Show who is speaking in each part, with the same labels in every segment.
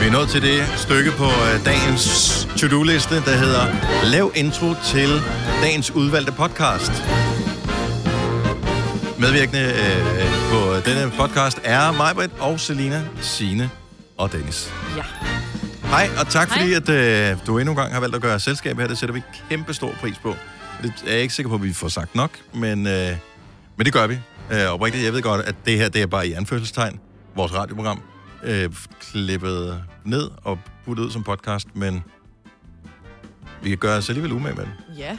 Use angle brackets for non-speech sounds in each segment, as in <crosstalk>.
Speaker 1: Vi er nået til det stykke på øh, dagens to-do-liste, der hedder Lav intro til dagens udvalgte podcast. Medvirkende øh, på denne podcast er Majbrit og Selina, Sine og Dennis.
Speaker 2: Ja.
Speaker 1: Hej, og tak fordi, at øh, du endnu en gang har valgt at gøre selskab her. Det sætter vi kæmpe stor pris på. Det er jeg ikke sikker på, at vi får sagt nok, men, øh, men det gør vi. Øh, oprigtigt, jeg ved godt, at det her det er bare i anførselstegn. Vores radioprogram øh, klippet ned og puttet ud som podcast, men vi kan gøre os alligevel umage med det.
Speaker 2: Ja.
Speaker 3: Mm.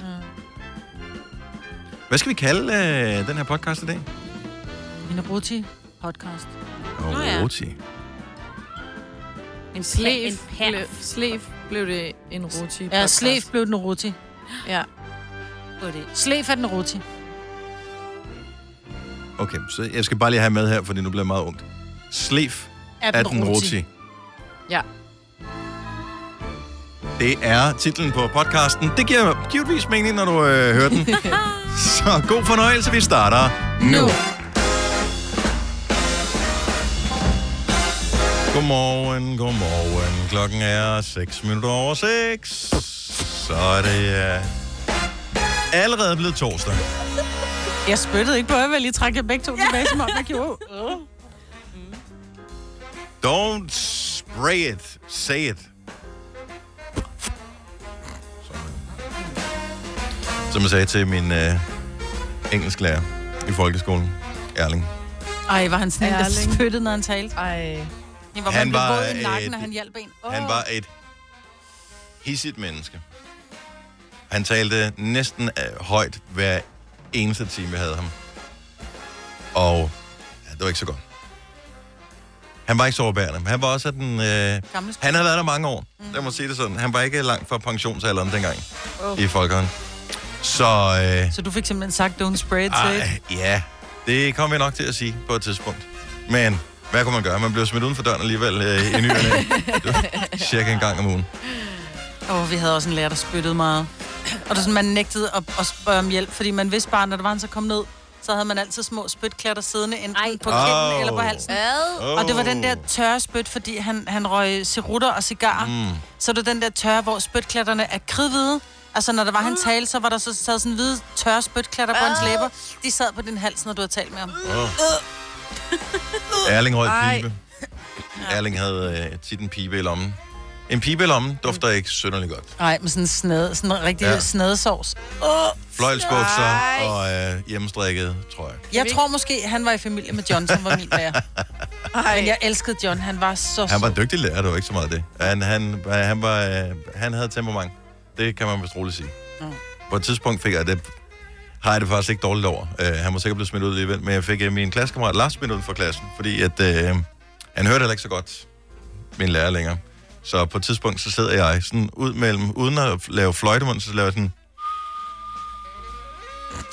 Speaker 1: Hvad skal vi kalde øh, den her podcast i dag?
Speaker 3: En roti podcast.
Speaker 1: Åh,
Speaker 4: ja.
Speaker 1: Roti.
Speaker 4: En
Speaker 2: Slev,
Speaker 4: slev.
Speaker 2: blev, slev blev det en roti
Speaker 3: Ja, slev blev den roti.
Speaker 2: Ja.
Speaker 3: Slev er den roti.
Speaker 1: Okay, så jeg skal bare lige have med her, fordi nu bliver det meget ondt. Slef
Speaker 3: Er
Speaker 1: af den roti.
Speaker 2: Ja.
Speaker 1: Det er titlen på podcasten. Det giver givetvis mening, når du øh, hører <laughs>
Speaker 5: <laughs>
Speaker 1: den. Så god fornøjelse, vi starter nu. Godmorgen, godmorgen. Klokken er 6 minutter over 6. Så er det øh, allerede blevet torsdag.
Speaker 3: Jeg spyttede ikke på øvrigt, jeg lige trak jer begge to tilbage, som om jeg gjorde.
Speaker 1: Don't spray it, say it. Sådan. Som jeg sagde til min øh, engelsklærer i folkeskolen, Erling.
Speaker 3: Ej, var han sådan en, der
Speaker 2: Erling.
Speaker 3: spyttede, når han talte.
Speaker 2: Ej.
Speaker 3: Han var,
Speaker 1: Han
Speaker 3: han var
Speaker 1: var,
Speaker 3: våd i nakken,
Speaker 1: øh,
Speaker 3: og han hjalp en.
Speaker 1: Oh. Han var et hissigt menneske. Han talte næsten øh, højt hver eneste time, jeg havde ham. Og ja, det var ikke så godt. Han var ikke så overbærende, men han var også af den... Øh,
Speaker 3: Gamle
Speaker 1: han havde været der mange år. Mm. Lad mig sige det sådan. Han var ikke langt fra pensionsalderen dengang oh. i folkehånden. Så... Øh,
Speaker 3: Så du fik simpelthen sagt, don't spray it til.
Speaker 1: ej, ja, det kommer vi nok til at sige på et tidspunkt. Men hvad kunne man gøre? Man blev smidt uden for døren alligevel øh,
Speaker 3: <laughs>
Speaker 1: i nyerne. cirka en gang om ugen.
Speaker 3: Åh, oh, vi havde også en lærer, der spyttede meget. Og det var sådan, man nægtede at, at spørge om hjælp, fordi man vidste bare, når der var en, så kom ned, så havde man altid små spytklatter siddende enten Ej. på kinden
Speaker 1: Au.
Speaker 3: oh. eller på halsen.
Speaker 4: Hvad?
Speaker 1: Oh.
Speaker 3: Og det var den der tørre spyt, fordi han, han røg cerutter og cigarer. Mm. Så det var den der tørre, hvor spytklatterne er kridhvide. Altså, når der var han tale, så var der så sad sådan hvide tørre spytklatter på hans læber. De sad på din hals, når du havde talt med ham.
Speaker 1: Erling rød
Speaker 2: Ej.
Speaker 3: <laughs>
Speaker 1: pibe. Erling havde øh, tit en pibe i lommen. En pibe i lommen dufter ikke synderligt godt.
Speaker 3: Nej, med sådan en snede, sådan en rigtig
Speaker 1: Ja.
Speaker 3: ja. snedesovs.
Speaker 1: Fløjlsbukser og øh, hjemmestrikket trøje.
Speaker 3: Jeg tror måske, han var i familie med John, som var <laughs> min lærer. Men jeg elskede John, han var så
Speaker 1: Han var
Speaker 3: sød.
Speaker 1: en dygtig lærer, det var ikke så meget det. Han, han, han, var, øh, han havde temperament. Det kan man vist roligt sige.
Speaker 3: Mm.
Speaker 1: På et tidspunkt fik jeg det, har jeg det faktisk ikke dårligt over. Uh, han må sikkert blive smidt ud alligevel, men jeg fik uh, min klassekammerat Lars smidt ud fra klassen, fordi at, uh, han hørte heller ikke så godt min lærer længere. Så på et tidspunkt, så sidder jeg sådan ud mellem, uden at lave fløjtemund, så laver jeg sådan,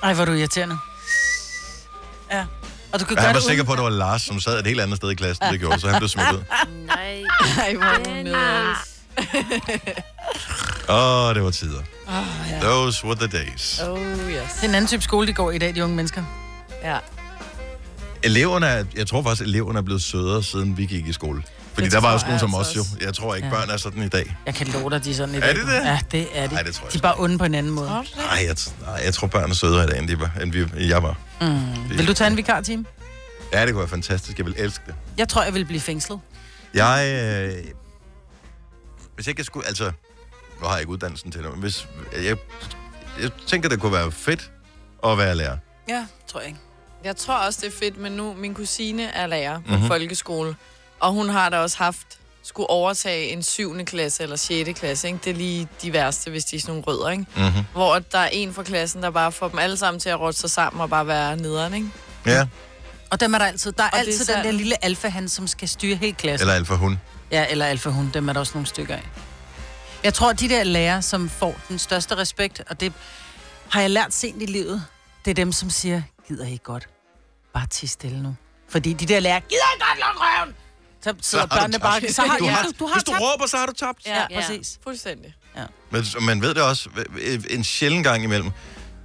Speaker 3: Ej, hvor er du irriterende. Ja. Og du kan
Speaker 1: Men
Speaker 3: gøre
Speaker 1: han var
Speaker 3: det
Speaker 1: sikker
Speaker 3: uden-
Speaker 1: på, at det var Lars, som sad et helt andet sted i klassen, det gjorde, så han blev
Speaker 3: <laughs>
Speaker 1: smidt ud.
Speaker 4: Nej.
Speaker 2: Ej, hvor er hun nede. <laughs>
Speaker 1: Åh, oh, det var tider. Oh, ja. Those were the days.
Speaker 2: Oh,
Speaker 3: Det
Speaker 2: yes.
Speaker 3: er en anden type skole, de går i dag, de unge mennesker.
Speaker 2: Ja.
Speaker 1: Eleverne, er- jeg tror faktisk, at eleverne er blevet sødere, siden vi gik i skole. Fordi
Speaker 3: Det
Speaker 1: der var
Speaker 3: tror
Speaker 1: også nogen
Speaker 2: jeg
Speaker 1: som
Speaker 2: altså
Speaker 1: os jo.
Speaker 2: også.
Speaker 1: Jeg tror ikke, børn er sådan i dag.
Speaker 3: Jeg kan love dig, de er sådan i
Speaker 1: Er
Speaker 3: dag.
Speaker 1: det det?
Speaker 3: Ja, det er det.
Speaker 1: Ej, det tror jeg
Speaker 3: de er bare onde på en anden måde.
Speaker 1: Nej, jeg, t- nej, jeg tror, børn er sødere i dag, end, de var, end vi, jeg var. Mm.
Speaker 3: Vil du tage en vikartime?
Speaker 1: Ja, det kunne være fantastisk. Jeg vil elske det.
Speaker 3: Jeg tror, jeg vil blive fængslet.
Speaker 1: Jeg... Øh, hvis jeg ikke skulle... Altså, hvor har jeg ikke uddannelsen til nu? men Hvis, jeg, jeg tænker, det kunne være fedt at være lærer.
Speaker 3: Ja, tror jeg ikke.
Speaker 2: Jeg tror også, det er fedt, men nu, min kusine er lærer på mm-hmm. folkeskole, og hun har da også haft, skulle overtage en 7. klasse eller 6. klasse, ikke? Det er lige de værste, hvis de er sådan nogle rødder, ikke?
Speaker 1: Mm-hmm.
Speaker 2: Hvor at der er en fra klassen, der bare får dem alle sammen til at råde sig sammen og bare være nederen, ikke?
Speaker 1: Ja,
Speaker 3: Og dem er der altid. Der er
Speaker 2: det er
Speaker 3: altid den
Speaker 2: sådan.
Speaker 3: der lille alfahan, som skal styre hele klassen.
Speaker 1: eller alfa hun.
Speaker 3: Ja, eller alfahund, dem er der også nogle stykker af. Jeg tror, at de der lærere, som får den største respekt, og det har jeg lært sent i livet, det er dem, som siger, gider I ikke godt? Bare til stille nu. Fordi de der lærere, gider I godt lukke røven? Så sidder
Speaker 1: har du
Speaker 3: børnene bare...
Speaker 1: tabt.
Speaker 3: Så har,
Speaker 1: Du
Speaker 3: ja,
Speaker 1: har,
Speaker 3: du har
Speaker 1: hvis du
Speaker 3: tabt.
Speaker 1: råber, så har du tabt.
Speaker 3: Ja,
Speaker 4: Ja.
Speaker 3: præcis.
Speaker 2: Fuldstændig.
Speaker 1: Men man ved det også øh, en sjælden gang imellem.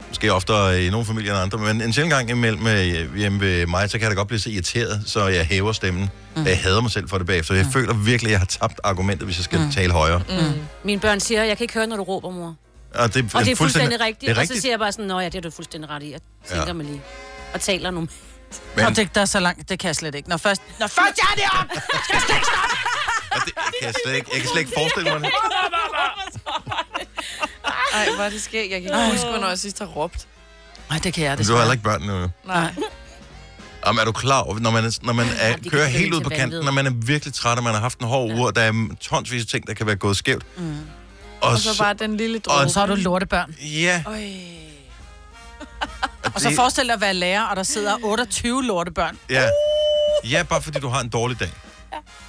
Speaker 1: måske oftere i nogle familier end andre, men en sjældent gang imellem øh, hjemme ved mig, så kan jeg da godt blive så irriteret, så jeg hæver stemmen. Mm. Jeg hader mig selv for det bagefter. Jeg mm. føler virkelig, at jeg har tabt argumentet, hvis jeg skal mm. tale højere. Mm.
Speaker 4: Mm. Mine børn siger, jeg kan ikke høre, når du råber, mor.
Speaker 1: Og det,
Speaker 4: Og det er fuldstændig rigtigt.
Speaker 1: Det er
Speaker 4: Og så
Speaker 1: rigtigt.
Speaker 4: siger jeg bare sådan, nå ja, det er du fuldstændig ret i. Jeg tænker
Speaker 1: Ja.
Speaker 4: ja. mig lige. Og taler nu.
Speaker 1: Men-
Speaker 3: Men... Og det, der er så langt, det kan jeg slet ikke. Når først, når først jeg er deroppe, skal jeg slet ikke stoppe.
Speaker 1: Og det kan jeg, slet ikke, jeg kan slet ikke forestille mig det.
Speaker 2: <laughs> Ej, hvor er det sker. Jeg kan ikke huske, hvornår jeg sidst har råbt.
Speaker 3: Nej, det kan jeg
Speaker 1: Men
Speaker 3: det
Speaker 1: Du har heller ikke børn nu.
Speaker 2: Nej.
Speaker 1: Jamen, er du klar over, når man, når man er,
Speaker 4: de kan
Speaker 1: kører
Speaker 4: flytte
Speaker 1: helt ud
Speaker 4: til
Speaker 1: på kanten,
Speaker 4: vanvid.
Speaker 1: når man er virkelig træt, og man har haft en hård uge, og der er mm, tonsvis af ting, der kan være gået skævt. Mm. Og,
Speaker 2: Og så bare den lille dråbe.
Speaker 1: Og
Speaker 3: Så har du lortebørn.
Speaker 1: Ja,
Speaker 2: Øj.
Speaker 3: Og så
Speaker 1: det- Mm.
Speaker 3: forestil dig at være lærer, og der sidder 28 lortebørn.
Speaker 1: ja. Ja, bare fordi du har en dårlig dag.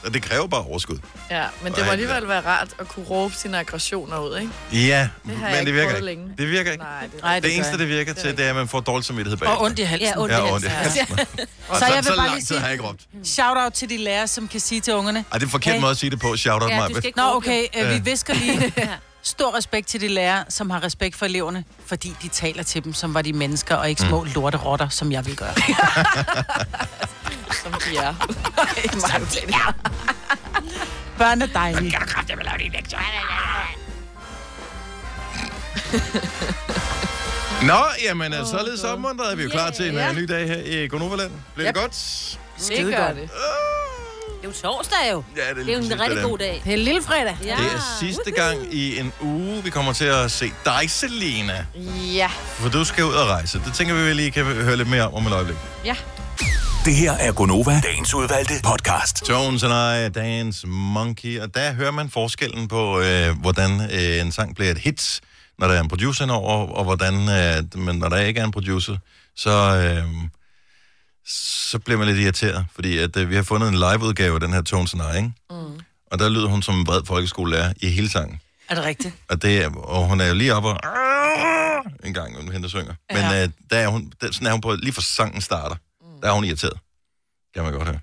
Speaker 1: Og det kræver bare overskud.
Speaker 2: Ja, men det må alligevel være rart at kunne råbe sine aggressioner ud, ikke?
Speaker 1: Ja,
Speaker 2: Det har jeg
Speaker 1: men det
Speaker 2: ikke
Speaker 1: virker
Speaker 2: prøvet
Speaker 1: ikke.
Speaker 2: længe.
Speaker 1: Det virker ikke.
Speaker 2: Nej, det er
Speaker 3: Nej,
Speaker 1: Det eneste, det virker
Speaker 2: Det
Speaker 1: til,
Speaker 2: er
Speaker 1: det er, at man får dårlig samvittighed
Speaker 3: Og
Speaker 1: bagefter.
Speaker 3: ondt i halsen.
Speaker 4: Ja, ondt i
Speaker 1: Ja, ondt i
Speaker 4: halsen.
Speaker 1: halsen. <laughs> Og så,
Speaker 3: Så jeg vil
Speaker 1: så
Speaker 3: bare
Speaker 1: lang
Speaker 3: lige
Speaker 1: tid har
Speaker 3: sige-
Speaker 1: jeg ikke råbt.
Speaker 3: Shout-out til de lærere, som kan sige til ungerne.
Speaker 1: Ej, det er en forkert
Speaker 3: Hey.
Speaker 1: måde at sige det på. Shout out,
Speaker 4: Ja,
Speaker 1: ja,
Speaker 4: du skal ikke
Speaker 3: Nå,
Speaker 4: råbe,
Speaker 3: okay, øh,
Speaker 1: Ja.
Speaker 3: vi visker
Speaker 4: <laughs>
Speaker 3: lige. Stor respekt til de lærere, som har respekt for eleverne, fordi de taler til dem, som var de mennesker, og
Speaker 1: Mm.
Speaker 3: ikke små lorterotter, som jeg vil
Speaker 4: <laughs>
Speaker 3: gøre.
Speaker 2: Som de er. Samtidig.
Speaker 3: Børn er dejlige.
Speaker 1: Nå, jamen, oh, således opmuntret er vi jo klar til en yeah. ny dag her i Gonoverland. Bliver yep. det godt?
Speaker 2: Det gør det.
Speaker 4: Det er jo torsdag jo.
Speaker 1: Ja, det er lige
Speaker 4: det er jo
Speaker 1: præcis
Speaker 4: en
Speaker 1: det,
Speaker 4: rigtig
Speaker 1: det er.
Speaker 4: god dag.
Speaker 6: Det er lille fredag.
Speaker 4: Ja.
Speaker 1: Det er sidste gang i en uge, vi kommer til at se dig, Selina.
Speaker 2: Ja.
Speaker 1: For du skal ud og rejse. Det tænker vi, vi lige kan høre lidt mere om om et øjeblik.
Speaker 2: Ja.
Speaker 7: Det her er Gonova, dagens udvalgte podcast.
Speaker 1: Jones and I, Dance Monkey. Og der hører man forskellen på, øh, hvordan øh, en sang bliver et hit, når der er en producer over, og hvordan, øh, men når der ikke er en producer, så, øh, så bliver man lidt irriteret, fordi at, øh, vi har fundet en liveudgave af den her Tones and I, ikke? Mm. Og der lyder hun som en bred folkeskolelærer i hele sangen.
Speaker 3: Er det rigtigt?
Speaker 1: Og, det er, og hun er jo lige oppe og... En gang, når hun henter synger. Men
Speaker 3: Ja.
Speaker 1: øh, der er hun, der, sådan er hun på, lige fra sangen starter.
Speaker 3: Mm.
Speaker 1: Der er hun irriteret. Kan man godt høre.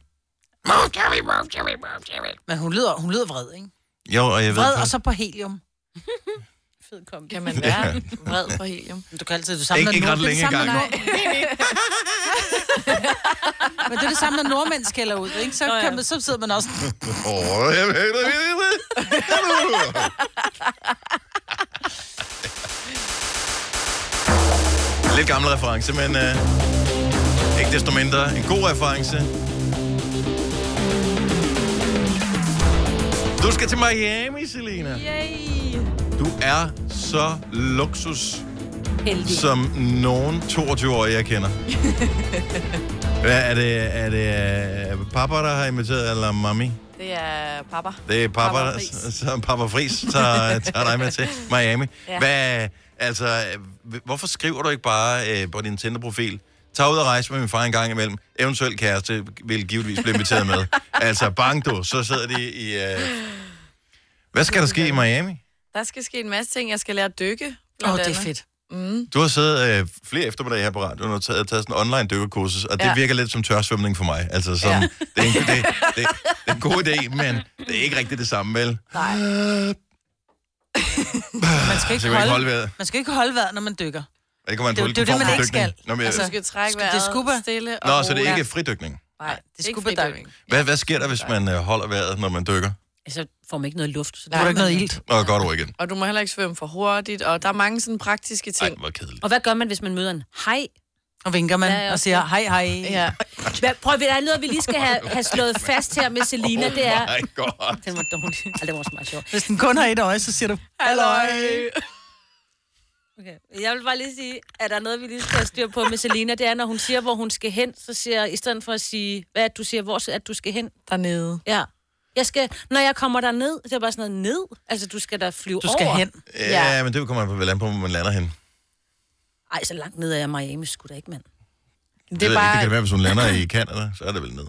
Speaker 3: Men hun lyder, hun lyder vred, ikke?
Speaker 1: Jo, og jeg ved...
Speaker 3: Vred, og
Speaker 1: faktisk-
Speaker 3: så på
Speaker 2: <laughs>
Speaker 3: helium. Fed kom.
Speaker 2: Kan man være vred på helium?
Speaker 3: Du kan altid, du samler
Speaker 1: Ikke- ikke
Speaker 3: nord-
Speaker 1: ret længe
Speaker 3: det er det samme,
Speaker 1: engang.
Speaker 3: når- <laughs> Men det er det samme, når nordmænd skælder ud, ikke? Så, kan man, så sidder man også...
Speaker 1: Åh, jeg ved det, jeg ved det. Lidt gammel reference, men øh, ikke desto mindre en god reference. Du skal til Miami, Selina.
Speaker 2: Yay.
Speaker 1: Du er så luksus,
Speaker 4: Heldig.
Speaker 1: som nogen 22-årige, jeg
Speaker 3: <laughs>
Speaker 1: kender. Hvad er det? Er det øh, papa, der har inviteret, eller mami?
Speaker 2: Det er papa.
Speaker 1: Det er Papa,
Speaker 2: Papa
Speaker 1: Papa
Speaker 2: Friis.
Speaker 1: som Papa Fris tager, tager dig
Speaker 3: <laughs>
Speaker 1: med til Miami. Ja.
Speaker 2: Ja.
Speaker 1: Hvad, altså, øh, hvorfor skriver du ikke bare øh, på din Tinder-profil, tag ud og rejse med min far en gang imellem, eventuel kæreste vil givetvis blive inviteret
Speaker 3: <laughs>
Speaker 1: med. altså, bang du, så sidder de i... Øh... Hvad skal der ske i Miami?
Speaker 2: Der skal ske en masse ting. Jeg skal lære at dykke.
Speaker 3: Åh,
Speaker 2: blandt
Speaker 3: oh, det er
Speaker 2: andet. Mm.
Speaker 3: fedt.
Speaker 1: Du har siddet øh, flere eftermiddage her på radioen og taget, taget sådan en online dykkerkursus, og det ja.
Speaker 2: Ja.
Speaker 1: virker lidt som tørsvømning for mig. Altså, som, ja.
Speaker 2: Ja.
Speaker 1: det, er en, det, det, det er en god idé, men det er ikke rigtigt det samme, vel?
Speaker 3: <laughs>
Speaker 2: Nej.
Speaker 3: Man skal ikke
Speaker 1: Så kan man ikke holde
Speaker 3: holde,
Speaker 1: vejret.
Speaker 3: man skal ikke holde vejret, når man dykker.
Speaker 1: Det kommer an på,
Speaker 3: Det er
Speaker 1: hvilken
Speaker 3: jo- det er jo
Speaker 1: form
Speaker 3: det, man
Speaker 1: for
Speaker 3: ikke
Speaker 1: dykning.
Speaker 3: skal.
Speaker 1: Nå, men,
Speaker 2: Altså, du
Speaker 1: altså,
Speaker 2: skal trække
Speaker 3: Det er
Speaker 2: vejret
Speaker 3: scuba.
Speaker 2: stille og
Speaker 1: Nå, så det er
Speaker 2: roligt.
Speaker 1: ikke fridykning.
Speaker 2: Nej, det er
Speaker 3: scuba
Speaker 2: scuba
Speaker 3: diving.
Speaker 2: diving.
Speaker 1: Hvad, hvad sker der, hvis man øh, holder vejret, når man dykker?
Speaker 4: Så får man ikke noget luft. Så
Speaker 3: Du er
Speaker 2: Nej,
Speaker 3: ikke noget
Speaker 2: men-
Speaker 3: ilt.
Speaker 1: Nå, godt over igen.
Speaker 2: Og du må heller ikke svømme for hurtigt, og der er mange sådan praktiske
Speaker 1: Ej,
Speaker 2: ting.
Speaker 1: hvor kedeligt.
Speaker 4: Og hvad gør man, hvis man møder en hej?
Speaker 3: Og vinker man
Speaker 4: Ja, ja,
Speaker 3: og siger hej, hej. Ja.
Speaker 2: Ja.
Speaker 4: Hvad, prøv at der er noget, vi lige skal have, have slået fast her med Selina. Det er...
Speaker 1: Oh my god.
Speaker 4: Den var dårlig. Ej, det var også meget sjovt.
Speaker 3: Hvis den kun har et øje, så siger du, halløj.
Speaker 4: Okay. Jeg vil bare lige sige, at der er noget, vi lige skal have styr på med Selina. Det er, når hun siger, hvor hun skal hen, så siger jeg, i stedet for at sige, hvad er det, du siger, hvor er det, du skal hen?
Speaker 2: Dernede.
Speaker 4: Ja. Jeg skal, når jeg kommer der ned, det er bare sådan noget ned. Altså, du skal da flyve
Speaker 3: Du skal
Speaker 4: over.
Speaker 3: hen.
Speaker 1: Ja, men det kommer man på, vel an på, hvor man lander hen. Det,
Speaker 4: Ej, så langt ned er jeg Miami, skulle da ikke, mand.
Speaker 2: Det
Speaker 1: det,
Speaker 2: er
Speaker 1: ikke, det kan det
Speaker 2: bare
Speaker 1: være, hvis hun lander i Canada, så er det vel ned.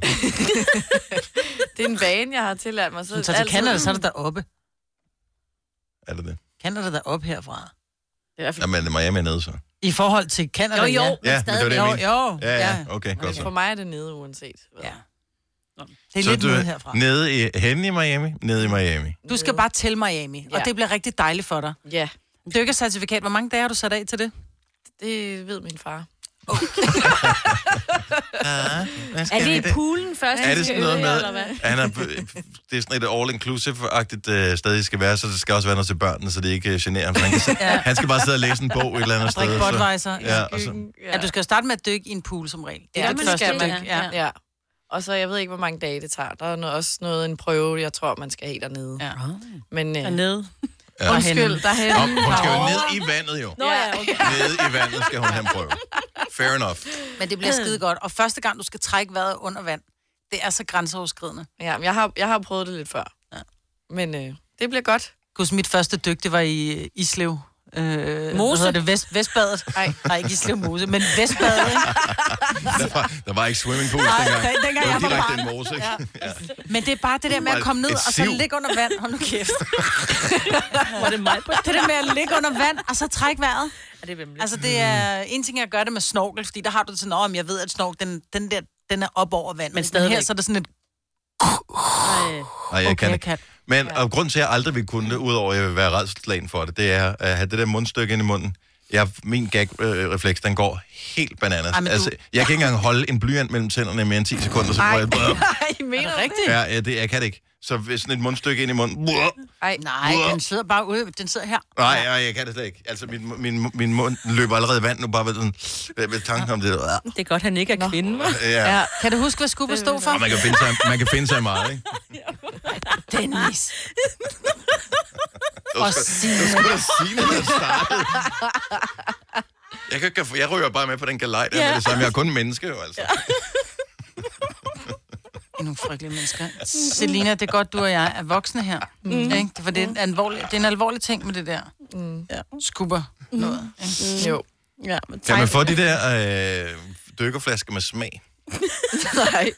Speaker 2: det er en vane, jeg har tillært mig. Så,
Speaker 3: Så til Canada, så er det deroppe.
Speaker 1: Er det det?
Speaker 3: Canada er deroppe herfra.
Speaker 1: Jamen, Miami er nede, så.
Speaker 3: I forhold til Canada,
Speaker 4: Jo, jo,
Speaker 3: ja.
Speaker 1: Ja, men det var det,
Speaker 3: Jo,
Speaker 1: jeg mente.
Speaker 3: jo.
Speaker 1: Ja, ja, okay, godt
Speaker 2: Altså, For
Speaker 1: så.
Speaker 2: mig er det nede, uanset. hvad.
Speaker 3: Ja. Det er
Speaker 1: Så
Speaker 3: lidt
Speaker 1: du
Speaker 3: nede herfra.
Speaker 1: nede i, henne i Miami? Nede i Miami.
Speaker 3: Du skal bare til Miami, og
Speaker 2: Ja.
Speaker 3: det bliver rigtig dejligt for dig.
Speaker 2: Ja.
Speaker 3: Dykkercertifikat, hvor mange dage har du sat af til det?
Speaker 2: Det ved min far.
Speaker 4: Er det i poolen først?
Speaker 1: Er
Speaker 4: vi
Speaker 1: det
Speaker 4: skal
Speaker 1: sådan noget
Speaker 4: øve jer, eller
Speaker 1: med,
Speaker 4: hvad?
Speaker 1: at han er, det er sådan et all-inclusive-agtigt øh, sted, I skal være, så det skal også være noget til børnene, så det ikke øh, generer ham. for
Speaker 4: <laughs>
Speaker 1: Han, kan, sidde- han skal bare sidde og læse en bog et eller andet sted.
Speaker 3: Drik
Speaker 1: så-
Speaker 3: Budweiser.
Speaker 1: Ja, og så,
Speaker 3: Ja, du skal jo starte med at dykke i en pool som regel. Det
Speaker 2: Ja,
Speaker 3: er det
Speaker 2: man
Speaker 3: første
Speaker 2: skal
Speaker 3: dyk.
Speaker 2: man.
Speaker 3: Ja.
Speaker 2: Ja. Og så, jeg ved ikke, hvor mange dage det tager. Der er noget, også noget, en prøve, jeg tror, man skal have dernede.
Speaker 3: Ja.
Speaker 2: Men øh,
Speaker 4: Dernede.
Speaker 1: Ja.
Speaker 2: undskyld, derhen.
Speaker 1: Nå, hun skal jo ned i vandet, jo.
Speaker 4: Nå ja, okay.
Speaker 1: Nede i vandet skal hun have en prøve. Fair enough.
Speaker 3: Men det bliver skide godt. Og første gang, du skal trække vejret under vand, det er så grænseoverskridende.
Speaker 2: Ja, men jeg har, jeg har prøvet det lidt før.
Speaker 3: Ja.
Speaker 2: Men øh, det bliver
Speaker 4: <laughs>
Speaker 2: godt.
Speaker 3: Gud, mit første dyk, det var i øh, Islev. Øh, Mose? Hedder det Vest, Vestbadet? Nej, nej, ikke Islev Mose, men Vestbadet. ikke?
Speaker 1: Der var, der var ikke swimming pools
Speaker 3: Nej,
Speaker 1: dengang.
Speaker 3: dengang
Speaker 1: det var
Speaker 3: jeg var
Speaker 1: direkte
Speaker 3: barn.
Speaker 1: en mose, ikke? Ja.
Speaker 3: Men det er bare det der med at komme ned,
Speaker 1: Et
Speaker 3: og så
Speaker 1: siv.
Speaker 3: ligge under vand. Hold nu
Speaker 4: <laughs>
Speaker 3: kæft. Var det mig på det? der med at ligge under vand, og så trække vejret.
Speaker 4: Er det vemmeligt?
Speaker 3: Altså, det er en ting, jeg gør det med snorkel, fordi der har du det sådan, om jeg ved, at snorkel, den, den der, den er op over vand. Men, men her
Speaker 4: stadigvæk.
Speaker 3: så er det sådan et,
Speaker 4: Nej.
Speaker 1: Nej, jeg
Speaker 3: okay,
Speaker 1: kan
Speaker 3: jeg
Speaker 1: ikke.
Speaker 3: kan.
Speaker 1: Men og grunden til, at jeg aldrig ville kunne det, udover at jeg vil være redselslagen for det, det er at have det der mundstykke ind i munden. Jeg, min gag-refleks, den går helt bananas.
Speaker 3: Ej, men du-
Speaker 1: altså, jeg kan ikke engang holde en blyant mellem tænderne i mere end 10 sekunder, så får
Speaker 3: <laughs>
Speaker 1: jeg...
Speaker 2: I mener det?
Speaker 1: Ja, ja, det, jeg kan det ikke. Så hvis sådan et mundstykke ind i munden...
Speaker 2: Ej,
Speaker 3: Nej, den sidder bare ude, den sidder her.
Speaker 1: Nej, nej, jeg kan det slet ikke. Altså, min, min, min mund løber allerede i vand nu, bare ved, sådan, ved, ved tanken om det.
Speaker 4: Det er godt, han ikke er kvinde, hva'?
Speaker 1: Ja.
Speaker 3: Ja. Kan du huske, hvad Scuba stod for?
Speaker 1: Og man kan finde sig, man kan finde sig i meget, ikke?
Speaker 3: Dennis.
Speaker 4: <laughs>
Speaker 1: Det var
Speaker 3: Og
Speaker 1: sgu-
Speaker 3: Signe.
Speaker 1: Det skulle da Signe, der startede. Jeg, kan, ikke- jeg ryger bare med på den galej der ja. med det samme. Jeg er kun en menneske, jo, altså.
Speaker 3: I er nogle frygtelige
Speaker 2: <laughs>
Speaker 3: mennesker. Selina, det er godt, du og jeg er voksne her. Mm. Ikke? Det, for det, er en alvorlig, det er en alvorlig ting med det der. Mm. Ja. Skubber noget. Ikke?
Speaker 2: jo.
Speaker 4: Ja, men
Speaker 1: Kan man få de der øh, dykkerflasker med smag?
Speaker 2: Nej.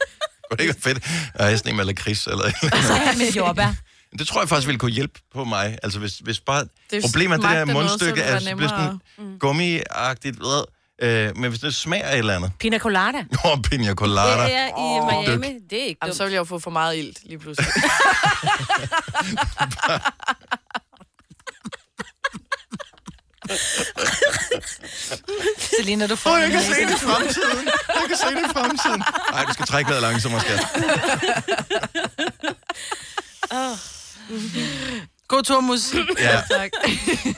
Speaker 1: Kunne det ikke være fedt at have sådan en med lakrids? Eller... et eller
Speaker 3: Så her med <laughs> jordbær.
Speaker 1: andet? Det tror jeg faktisk ville kunne hjælpe på mig. Altså, hvis, hvis bare...
Speaker 2: Det
Speaker 1: Problemet er, det der
Speaker 2: smagte noget, så
Speaker 1: mundstykke
Speaker 2: det var
Speaker 1: er så bliver sådan gummiagtigt. ved, Øh, men hvis det smager af et eller andet.
Speaker 4: Pina colada.
Speaker 1: Åh, oh, pina colada.
Speaker 4: Det er i Miami. Det er ikke
Speaker 2: Jamen,
Speaker 4: dumt.
Speaker 2: så vil jeg jo få for meget ilt lige pludselig.
Speaker 4: <laughs>
Speaker 1: <laughs>
Speaker 3: Selina, du får
Speaker 1: Åh,
Speaker 3: oh,
Speaker 1: jeg kan se
Speaker 3: det.
Speaker 1: det i fremtiden. Jeg kan se det i fremtiden. Nej, du skal trække vejret langsommere, skat.
Speaker 3: God tur, mus.
Speaker 1: Ja.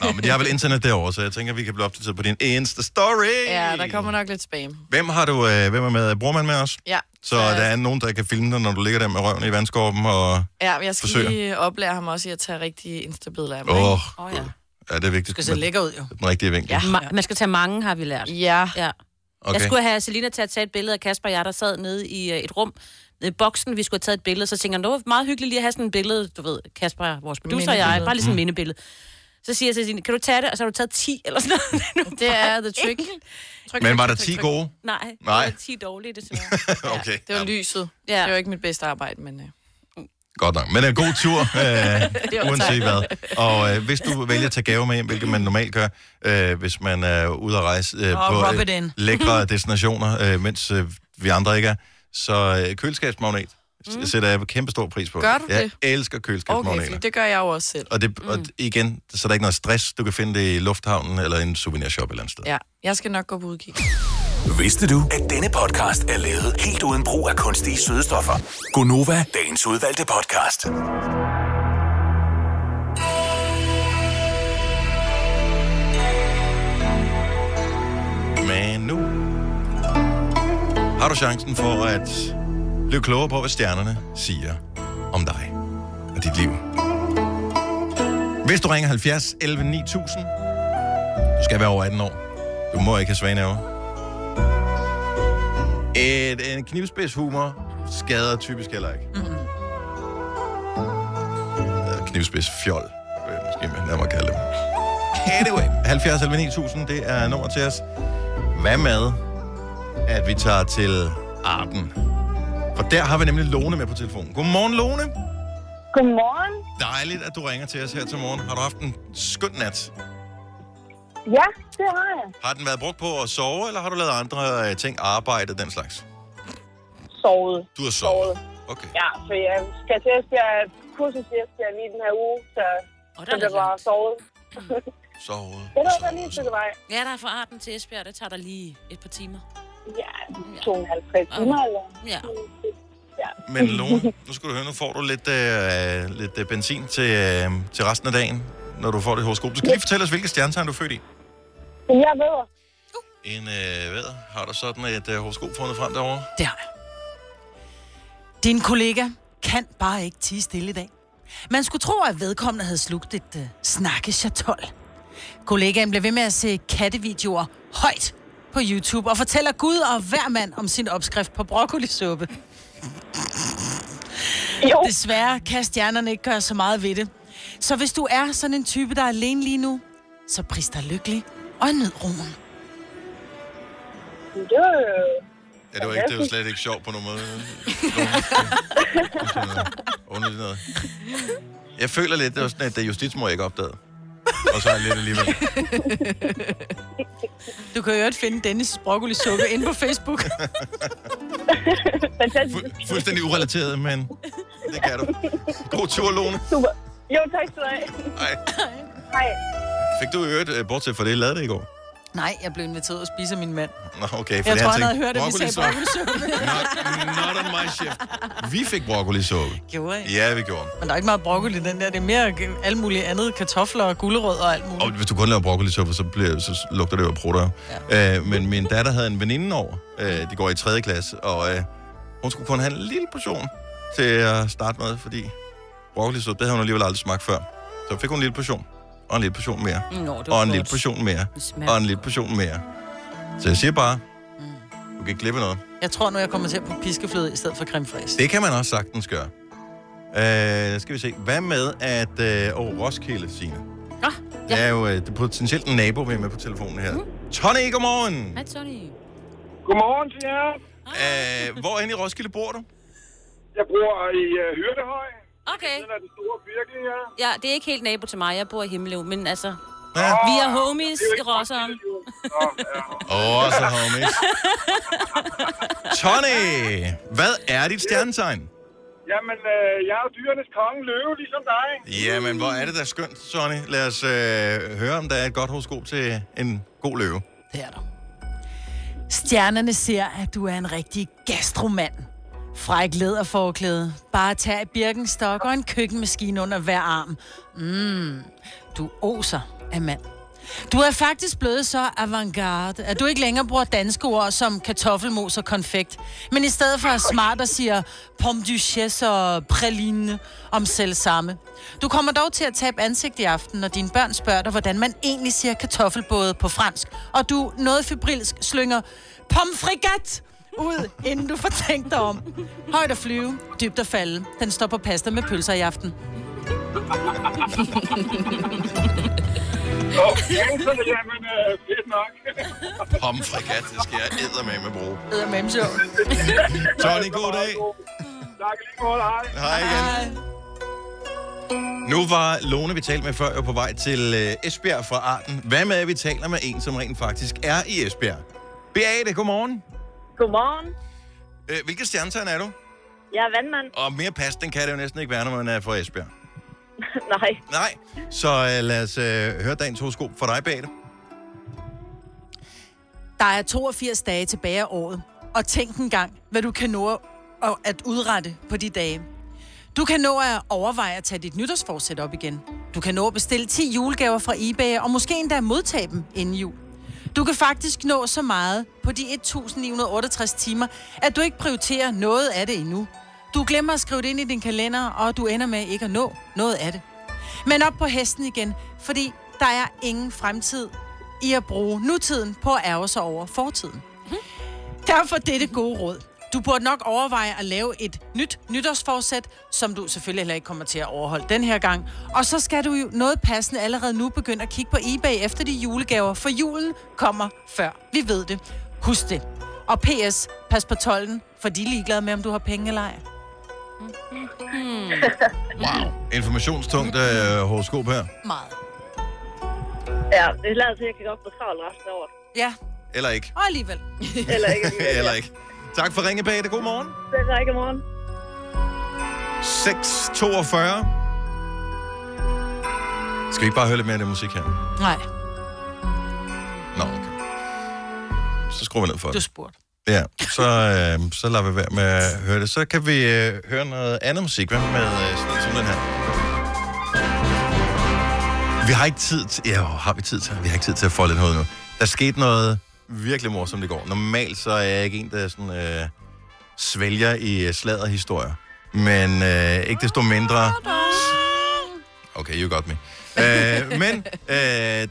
Speaker 1: Nå, men de har vel internet derovre, så jeg tænker, vi kan blive opdateret på din Insta-story.
Speaker 2: ja, der kommer nok lidt spam.
Speaker 1: Hvem har du, øh, hvem er med? Bruger man med os?
Speaker 2: Ja.
Speaker 1: Så der er nogen, der kan filme dig, når du ligger der med røven i vandskorben, og...
Speaker 2: Ja, men jeg skal
Speaker 1: Forsøger.
Speaker 2: Forsøger. lige oplære ham også i at tage rigtige instabilleder af mig.
Speaker 1: Åh,
Speaker 2: ikke?
Speaker 1: oh, ja. ja. det er vigtigt.
Speaker 3: Du skal se lækker ud, jo.
Speaker 1: med Den rigtige vinkel.
Speaker 2: Ja.
Speaker 4: Ma- man skal tage mange, har vi lært.
Speaker 2: Ja,
Speaker 4: Ja. Okay. Jeg
Speaker 1: Okay.
Speaker 4: skulle have Selina til at tage et billede af Kasper og jeg, der sad nede i øh, et rum nede i boksen. Vi skulle have taget et billede, så tænker jeg, "Nå, det var meget hyggeligt lige at have sådan et billede, du ved, Kasper, vores producer og jeg,
Speaker 2: Mindebillede. Mm.
Speaker 4: bare lige sådan et mindebillede. Så siger jeg til Selina, kan du tage det? Og så har du taget 10 eller sådan noget. <laughs>
Speaker 2: det er the trick. Tryk,
Speaker 1: Men
Speaker 2: tryk,
Speaker 1: var der
Speaker 2: tryk,
Speaker 1: 10
Speaker 2: tryk.
Speaker 1: gode?
Speaker 4: Nej,
Speaker 1: Nej.
Speaker 4: Nej. 10
Speaker 1: <laughs>
Speaker 4: dårlige, desværre.
Speaker 1: Okay.
Speaker 2: Det var
Speaker 1: ja,
Speaker 2: lyset.
Speaker 4: Ja.
Speaker 2: Det var ikke mit bedste arbejde, men... Øh.
Speaker 1: godt nok. Men en god tur, øh, uanset hvad. Og øh, hvis du vælger at tage gaver med hjem, hvilket man normalt gør, øh, hvis man er ude at rejse øh,
Speaker 3: Og
Speaker 1: på
Speaker 3: rub it in.
Speaker 1: lækre destinationer, øh, mens øh, vi andre ikke er, så øh, køleskabsmagnet mm. sætter jeg kæmpe stor pris på.
Speaker 2: Gør du
Speaker 1: jeg
Speaker 2: det?
Speaker 1: elsker køleskabsmagneter.
Speaker 2: Okay, fordi det gør jeg jo også selv.
Speaker 1: Og, det, og igen, så er der ikke noget stress. Du kan finde det i lufthavnen eller i en souvenirshop et eller andet sted.
Speaker 2: Ja, jeg skal nok gå på udkig.
Speaker 7: Vidste du, at denne podcast er lavet helt uden brug af kunstige sødestoffer? Gonova, dagens udvalgte podcast.
Speaker 1: Men nu har du chancen for at blive klogere på, hvad stjernerne siger om dig og dit liv. Hvis du ringer 70 11 9000, du skal være over 18 år. Du må ikke have svage nerver. Et, en knivspids humor skader typisk heller ikke. Mm-hmm. Knivspids fjol, øh, måske man nærmere kalde det. Anyway, 70 11 9000, det er nummer til os. Hvad med, at vi tager til Arden? For der har vi nemlig Lone med på telefonen. Godmorgen, Lone.
Speaker 6: Godmorgen.
Speaker 1: Dejligt, at du ringer til os her til morgen. Har du haft en skøn nat?
Speaker 6: Ja, det har jeg.
Speaker 1: Har den været brugt på at sove, eller har du lavet andre øh, ting, arbejde, den slags?
Speaker 6: Sovet.
Speaker 1: Du har sovet. Okay.
Speaker 6: Ja, for jeg skal til at jeg kursus, jeg skal lige den her uge, så,
Speaker 4: Og der
Speaker 6: så det
Speaker 4: er lidt
Speaker 6: var
Speaker 4: langt.
Speaker 6: sovet.
Speaker 1: Sovet.
Speaker 6: Det var
Speaker 1: sovet,
Speaker 6: der lige et
Speaker 1: sovet.
Speaker 6: stykke vej.
Speaker 4: Ja, der er fra Arden til Esbjerg, det tager dig lige et par timer.
Speaker 6: Ja, 52 timer eller...
Speaker 4: Ja.
Speaker 6: Ja.
Speaker 1: Men Lone, nu skal du høre, nu får du lidt, øh, lidt øh, benzin til, øh, til resten af dagen, når du får det horoskop. Du skal lige fortælle os, hvilke stjernetegn du er født i.
Speaker 6: Men jeg ved,
Speaker 1: En øh, vædder, har du sådan et øh, horoskop fundet frem derovre?
Speaker 3: Det har jeg. Din kollega kan bare ikke tige stille i dag. Man skulle tro, at vedkommende havde slugt et uh, snakkechatol. Kollegaen blev ved med at se kattevideoer højt på YouTube og fortæller Gud og hver mand om sin opskrift på broccolisuppe.
Speaker 6: jo,
Speaker 3: Desværre kan stjernerne ikke gøre så meget ved det. Så hvis du er sådan en type, der er alene lige nu, så pris dig lykkelig og nyd roen.
Speaker 6: det
Speaker 8: Øh,
Speaker 6: var
Speaker 8: <laughs>
Speaker 6: jo...
Speaker 1: Ja, det var, ikke, det var slet ikke sjovt på nogen måde. Underligt noget. Jeg føler lidt, det var sådan, at det justitsmor ikke opdagede. Og så er jeg lidt alligevel.
Speaker 3: Du kan jo øvrigt finde Dennis' broccolisuppe inde på Facebook. <laughs>
Speaker 6: Fantastisk.
Speaker 1: Fu- fuldstændig urelateret, men det kan du. God tur, Lone.
Speaker 6: Super. Jo, tak skal du have.
Speaker 1: Ej.
Speaker 6: Hej.
Speaker 1: Fik du i øvrigt, øh, bortset fra det, lavet det i går?
Speaker 3: Nej, jeg blev inviteret at spise af min mand.
Speaker 1: Nå, okay. For
Speaker 3: Jeg
Speaker 1: det
Speaker 3: tror,
Speaker 1: har
Speaker 3: han havde
Speaker 1: tænkt,
Speaker 3: hørt, at vi sagde
Speaker 1: broccolisuppe.
Speaker 3: broccolisuppe.
Speaker 1: Not, not on my shift. Vi fik broccolisuppe.
Speaker 3: Gjorde jeg.
Speaker 1: Ja, vi gjorde.
Speaker 3: <laughs> Men der er ikke meget broccoli i den der. Det er mere g- alt muligt andet. Kartofler og gulerødder og alt
Speaker 1: Og
Speaker 3: muligt.
Speaker 1: hvis du kun laver broccolisuppe, så, bliver, så lugter det jo af prutter. Ja. Øh, men min datter havde en veninde over. Øh, de går i 3. klasse, og øh, hun skulle kun have en lille portion til at starte med, fordi broccolisuppe, det havde hun alligevel aldrig smagt før. Så fik hun en lille portion, og en lille portion mere,
Speaker 9: Mm.
Speaker 4: Nå, det
Speaker 1: og en lille portion mere, og en lille portion mere. Så jeg siger bare, du kan ikke glippe noget.
Speaker 3: Jeg tror nu, jeg kommer til at putte piskefløde i stedet for creme fraiche.
Speaker 1: Det kan man også sagtens gøre. Øh, skal vi se. Hvad med at... Øh, åh, Roskilde, Signe.
Speaker 4: Nå,
Speaker 1: Ja. Det er jo øh, det er potentielt en nabo, vi er med på telefonen her. Mm. Tony, godmorgen!
Speaker 4: Hej, Tony.
Speaker 10: Godmorgen til jer.
Speaker 1: Øh, hvorhen i Roskilde bor du?
Speaker 10: Jeg bor i uh, Hyrdehøj.
Speaker 4: Okay.
Speaker 10: Den er den store virkelig, ja.
Speaker 4: Ja, det er ikke helt nabo til mig. Jeg bor i Himmeløv, men altså,
Speaker 1: Ja.
Speaker 4: vi er homies i Rosseren.
Speaker 10: Nå, ja.
Speaker 1: Åh, oh, så homies. Tony, hvad er dit stjernetegn?
Speaker 10: Jamen, øh, jeg er jo dyrenes konge, løve, ligesom dig.
Speaker 1: Jamen, hvor er det da skønt, Tony. Lad os øh, høre, om der er et godt horoskop til en god løve.
Speaker 3: Det er der. Stjernerne ser, at du er en rigtig gastromand. Fræk læderforklæde, bare tag et birkenstok og en køkkenmaskine under hver arm. Mm, du oser af mand. Du er faktisk blevet så avantgarde, at du ikke længere bruger danske ord som kartoffelmos og konfekt, men i stedet for er smart og siger pomme duchesse og praline om selv samme. Du kommer dog til at tabe ansigt i aften, når dine børn spørger dig, hvordan man egentlig siger kartoffelbåde på fransk, og du noget febrilsk slynger pommes frigat ud, inden du får tænkt dig om. Højt at flyve, dybt at falde. Den står på pasta med pølser i aften.
Speaker 10: Og så jamen, øh, fedt nok.
Speaker 1: Pomfrikat, det skal jeg eddermame bruge.
Speaker 3: Eddermame sjov.
Speaker 1: Tony, god dag.
Speaker 10: Tak i lige måde, hej.
Speaker 1: Hej igen. Nu var Lone, vi talte med før, jo på vej til øh, Esbjerg fra Arden. Hvad med, at vi taler med en, som rent faktisk er i Esbjerg? Beate, godmorgen.
Speaker 6: Godmorgen.
Speaker 1: Øh, hvilke stjernetegn er du?
Speaker 6: Jeg er vandmand.
Speaker 1: Og mere pas, den kan det jo næsten ikke være, når man er fra Esbjerg.
Speaker 6: Nej.
Speaker 1: Nej, så øh, lad os øh, høre dagens horoskop for dig, Beate.
Speaker 3: Der er 82 dage tilbage af året, og tænk en gang, hvad du kan nå at- at udrette på de dage. Du kan nå at overveje at tage dit nytårsforsæt op igen. Du kan nå at bestille 10 julegaver fra eBay, og måske endda modtage dem inden jul. Du kan faktisk nå så meget på de 1968 timer, at du ikke prioriterer noget af det endnu. Du glemmer at skrive det ind i din kalender, og du ender med ikke at nå noget af det. Men op på hesten igen, fordi der er ingen fremtid i at bruge nutiden på at ærge sig over fortiden. Derfor dette gode råd. Du burde nok overveje at lave et nyt nytårsforsæt, som du selvfølgelig heller ikke kommer til at overholde den her gang. Og så skal du jo noget passende allerede nu begynde at kigge på eBay efter de julegaver, for julen kommer før. Vi ved det. Husk det. Og PS, pas på tolden, for de er ligeglade med, om du har penge eller ej.
Speaker 1: Informationstungt øh, horoskop her.
Speaker 3: Meget.
Speaker 6: Ja, det lader til, at jeg kan godt få travlt resten af året.
Speaker 3: Ja,
Speaker 1: Eller ikke. <laughs>
Speaker 3: og alligevel.
Speaker 6: <laughs> Eller ikke.
Speaker 1: Eller ikke. Tak for ringe, Beate. God morgen.
Speaker 6: Selv tak i morgen.
Speaker 1: 6.42. Skal vi ikke bare høre lidt mere af det musik her?
Speaker 3: Nej,
Speaker 1: Nå, okay. Så skruer vi ned for
Speaker 3: du
Speaker 1: det.
Speaker 3: spurgte.
Speaker 1: Ja, så, øh, så lader vi være med at høre det. Så kan vi øh, høre noget andet musik. Hvad med øh, sådan, sådan den her? Vi har ikke tid til... Ja, har vi tid til? Vi har ikke tid til at folde den hoved nu. Der skete noget virkelig morsomt i går. Normalt så er jeg ikke en, der sådan, øh, svælger i øh, sladderhistorier. Men øh, ikke desto mindre... Okay, you got me. øh, men øh,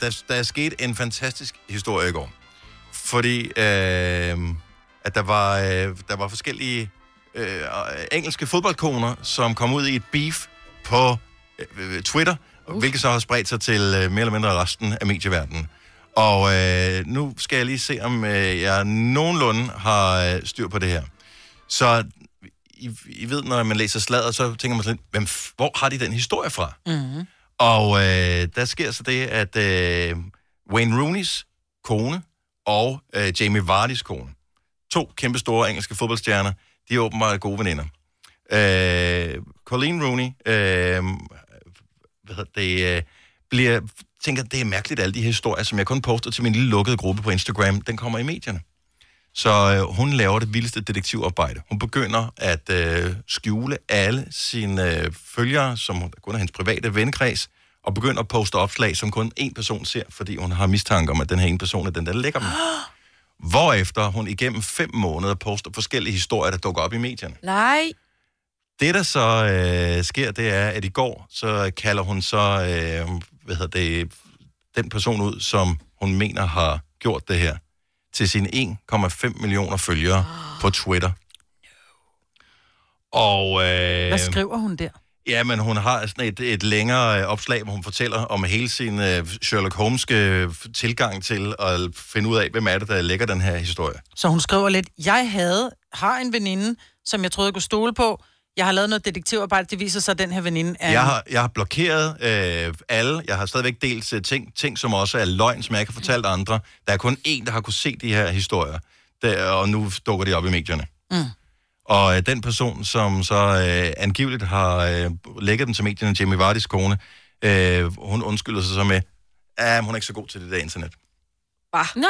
Speaker 1: der, der er sket en fantastisk historie i går. Fordi øh, at der, var, øh, der var forskellige øh, engelske fodboldkoner, som kom ud i et beef på øh, øh, Twitter, uh. hvilket så har spredt sig til øh, mere eller mindre resten af medieverdenen. Og øh, nu skal jeg lige se, om øh, jeg nogenlunde har øh, styr på det her. Så I, I ved, når man læser sladder, så tænker man sådan, lidt, hvem, f- hvor har de den historie fra?
Speaker 3: Mm-hmm.
Speaker 1: Og øh, der sker så det, at øh, Wayne Rooneys kone og øh, Jamie Vardys kone, to kæmpe store engelske fodboldstjerner, de er åbenbart gode veninder. Øh, Colleen Rooney øh, hvad hedder det, øh, bliver, tænker, det er mærkeligt, alle de her historier, som jeg kun poster til min lille lukkede gruppe på Instagram, den kommer i medierne. Så øh, hun laver det vildeste detektivarbejde. Hun begynder at øh, skjule alle sine øh, følgere, som hun- kun er hendes private vennekreds, og begynder at poste opslag, som kun én person ser, fordi hun har mistanke om, at den her ene person er den, der lægger dem. <gasps> Hvorefter hun igennem fem måneder poster forskellige historier, der dukker op i medierne.
Speaker 2: Nej.
Speaker 1: Det, der så øh, sker, det er, at i går, så kalder hun så, øh, hvad hedder det, den person ud, som hun mener har gjort det her, til sine 1,5 millioner følgere <gasps> på Twitter. Og, øh,
Speaker 3: Hvad skriver hun der?
Speaker 1: Ja, men hun har sådan et, et længere øh, opslag, hvor hun fortæller om hele sin øh, Sherlock Holmeske øh, tilgang til at finde ud af, hvem er det, der lægger den her historie.
Speaker 3: Så hun skriver lidt, jeg havde, har en veninde, som jeg troede, jeg kunne stole på. Jeg har lavet noget detektivarbejde, det viser sig, at den her veninde er...
Speaker 1: Jeg har, jeg har blokeret øh, alle. Jeg har stadigvæk delt øh, ting, ting, som også er løgn, som jeg ikke har fortalt andre. Der er kun én, der har kunne se de her historier, der, og nu dukker de op i medierne.
Speaker 3: Mm.
Speaker 1: Og øh, den person, som så øh, angiveligt har øh, lægget dem til medierne, Jamie Vardis kone, øh, hun undskylder sig så med, at hun er ikke så god til det der internet.
Speaker 4: Nå.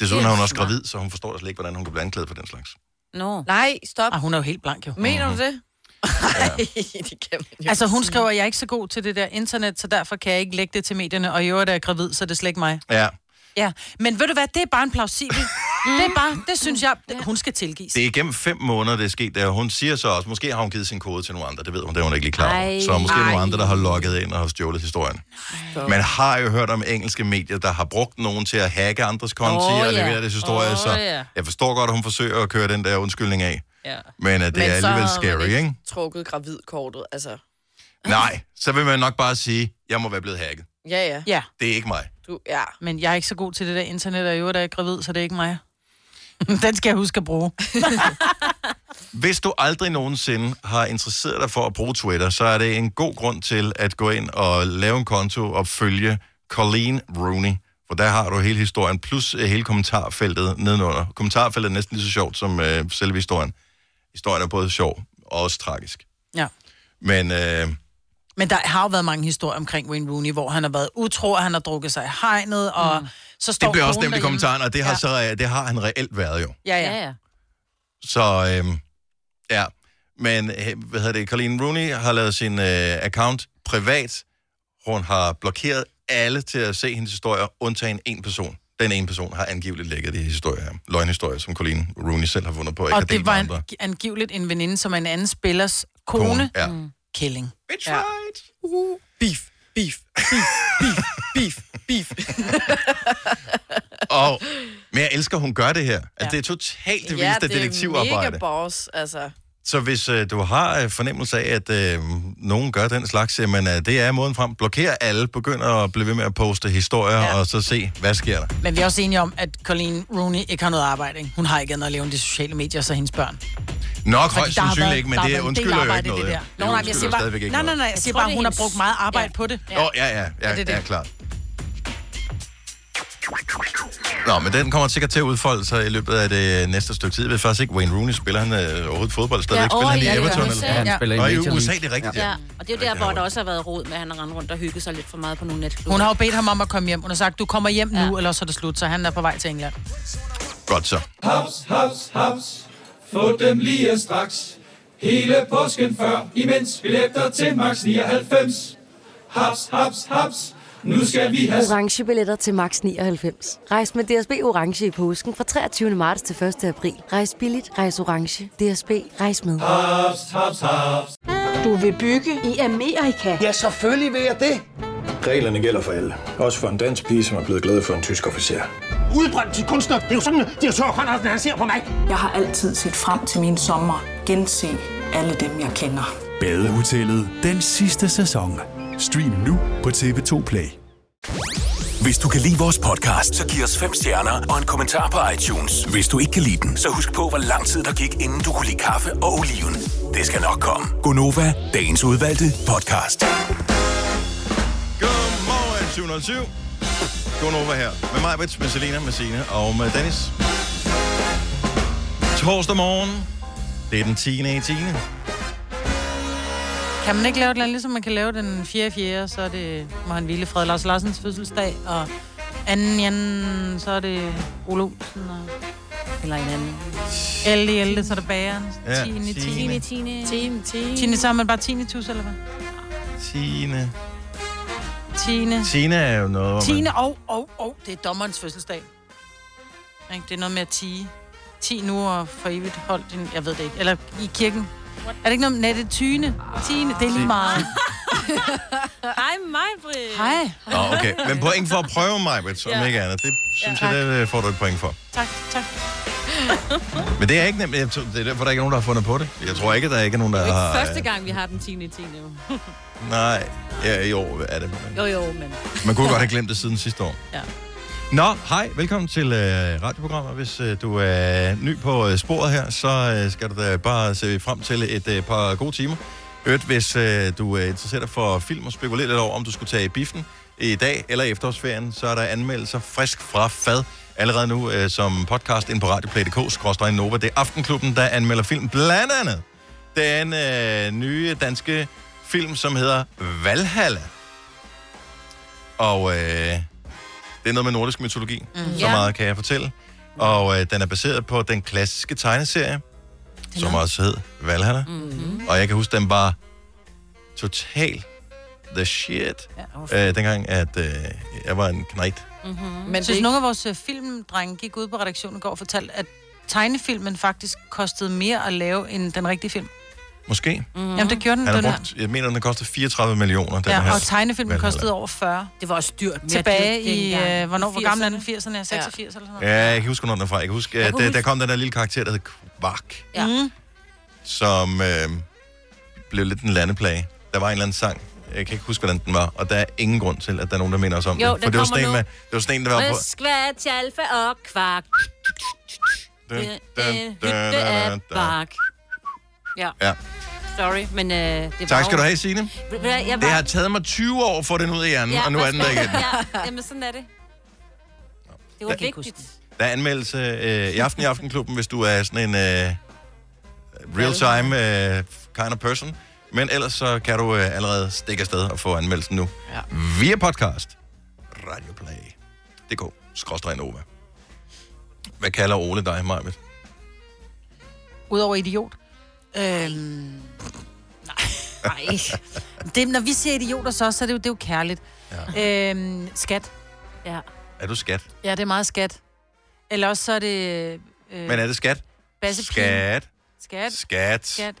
Speaker 1: Desuden er hun også
Speaker 4: Smart.
Speaker 1: gravid, så hun forstår slet ikke, hvordan hun kan blive anklaget for den slags.
Speaker 4: Nå.
Speaker 2: Nej, stop.
Speaker 3: Ah, hun er jo helt blank, jo.
Speaker 2: Mener du det? Nej, det kan man jo
Speaker 3: Altså,
Speaker 2: ikke
Speaker 3: hun
Speaker 2: sige.
Speaker 3: skriver, at jeg er ikke så god til det der internet, så derfor kan jeg ikke lægge det til medierne, og i øvrigt er jeg gravid, så det er slet ikke mig.
Speaker 1: Ja,
Speaker 3: Ja, men ved du hvad, det er bare en <laughs> plausibel. det er bare, det synes jeg, det, hun skal tilgives.
Speaker 1: det er igennem fem måneder, det er sket der. Hun siger så også, måske har hun givet sin kode til nogle andre. Det ved hun, det er hun ikke lige klar over.
Speaker 4: Ej.
Speaker 1: Så måske er nogle andre, der har logget ind og har stjålet historien. Man har jo hørt om engelske medier, der har brugt nogen til at hacke andres konti
Speaker 4: Åh,
Speaker 1: og
Speaker 4: ja.
Speaker 1: levere deres historie.
Speaker 4: Åh,
Speaker 1: så
Speaker 4: ja.
Speaker 1: jeg forstår godt, at hun forsøger at køre den der undskyldning af.
Speaker 4: Ja.
Speaker 1: Men at det er
Speaker 2: så
Speaker 1: alligevel
Speaker 2: havde man
Speaker 1: scary, ikke? ikke?
Speaker 2: trukket gravidkortet, altså.
Speaker 1: Nej, så vil man nok bare sige, jeg må være blevet hacket.
Speaker 2: Ja, ja.
Speaker 3: Ja,
Speaker 1: Det er ikke mig.
Speaker 2: Du, ja.
Speaker 3: men jeg er ikke så god til det der internet, og i øvrigt er jeg gravid, så det er ikke mig. <laughs> Den skal jeg huske at
Speaker 2: <laughs>
Speaker 3: bruge.
Speaker 1: Hvis du aldrig nogensinde har interesseret dig for at bruge Twitter, så er det en god grund til at gå ind og lave en konto og følge Colleen Rooney. For der har du hele historien, plus øh, hele kommentarfeltet nedenunder. Kommentarfeltet er næsten lige så sjovt som øh, selve historien. Historien er både sjov og også tragisk.
Speaker 3: Ja.
Speaker 1: Men øh,
Speaker 3: Men der har jo været mange historier omkring Wayne Rooney, hvor han har været utro, og han har drukket sig i hegnet, og mm. så står
Speaker 1: det bliver også
Speaker 3: konen
Speaker 1: nemt i
Speaker 3: derhjemme.
Speaker 1: kommentaren, og det har,
Speaker 3: Ja.
Speaker 1: så, øh, det har han reelt været jo.
Speaker 3: Ja, ja.
Speaker 4: Ja, ja.
Speaker 1: Så øh, ja, men øh, hvad hedder det, Colleen Rooney har lavet sin øh, account privat. Hun har blokeret alle til at se hendes historier, undtagen en person. Den ene person har angiveligt lækket de her historier her. Løgnhistorier, som Colleen Rooney selv har fundet på. Ikke har
Speaker 3: Og
Speaker 1: delt
Speaker 3: det var
Speaker 1: med
Speaker 3: en,
Speaker 1: andre.
Speaker 3: angiveligt en veninde, som er en anden spillers kone. Uhuh. kone.
Speaker 1: Ja.
Speaker 3: Killing.
Speaker 1: It's right.
Speaker 2: Beef, beef, beef, beef, beef, beef.
Speaker 1: Og, men jeg elsker, hun gør det her. Altså, det er totalt det vildeste
Speaker 2: mega
Speaker 1: detektivarbejde.
Speaker 2: boss, altså.
Speaker 1: Så hvis øh, du har øh, fornemmelse af, at øh, nogen gør den slags, jamen øh, det er måden frem. Blokér alle, begynder at blive ved med at poste historier, ja.
Speaker 2: Ja.
Speaker 1: og så se, hvad sker der.
Speaker 3: <laughs> Men vi er også enige om, at Colleen Rooney ikke har noget arbejde. Ikke? Hun har ikke andet at leve end de sociale medier, så hendes børn.
Speaker 1: Nok
Speaker 3: Fordi
Speaker 1: højst
Speaker 3: der har
Speaker 1: sandsynligt
Speaker 3: været-
Speaker 1: ikke, men
Speaker 3: der har
Speaker 1: det
Speaker 3: været en del
Speaker 1: undskylder jo ikke
Speaker 3: arbejde i det
Speaker 1: noget.
Speaker 3: der.
Speaker 1: Det
Speaker 3: Nå, nej, men jeg
Speaker 1: undskylder
Speaker 3: siger bare,
Speaker 1: stadigvæk ikke
Speaker 3: nej, nej, nej, jeg siger
Speaker 4: tror,
Speaker 3: bare,
Speaker 4: det er
Speaker 3: hun har
Speaker 4: hendes-
Speaker 3: brugt meget arbejde ja. på det.
Speaker 1: noget. Nå, ja, ja, ja,
Speaker 3: det
Speaker 1: ja,
Speaker 3: det?
Speaker 1: klart. Nå, men den kommer sikkert til at udfolde sig i løbet af det næste stykke tid. Jeg ved faktisk ikke, Wayne Rooney spiller han øh, overhovedet fodbold stadigvæk?
Speaker 4: Ja,
Speaker 1: spiller han
Speaker 4: over
Speaker 1: i
Speaker 4: i- ja,
Speaker 1: Everton?
Speaker 4: i USA.
Speaker 1: Eller?
Speaker 4: Ja.
Speaker 1: hvad?
Speaker 4: Han
Speaker 11: spiller
Speaker 1: Nå, i
Speaker 11: Major
Speaker 1: USA,
Speaker 11: League.
Speaker 1: det er rigtigt, ja.
Speaker 4: Ja, og det er jo der, hvor der også har været råd med, at han har rendt rundt og hygget sig lidt for meget på nogle netklubber.
Speaker 3: Hun har jo bedt ham om at komme hjem. Hun har sagt, du kommer hjem nu,
Speaker 4: Ja.
Speaker 3: eller så er det slut. Så han er på vej til England.
Speaker 1: Godt så.
Speaker 12: Haps, haps, haps. Få dem lige straks. Hele påsken før, imens billetter til max 99. Haps, haps, haps. Nu skal vi have
Speaker 13: Orange billetter til max 99. Rejs med DSB Orange i påsken fra 23. marts til 1. april. Rejs billigt, rejs orange. DSB, rejs med.
Speaker 12: haps, haps, haps.
Speaker 14: Du vil bygge i Amerika? Ja, selvfølgelig vil jeg det.
Speaker 15: Reglerne gælder for alle. Også for en dansk pige, som er blevet glad for en tysk officer.
Speaker 14: Udbrøndt til kunstner. Det er jo sådan, at de har Conradsen, han ser på mig. Jeg har altid set frem til min sommer. Gense alle dem, jeg kender.
Speaker 16: Badehotellet den sidste sæson. Stream nu på TV2 Play.
Speaker 7: Hvis du kan lide vores podcast, så giv os fem stjerner og en kommentar på iTunes. Hvis du ikke kan lide den, så husk på, hvor lang tid der gik, inden du kunne lide kaffe og oliven. Det skal nok komme.
Speaker 1: Gonova, dagens udvalgte podcast. Godmorgen, 707. Gonova her. Med mig, Brits, med Selena, med Signe og med Dennis. Torsdag morgen. Det er den 10. i 10.
Speaker 3: Kan man ikke lave et eller andet, ligesom man kan lave den 4. 4. Så er det, må han hvile Fred Lars Larsens fødselsdag, og anden, anden så er det Ole Olsen, og... eller en anden. Elde, elde, så er det bageren.
Speaker 1: Ja,
Speaker 3: Tine,
Speaker 1: Tine.
Speaker 3: Tine, Tine.
Speaker 2: Tine, Tine.
Speaker 3: Tine, så er man bare Tine Tus, eller hvad?
Speaker 1: 10.
Speaker 3: Tine.
Speaker 1: Tine er jo noget, hvor man...
Speaker 3: Tine, og, og, og, det er dommerens fødselsdag. Ikke? Det er noget med at tige. Ti nu og for evigt hold din... Jeg ved det ikke. Eller i kirken. What? Er det ikke noget med Nette Tyne? Tine, det er lige meget.
Speaker 4: <laughs> Hej mig, Britt.
Speaker 3: Hej.
Speaker 1: Nå, okay. Men point for at prøve mig, Brits, om
Speaker 4: Ja.
Speaker 1: ikke andet. Det synes
Speaker 4: Ja.
Speaker 1: jeg, det øh, får du et point for.
Speaker 3: Tak, tak.
Speaker 1: Men det er ikke nemt. Jeg tror- Det er derfor, der ikke er nogen, der har fundet på det. Jeg tror ikke, der er ikke nogen, der
Speaker 4: Det er
Speaker 1: har...
Speaker 4: ikke første gang, vi har den 10. 10. jo.
Speaker 1: Nej, ja, i år er det.
Speaker 4: Jo, jo, men...
Speaker 1: Man kunne godt have glemt det siden sidste år.
Speaker 4: Ja.
Speaker 1: Nå, hej. Velkommen til øh, radioprogrammet. Hvis øh, du er ny på øh, sporet her, så øh, skal du da bare se frem til et øh, par gode timer. Øvrigt, hvis øh, du er interesseret for film og spekulerer lidt over, om du skulle tage i biffen i dag eller i efterårsferien, så er der anmeldelser frisk fra fad allerede nu øh, som podcast ind på radioplay.dk, Nova. Det er Aftenklubben, der anmelder film, blandt andet den øh, nye danske film, som hedder Valhalla. Og øh, det er noget med nordisk mytologi, mm. så
Speaker 17: Ja.
Speaker 1: meget kan jeg fortælle. Og øh, den er baseret på den klassiske tegneserie, som også hed Valhalla. Mm. Og jeg kan huske, den var total the shit, ja, øh, dengang at øh, jeg var en knægt.
Speaker 3: Mm-hmm.
Speaker 2: det
Speaker 3: Men
Speaker 2: er
Speaker 3: synes
Speaker 2: ikke-
Speaker 3: nogle af vores øh, filmdrenge gik ud på redaktionen i går og fortalte, at tegnefilmen faktisk kostede mere at lave end den rigtige film.
Speaker 1: Måske.
Speaker 3: Mm-hmm. Jamen, det gjorde den.
Speaker 1: Han har
Speaker 3: den her.
Speaker 1: brugt, jeg mener, den kostede 34 millioner. Den her
Speaker 3: Ja, og tegnefilmen
Speaker 1: Valhalla.
Speaker 3: kostede over 40.
Speaker 4: Det var også dyrt.
Speaker 3: Tilbage
Speaker 4: dyrt
Speaker 3: i,
Speaker 4: dengang.
Speaker 3: øh, hvornår,
Speaker 4: I
Speaker 3: hvor gammel er den? 80'erne? 86 eller sådan noget?
Speaker 1: Ja, jeg kan ikke huske, hvornår den er fra. Jeg kan huske, at
Speaker 3: kunne
Speaker 1: der,
Speaker 3: huske-
Speaker 1: der kom den der lille karakter, der hed Kvark,
Speaker 4: Ja.
Speaker 3: Mhm.
Speaker 4: Mm.
Speaker 1: som øh, blev lidt en landeplage. Der var en eller anden sang. Jeg kan ikke huske, hvordan den var. Og der er ingen grund til, at der er nogen, der minder os om
Speaker 4: Jo,
Speaker 1: det. For
Speaker 4: den
Speaker 1: det var,
Speaker 4: kommer
Speaker 1: sådan en
Speaker 4: nu.
Speaker 1: med, det var sådan en, der var på...
Speaker 4: Med skvat, tjalfe og kvak.
Speaker 1: Dun,
Speaker 4: Øh,
Speaker 1: dun, dun,
Speaker 4: øh,
Speaker 1: dun,
Speaker 4: Hytte
Speaker 1: dun,
Speaker 4: af
Speaker 1: dun.
Speaker 4: bark. Ja,
Speaker 1: Ja.
Speaker 4: sorry, men øh, det var
Speaker 1: Tak skal
Speaker 4: jo-
Speaker 1: du have, Signe.
Speaker 4: Ved du hvad, jeg
Speaker 1: Det
Speaker 4: var-
Speaker 1: har taget mig 20 år at få den ud af hjernen, og nu er den der igen.
Speaker 4: Ja, jamen sådan er det. Det var vigtigt.
Speaker 1: Der er anmeldelse øh, i aften i Aftenklubben, hvis du er sådan en øh, real-time øh, kind of person. Men ellers så kan du øh, allerede stikke afsted og få anmeldelsen nu. Ja. Via podcast. Radioplay.dk. Skråstrej Nova. Hvad kalder Ole dig, Marvitt?
Speaker 3: Udover idiot. Øhm,
Speaker 1: <laughs>
Speaker 3: nej. nej. Det, når vi siger idioter så, så er det jo, det er jo kærligt. Ja. Øhm, skat.
Speaker 4: Ja.
Speaker 1: Er du skat?
Speaker 3: ja, det er meget skat. Eller også så er det... Øh,
Speaker 1: Men er det skat?
Speaker 3: bassepige.
Speaker 1: Skat.
Speaker 3: Skat.
Speaker 1: Skat.
Speaker 3: Skat.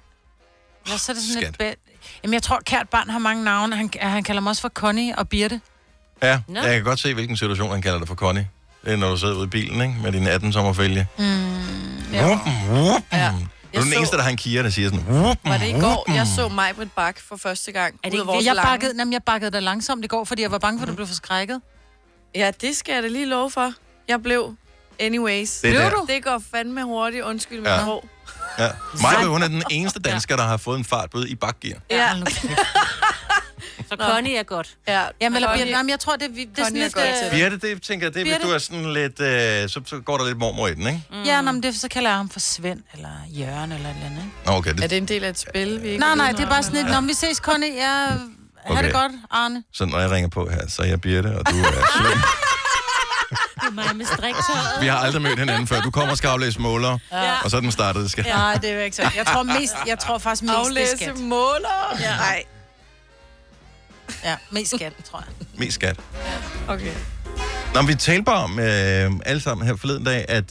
Speaker 3: Eller så er det sådan Skat. et... Ba- Jamen, jeg tror, kært barn har mange navne. Han, han kalder mig også for Connie og Birte.
Speaker 1: Ja,
Speaker 3: Nå.
Speaker 1: jeg kan godt se, hvilken situation han kalder dig for Connie. Det er, når du sidder ude i bilen, ikke? Med din 18 sommerfælge.
Speaker 3: Mm,
Speaker 1: Ja. Wuppen, wuppen. Ja.
Speaker 2: Ja.
Speaker 1: Du er
Speaker 2: Jeg
Speaker 1: den
Speaker 2: så-
Speaker 1: eneste, der har en Kia, der siger sådan... Wuppen,
Speaker 2: Var det i går, jeg så Majbrit Bak for første gang
Speaker 3: Er
Speaker 2: ud
Speaker 3: det
Speaker 2: af
Speaker 3: ikke,
Speaker 2: vores
Speaker 3: jeg,
Speaker 2: lange- Mm.
Speaker 3: bakkede, jamen, jeg bakkede dig langsomt i går, fordi jeg var bange for, at du blev forskrækket.
Speaker 2: Ja, det skal jeg da lige love for. Jeg blev anyways.
Speaker 1: Det Blev der- du?
Speaker 2: Det går fandme hurtigt. Undskyld min
Speaker 1: Ja.
Speaker 2: ja. hår.
Speaker 1: Ja. Maja, hun er den eneste dansker, der har fået en fartbøde i bakgear.
Speaker 2: Ja.
Speaker 4: Så Connie er godt.
Speaker 2: Ja,
Speaker 3: Jamen, eller
Speaker 4: Connie-
Speaker 3: Birte, jamen, jeg tror, det, er vi, det er sådan
Speaker 4: Connie er
Speaker 3: lidt...
Speaker 4: godt
Speaker 3: øh,
Speaker 1: Birte, det tænker jeg, det er, hvis
Speaker 3: Birte.
Speaker 1: du er sådan lidt... Øh, så, så går der lidt mormor i den, ikke?
Speaker 3: Mm. Ja, nå, men det, så kalder jeg ham for Svend, eller Jørgen, eller et eller andet.
Speaker 1: Nå, okay. Det,
Speaker 2: Er det en del af et spil, vi ikke
Speaker 3: Nej,
Speaker 2: ved
Speaker 3: nej,
Speaker 2: noget
Speaker 3: det er
Speaker 2: om,
Speaker 3: bare sådan lidt,
Speaker 2: eller?
Speaker 3: når vi ses, Connie, ja, okay.
Speaker 1: Okay.
Speaker 3: det godt, Arne.
Speaker 1: Så når jeg ringer på her, så er jeg Birte, og du er
Speaker 3: <laughs>
Speaker 1: Svend.
Speaker 4: Det er mig med striktøjet.
Speaker 1: Vi har aldrig mødt hinanden før. Du kommer og skal aflæse måler,
Speaker 3: Ja.
Speaker 1: og så er den startet. Skal.
Speaker 3: Nej, det er jo ikke så. Jeg
Speaker 2: <laughs>
Speaker 3: tror mest, jeg tror faktisk mest,
Speaker 2: Aflæse
Speaker 3: det er skat.
Speaker 2: måler?
Speaker 3: Ja. Nej. Ja, mest skat, tror jeg.
Speaker 1: Mest skat.
Speaker 2: Okay.
Speaker 1: Nå, men vi talte bare om øh, alle sammen her forleden dag, at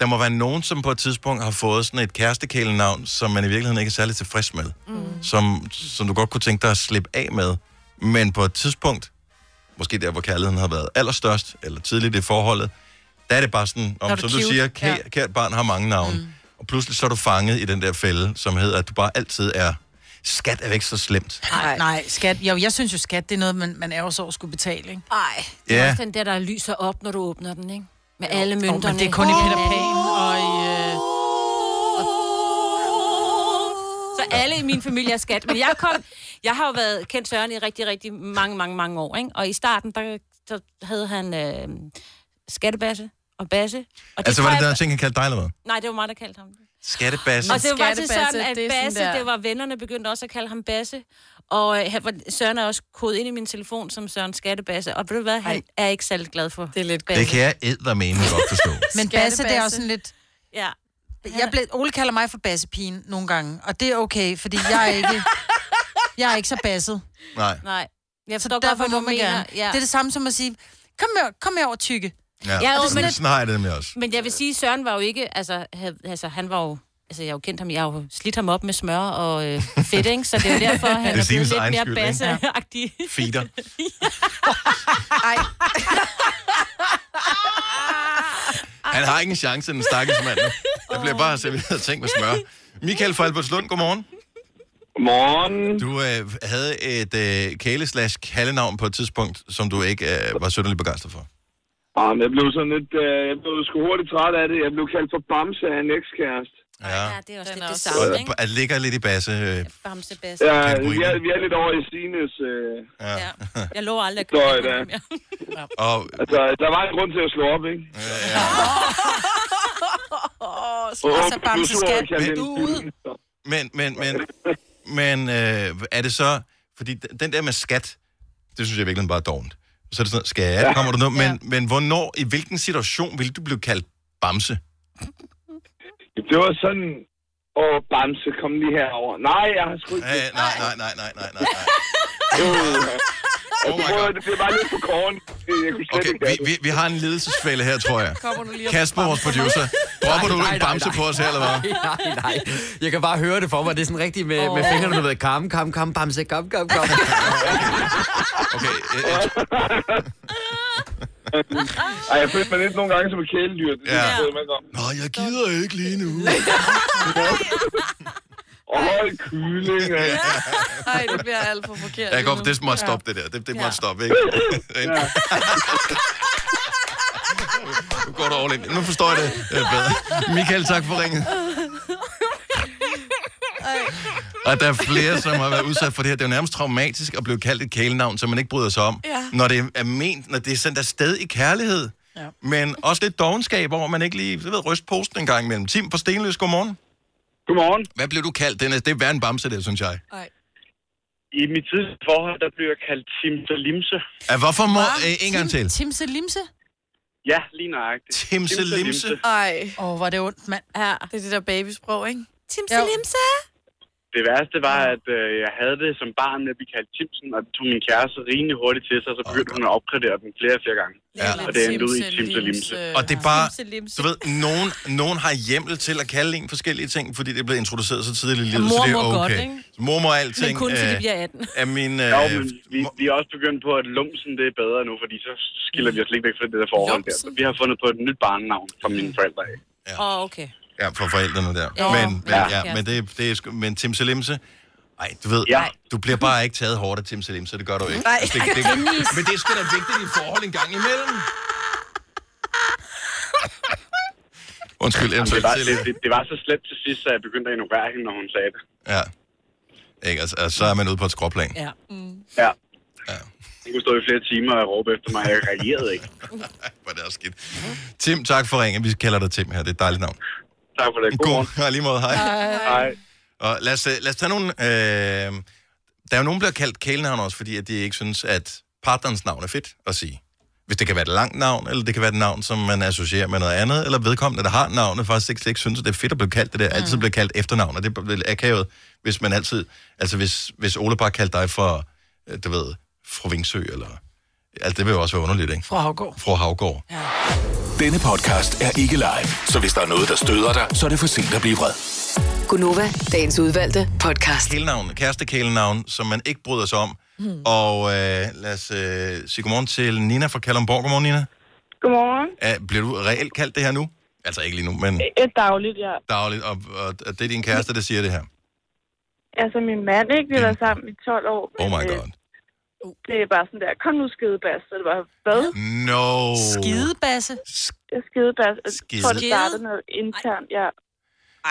Speaker 1: der må være nogen, som på et tidspunkt har fået sådan et kærestekælenavn, som man i virkeligheden ikke er særlig tilfreds med. Mm. Som, som du godt kunne tænke dig at slippe af med. Men på et tidspunkt, måske der, hvor kærligheden har været allerstørst, eller tidligt i forholdet, der er det bare sådan,
Speaker 16: er
Speaker 1: om,
Speaker 16: du
Speaker 1: som du
Speaker 16: cute.
Speaker 1: siger, kæ-
Speaker 16: Ja.
Speaker 1: kært barn har mange navne. Mm. Og pludselig så er du fanget i den der fælde, som hedder, at du bare altid er... Skat er ikke så slemt.
Speaker 3: Nej, nej, skat. Jo, jeg synes jo, skat, det er noget, man, man er også over at skulle betale, ikke?
Speaker 11: Ej,
Speaker 1: det er Ja.
Speaker 11: også den der, der lyser op, når du åbner den, ikke? Med alle
Speaker 3: Jo,
Speaker 11: mønterne.
Speaker 3: men det er kun i Peter Pan og i... Øh...
Speaker 4: Så alle i min familie er skat. Men jeg kom... Jeg har jo været kendt Søren i rigtig, rigtig mange, mange, mange år, ikke? Og i starten, der, der havde han øh, skattebasse og basse. Og
Speaker 1: Altså, var
Speaker 4: tror
Speaker 1: det
Speaker 4: jeg-
Speaker 1: der ting, han kaldte dig eller hvad?
Speaker 4: Nej, det var mig, der kaldte ham det.
Speaker 1: Skattebassen.
Speaker 4: Og det var til
Speaker 2: Skattebasse,
Speaker 4: Søren, at
Speaker 2: det er sådan
Speaker 4: Basse,
Speaker 2: der-
Speaker 4: det var vennerne, begyndte også at kalde ham Basse. Og øh, han var- Søren er også kodet ind i min telefon som Søren Skattebasse. Og ved du hvad, han er ikke særlig glad for Det
Speaker 2: er lidt
Speaker 1: Det kan jeg eddermene godt forstå.
Speaker 3: <laughs> Men Basse, det er også sådan lidt...
Speaker 4: Ja.
Speaker 3: Jeg blev, Ole kalder mig for bassepigen nogle gange, og det er okay, fordi jeg er ikke, jeg er ikke så basset.
Speaker 1: Nej.
Speaker 4: Nej. Jeg
Speaker 3: så
Speaker 4: forstår godt,
Speaker 3: derfor
Speaker 4: hvad
Speaker 3: må
Speaker 4: du
Speaker 3: man
Speaker 4: mener.
Speaker 3: gerne.
Speaker 4: Ja.
Speaker 3: Det er det samme som at sige, kom her, kom her over tykke.
Speaker 1: Ja,
Speaker 4: Jeg er
Speaker 1: ja
Speaker 4: jo
Speaker 1: sådan,
Speaker 4: lidt-
Speaker 1: sådan har jeg det med også.
Speaker 4: Men jeg vil sige, Søren var jo ikke, altså, hav, altså han var jo, altså jeg har jo kendt ham, jeg har jo slidt ham op med smør og øh, fedt, ikke? Så det
Speaker 1: <laughs>
Speaker 4: er jo derfor,
Speaker 1: Det er
Speaker 4: han er,
Speaker 1: Sines
Speaker 4: blevet lidt
Speaker 1: egen
Speaker 4: mere
Speaker 1: skyld, ikke?
Speaker 4: basseagtig.
Speaker 1: Feeder.
Speaker 2: Ej.
Speaker 1: Han har ikke en chance, den stakkels mand. Der bliver bare serveret ting med smør. Michael fra Albertslund, godmorgen. Godmorgen. Du øh, havde et øh, kæle slash kaldenavn på et tidspunkt, som du ikke øh, var synderligt begejstret for.
Speaker 10: Ah, men jeg blev sådan lidt, øh, jeg blev sgu hurtigt træt af det. Jeg blev kaldt for Bamse af en ekskæreste.
Speaker 1: Ja,
Speaker 4: Ja, det er også lidt det
Speaker 1: og, og, og ligger lidt i basse. Øh,
Speaker 4: Bamse Basse.
Speaker 10: Ja, vi
Speaker 1: Kategorien.
Speaker 10: er, vi er lidt over i Sines. Øh,
Speaker 1: ja. Ja.
Speaker 4: Jeg lover aldrig at
Speaker 10: Løj,
Speaker 4: købe
Speaker 10: da.
Speaker 4: ham mere.
Speaker 1: <laughs> Og,
Speaker 10: altså, der var en grund til at slå op, ikke?
Speaker 1: Ja,
Speaker 10: ja.
Speaker 3: Altså, Bamse skat.
Speaker 1: Men, men, men, men øh, er det så... Fordi d- den der med skat, det synes jeg virkelig bare er dovent. Så er det sådan, noget, skal jeg? Kommer du nu? Men, men hvornår, i hvilken situation ville du blive kaldt bamse?
Speaker 10: Det var sådan, åh, Bamse, kom lige herover. Nej, jeg har sgu ikke...
Speaker 1: Øh, nej, nej, nej, nej, nej,
Speaker 10: <laughs>
Speaker 1: nej.
Speaker 10: Oh my God. Det blev bare lidt for kort. Jeg kunne slet
Speaker 1: Okay,
Speaker 10: ikke
Speaker 1: vi, vi, vi har en ledelsesfælde her, tror jeg.
Speaker 10: Kommer du lige op-
Speaker 1: Kasper, vores producer. Dropper du en bamse på os her, eller hvad?
Speaker 17: Nej, nej, nej. Jeg kan bare høre det for mig. Det er sådan rigtigt med, oh. med
Speaker 1: Åh.
Speaker 17: fingrene, du ved. Kom, kom, kom, bamse, kom, kom, kom.
Speaker 1: <laughs>
Speaker 9: <laughs>
Speaker 1: Okay, øh,
Speaker 10: Ej, jeg følte mig lidt nogle gange som et kæledyr. Det
Speaker 1: Ja.
Speaker 10: ja. man om.
Speaker 1: Nej, jeg gider ikke lige nu.
Speaker 10: Og hold kylling.
Speaker 2: <laughs> Ej, det bliver alt for forkert.
Speaker 1: Jeg går,
Speaker 2: lige nu.
Speaker 1: det må stoppe, det der. Det, det må stoppe, ikke? Nu går du all in. Nu forstår jeg det øh, bedre. Michael, tak for ringen. Og der er flere, som har været udsat for det her. Det er jo nærmest traumatisk at blive kaldt et kælenavn, som man ikke bryder sig om.
Speaker 16: Ja.
Speaker 1: Når det er ment, når det er sendt afsted i kærlighed. Ja. Men også lidt dogenskab over, at man ikke lige, du ved, ryst posten en gang imellem. Tim fra Stenløs, godmorgen.
Speaker 10: Godmorgen.
Speaker 1: Hvad blev du kaldt, Dennis? Det er værre en bamse, det, synes jeg.
Speaker 9: I mit tidligere forhold, der blev jeg kaldt Timse Limse.
Speaker 1: Ja, hvorfor må... Æ, en gang til.
Speaker 3: Timse Limse?
Speaker 9: Ja, lige nøjagtigt.
Speaker 1: Timse Limse.
Speaker 2: Ej.
Speaker 3: Åh, oh, hvor er det ondt, mand.
Speaker 2: Ja. Det er det der babysprog, ikke?
Speaker 3: Timse
Speaker 2: Limse.
Speaker 9: Det værste var, at øh, jeg havde det som barn, at vi kaldte Timsen, og det tog min kæreste rimelig hurtigt til sig, så begyndte hun at opgradere den flere og flere gange.
Speaker 1: Ja.
Speaker 9: Og det endte ud i Timse Limse.
Speaker 1: Og det er bare, du ved, nogen, nogen har hjemmel til at kalde en forskellige ting, fordi det blev introduceret så tidligt i livet, så
Speaker 9: mor
Speaker 1: det er
Speaker 9: må
Speaker 1: okay.
Speaker 9: godt, ikke?
Speaker 1: Mor må alting. øh,
Speaker 9: Men kun til de bliver
Speaker 4: 18.
Speaker 1: Er min, øh,
Speaker 9: Ja, men vi, vi er også begyndt på, at lumsen det er bedre nu, fordi så skiller vi os lidt væk fra det der forhold der. Så vi har fundet på et nyt barnenavn fra mine forældre af.
Speaker 4: Åh, oh, okay.
Speaker 1: ja, for forældrene der.
Speaker 4: Ja.
Speaker 1: Men, men,
Speaker 9: Ja.
Speaker 1: ja. men, det, det er, sgu- men Tim Salimse, ej, du ved, ja. du bliver bare ikke taget hårdt af Tim Salimse, det gør du ikke.
Speaker 16: Nej.
Speaker 1: Altså, det, det,
Speaker 16: Dennis.
Speaker 1: men det er sgu da vigtigt i et forhold en gang imellem. Undskyld,
Speaker 9: Jamen, det,
Speaker 1: eventuelt
Speaker 9: var,
Speaker 1: til-
Speaker 9: det, det, det var så slemt til sidst, at jeg begyndte at ignorere hende, når hun sagde det.
Speaker 1: Ja. Ikke? Altså, altså, så er man ude på et skråplan.
Speaker 3: Ja.
Speaker 9: Ja. Jeg kunne stå i flere timer og råbe efter mig, jeg reagerede ikke.
Speaker 1: <laughs> Hvor er det også skidt. Tim, tak for ringen. Vi kalder dig Tim her. Det er et dejligt navn.
Speaker 9: Tak for det.
Speaker 1: God, <laughs> God lige måde. Hej.
Speaker 9: Hej.
Speaker 1: Og lad os, øh, lad os tage nogle... Øh, der er jo nogen, der bliver kaldt kælenavn også, fordi at de ikke synes, at partnerens navn er fedt at sige. Hvis det kan være et langt navn, eller det kan være et navn, som man associerer med noget andet, eller vedkommende, der har navnet, faktisk ikke, ikke synes, at det er fedt at blive kaldt det der. Altid bliver kaldt efternavn, og det bliver lidt akavet, hvis man altid... Altså, hvis, hvis Ole bare kaldte dig for, øh, du ved, fru Vingsø, eller... Altså, det vil jo også være underligt, ikke?
Speaker 3: Fra Havgård.
Speaker 1: Fru Havgård.
Speaker 7: Denne podcast er ikke live, så hvis der er noget, der støder dig, så er det for sent at blive vred.
Speaker 18: Gunova, dagens udvalgte podcast.
Speaker 1: Kælenavn, kæreste kælenavn, som man ikke bryder sig om. Hmm. Og øh, lad os øh, sige godmorgen til Nina fra Kalundborg. Godmorgen, Nina.
Speaker 8: Godmorgen.
Speaker 1: Er, bliver du reelt kaldt det her nu? Altså ikke lige nu, men
Speaker 8: Et dagligt, ja.
Speaker 1: dagligt. Og, og, og det er din kæreste, der siger det her.
Speaker 8: Altså, min mand, ikke? Vi har været sammen i 12 år.
Speaker 1: Mm. Oh my
Speaker 8: men, øh,
Speaker 1: god.
Speaker 8: Det er bare sådan der, kom nu skidebas. Så det var, hvad?
Speaker 1: No.
Speaker 3: Skidebasse?
Speaker 8: Ja, skidebas. Jeg tror, det
Speaker 3: Skide?
Speaker 8: startede noget internt, ja.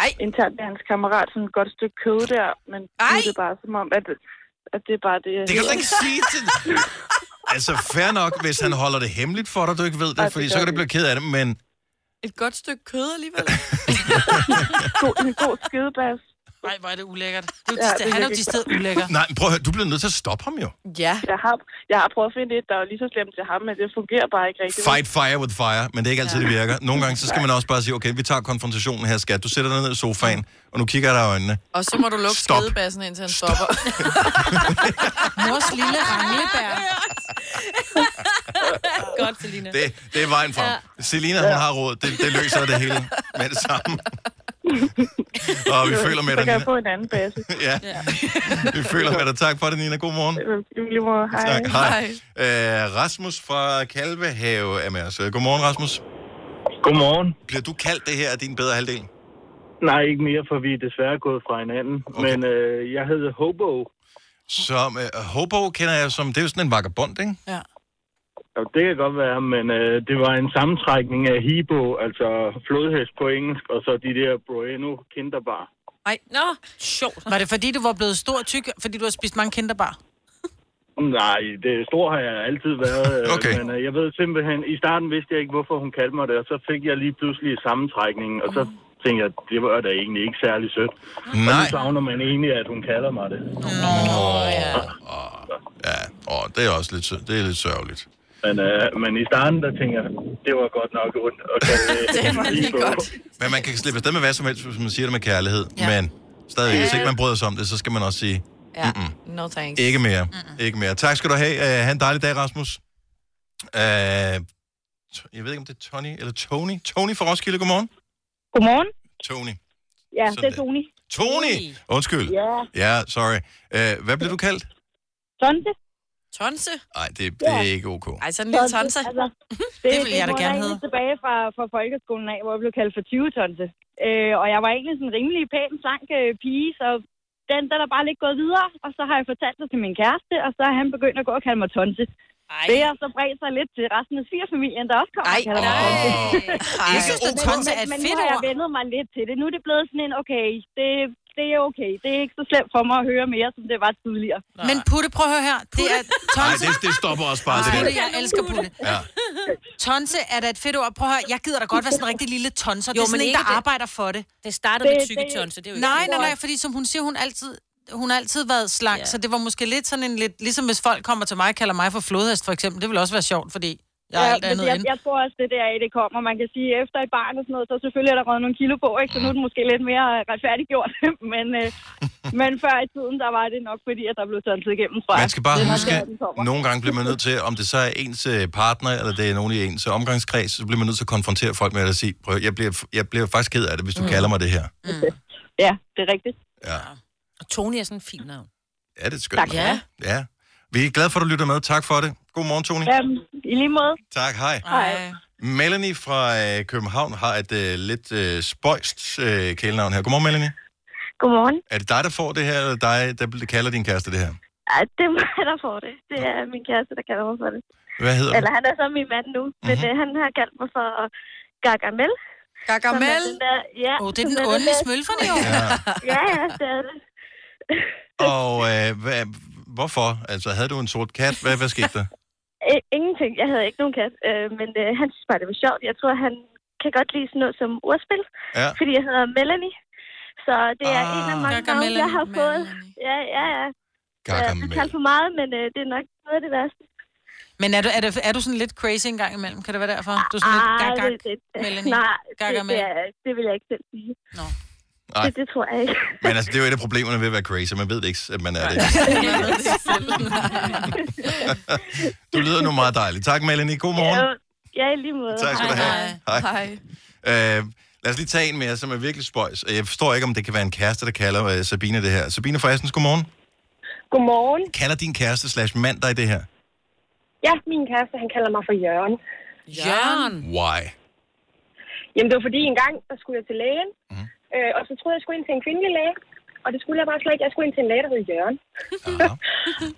Speaker 8: Ej. Internt med hans kammerat, sådan et godt stykke kød der. Men nu er det bare som om, at, at det er bare det, øh, jeg
Speaker 1: Det kan du
Speaker 8: hedder.
Speaker 1: ikke sige
Speaker 8: <laughs>
Speaker 1: til... Altså, fair nok, hvis han holder det hemmeligt for dig, du ikke ved
Speaker 2: Ej, det
Speaker 1: det, fordi
Speaker 2: gør
Speaker 1: så kan du
Speaker 2: vi.
Speaker 1: blive ked af det, men...
Speaker 2: Et godt stykke kød alligevel.
Speaker 8: god, en god skidebas.
Speaker 3: Nej, hvor er det ulækkert.
Speaker 2: Det er jo distilleret- han er jo distilleret ulækker.
Speaker 1: Nej, men prøv at høre, du bliver nødt til at stoppe ham jo.
Speaker 2: Ja.
Speaker 8: Jeg har, jeg har prøvet at finde et, der er lige så slemt til ham, men det fungerer bare ikke rigtigt.
Speaker 1: Fight fire with fire, men det er ikke altid, det virker. Nogle gange, så skal man også bare sige, okay, vi tager konfrontationen her, skat. Du sætter dig ned i sofaen, og nu kigger jeg dig i øjnene.
Speaker 2: Og så må du lukke
Speaker 1: Stop.
Speaker 2: <laughs> skedebassen, indtil han
Speaker 1: <laughs>
Speaker 2: stopper.
Speaker 3: Mors lille ranglebær.
Speaker 4: Godt, Selina.
Speaker 1: Det, det er vejen frem. Ja. Selina, hun har råd. Det, det løser det hele med det <laughs> samme. og vi føler med
Speaker 8: Så
Speaker 1: dig,
Speaker 8: kan jeg
Speaker 1: Nina.
Speaker 8: få en anden base.
Speaker 1: Ja. Vi føler med dig. Tak for det, Nina. God morgen.
Speaker 8: I lige måde. Hej.
Speaker 1: Tak. Hej. Øh, Rasmus fra Kalvehave er med os. Øh, Godmorgen, Rasmus.
Speaker 19: Godmorgen.
Speaker 1: Bliver du kaldt det her af din bedre halvdel?
Speaker 19: Nej, ikke mere, for vi er desværre gået fra hinanden. Okay. Men øh, jeg hedder Hobo.
Speaker 1: Som, øh, Hobo kender jeg som, det er jo sådan en vagabond, ikke?
Speaker 3: Ja.
Speaker 19: Og det kan godt være, men øh, det var en sammentrækning af Hibo, altså flodhest på engelsk, og så de der Bueno kinderbar.
Speaker 3: Nej, nå, sjovt. Var det fordi, du var blevet stor og tyk, fordi du har spist mange kinderbar?
Speaker 19: Nej, det store har jeg altid
Speaker 1: <laughs>
Speaker 19: været, øh,
Speaker 1: Okay.
Speaker 19: men øh, jeg ved simpelthen, i starten vidste jeg ikke, hvorfor hun kaldte mig det, og så fik jeg lige pludselig sammentrækningen, og så tænkte jeg, det var da egentlig ikke særlig sødt. Og nu
Speaker 1: Nej.
Speaker 19: savner man egentlig, at hun kalder mig det.
Speaker 1: Åh, ja. Ja, åh, det er også lidt, sø- det er lidt <laughs> sørgeligt.
Speaker 19: Men, øh, men i starten, der tænker jeg, det var godt nok ondt. <laughs> Og kan, det var lige godt.
Speaker 1: Men man kan slippe afsted med hvad som helst, hvis man siger det med kærlighed. Ja. Men stadig, hvis ikke man bryder sig om det, så skal man også sige,
Speaker 2: <laughs> ja. No thanks.
Speaker 1: Ikke mere. Mm-mm. Ikke mere. Tak skal du have. Uh, ha' en dejlig dag, Rasmus. Uh, jeg ved ikke, om det er Tony eller Tony. Tony fra Roskilde, godmorgen.
Speaker 20: Godmorgen.
Speaker 1: Tony.
Speaker 20: Ja,
Speaker 1: Sådan
Speaker 20: det er
Speaker 1: der.
Speaker 20: Tony.
Speaker 1: Tony! Undskyld.
Speaker 20: Ja.
Speaker 1: Ja, sorry. Uh, hvad blev du kaldt?
Speaker 20: Tonte.
Speaker 2: Tonse?
Speaker 1: Nej, det, det er ikke ok.
Speaker 2: Ej, sådan en lille tonse.
Speaker 20: altså,
Speaker 3: Mhm.
Speaker 20: Det,
Speaker 2: Det ville jeg da
Speaker 20: går
Speaker 2: gerne
Speaker 20: jeg
Speaker 2: hedde.
Speaker 20: helt tilbage fra, fra folkeskolen af, hvor jeg blev kaldt for 20-tonse. Øh, og jeg var egentlig sådan en rimelig pæn, slank øh, pige, så den, den er bare lidt gået videre. Og så har jeg fortalt det til min kæreste, og så har han begyndt at gå og kalde mig tonse. Ej. Det har så bredt sig lidt til resten af svigerfamilien, der også kommer Ej. og kalder mig tonse.
Speaker 3: Jeg synes, at tonse er et
Speaker 20: men, men
Speaker 3: fedt
Speaker 20: nu har jeg
Speaker 3: ord.
Speaker 20: vendet mig lidt til det. Nu er det blevet sådan en, okay, det, det er okay. Det er ikke så slemt for mig at høre mere, som det var tidligere.
Speaker 3: Men Putte, prøv at høre her. Det er
Speaker 1: Nej,
Speaker 3: tonse.
Speaker 1: det, det stopper også bare,
Speaker 3: Putte,
Speaker 1: det der.
Speaker 3: jeg elsker Putte.
Speaker 1: Ja.
Speaker 3: Tonse er da et fedt ord. Prøv at høre, jeg gider da godt være sådan en rigtig lille tonser.
Speaker 4: Jo,
Speaker 3: det er sådan
Speaker 4: men
Speaker 3: en,
Speaker 4: ikke
Speaker 3: der
Speaker 4: det.
Speaker 3: arbejder for det.
Speaker 4: Det startede med tykke tonse, det er jo ikke
Speaker 3: Nej,
Speaker 4: et
Speaker 3: nej,
Speaker 4: ord.
Speaker 3: nej, fordi som hun siger, hun altid hun har altid været slank, ja. så det var måske lidt sådan en lidt... Ligesom hvis folk kommer til mig og kalder mig for flodhest, for eksempel. Det ville også være sjovt, fordi jeg er ja, alt
Speaker 20: men
Speaker 3: andet
Speaker 20: jeg,
Speaker 3: end.
Speaker 20: jeg tror også, det der det kommer. Man kan sige, efter et barn og sådan noget, så selvfølgelig er der røget nogle kilo på, ikke? så nu er det måske lidt mere retfærdiggjort. <laughs> men, øh, men før i tiden, der var det nok, fordi at der blev tonset igennem, tror jeg.
Speaker 1: Man skal bare
Speaker 20: Det er nok
Speaker 1: huske,
Speaker 20: der, den kommer.
Speaker 1: at nogle gange bliver man nødt til, om det så er ens øh, partner, eller det er nogen i ens øh, omgangskreds, så bliver man nødt til at konfrontere folk med at sige, prøv, jeg bliver, jeg bliver faktisk ked af det, hvis du
Speaker 4: Mm.
Speaker 1: kalder mig det her.
Speaker 20: Ja, det er rigtigt.
Speaker 1: Ja.
Speaker 4: Og Tony er sådan en fin navn.
Speaker 1: Ja, det er skønt.
Speaker 4: Tak.
Speaker 1: navn. ja. Vi er glade for, at du lytter med. Tak for det. God morgen, Tony.
Speaker 20: Ja, I lige måde.
Speaker 1: Tak, hej. Melanie fra øh, København har et øh, lidt øh, spøjst øh, kælenavn her. Godmorgen, Melanie.
Speaker 5: Godmorgen.
Speaker 1: Er det dig, der får det her, eller dig, der bl- kalder din kæreste det her?
Speaker 5: Ej, det er mig, der får det. Det er min kæreste, der kalder mig for det.
Speaker 1: Hvad hedder
Speaker 5: Eller
Speaker 1: du?
Speaker 5: han er så min mand nu, men
Speaker 1: Mhm.
Speaker 5: øh, han har kaldt mig for Gargamel.
Speaker 3: Gargamel?
Speaker 5: Som er den der- Ja.
Speaker 3: Åh, det er den
Speaker 5: som
Speaker 3: onde
Speaker 5: <laughs> der-
Speaker 3: smølferne jo.
Speaker 5: Ja, ja, det er det.
Speaker 1: Og øh, hvad, hvorfor? Altså, havde du en sort kat? Hvad, hvad skete der?
Speaker 5: Æ, ingenting. Jeg havde ikke nogen kat, øh, men øh, han synes bare, det var sjovt. Jeg tror, han kan godt lide sådan noget som ordspil,
Speaker 1: Ja.
Speaker 5: fordi jeg hedder Melanie. Så det er ah, en af mange
Speaker 2: Gaga
Speaker 5: navne, jeg
Speaker 2: Melanie.
Speaker 5: har fået. Ja, ja, ja.
Speaker 1: Gaga
Speaker 5: Jeg har for meget, men øh, det er nok noget af det værste.
Speaker 3: Men er du, er, du, er du sådan lidt crazy en gang imellem? Kan det være derfor? Du er sådan lidt
Speaker 5: Ah,
Speaker 3: gag-gag,
Speaker 5: det- det-
Speaker 3: Melanie.
Speaker 5: Nej,
Speaker 3: Gag-gag
Speaker 5: det, det,
Speaker 3: Melanie.
Speaker 5: er, det vil jeg ikke selv sige.
Speaker 3: Nå.
Speaker 1: Nej.
Speaker 5: Det, det tror jeg ikke.
Speaker 1: Men altså, det er jo et af problemerne ved at være crazy. Man ved ikke, at man er det. Du lyder nu meget dejlig. Tak, Melanie. God morgen.
Speaker 5: Jo, Ja, i lige måde.
Speaker 1: Tak skal du have.
Speaker 5: Hej.
Speaker 1: Hej. Øh, lad os lige tage en mere, som er virkelig spøjs. Jeg forstår ikke, om det kan være en kæreste, der kalder øh, Sabine det her. Sabine fra Assens, godmorgen.
Speaker 21: Godmorgen.
Speaker 1: Kalder din kæreste slash mand dig det her?
Speaker 21: Ja, min kæreste, han kalder mig for Jørgen. Jørgen?
Speaker 1: Why?
Speaker 21: Jamen, det var fordi en gang, der skulle jeg til lægen,
Speaker 1: Mhm.
Speaker 21: mm. øh, og så troede jeg, jeg skulle ind til en kvindelig læge, og det skulle jeg bare slet ikke. Jeg skulle ind til en læge, der hed Jørgen. <laughs>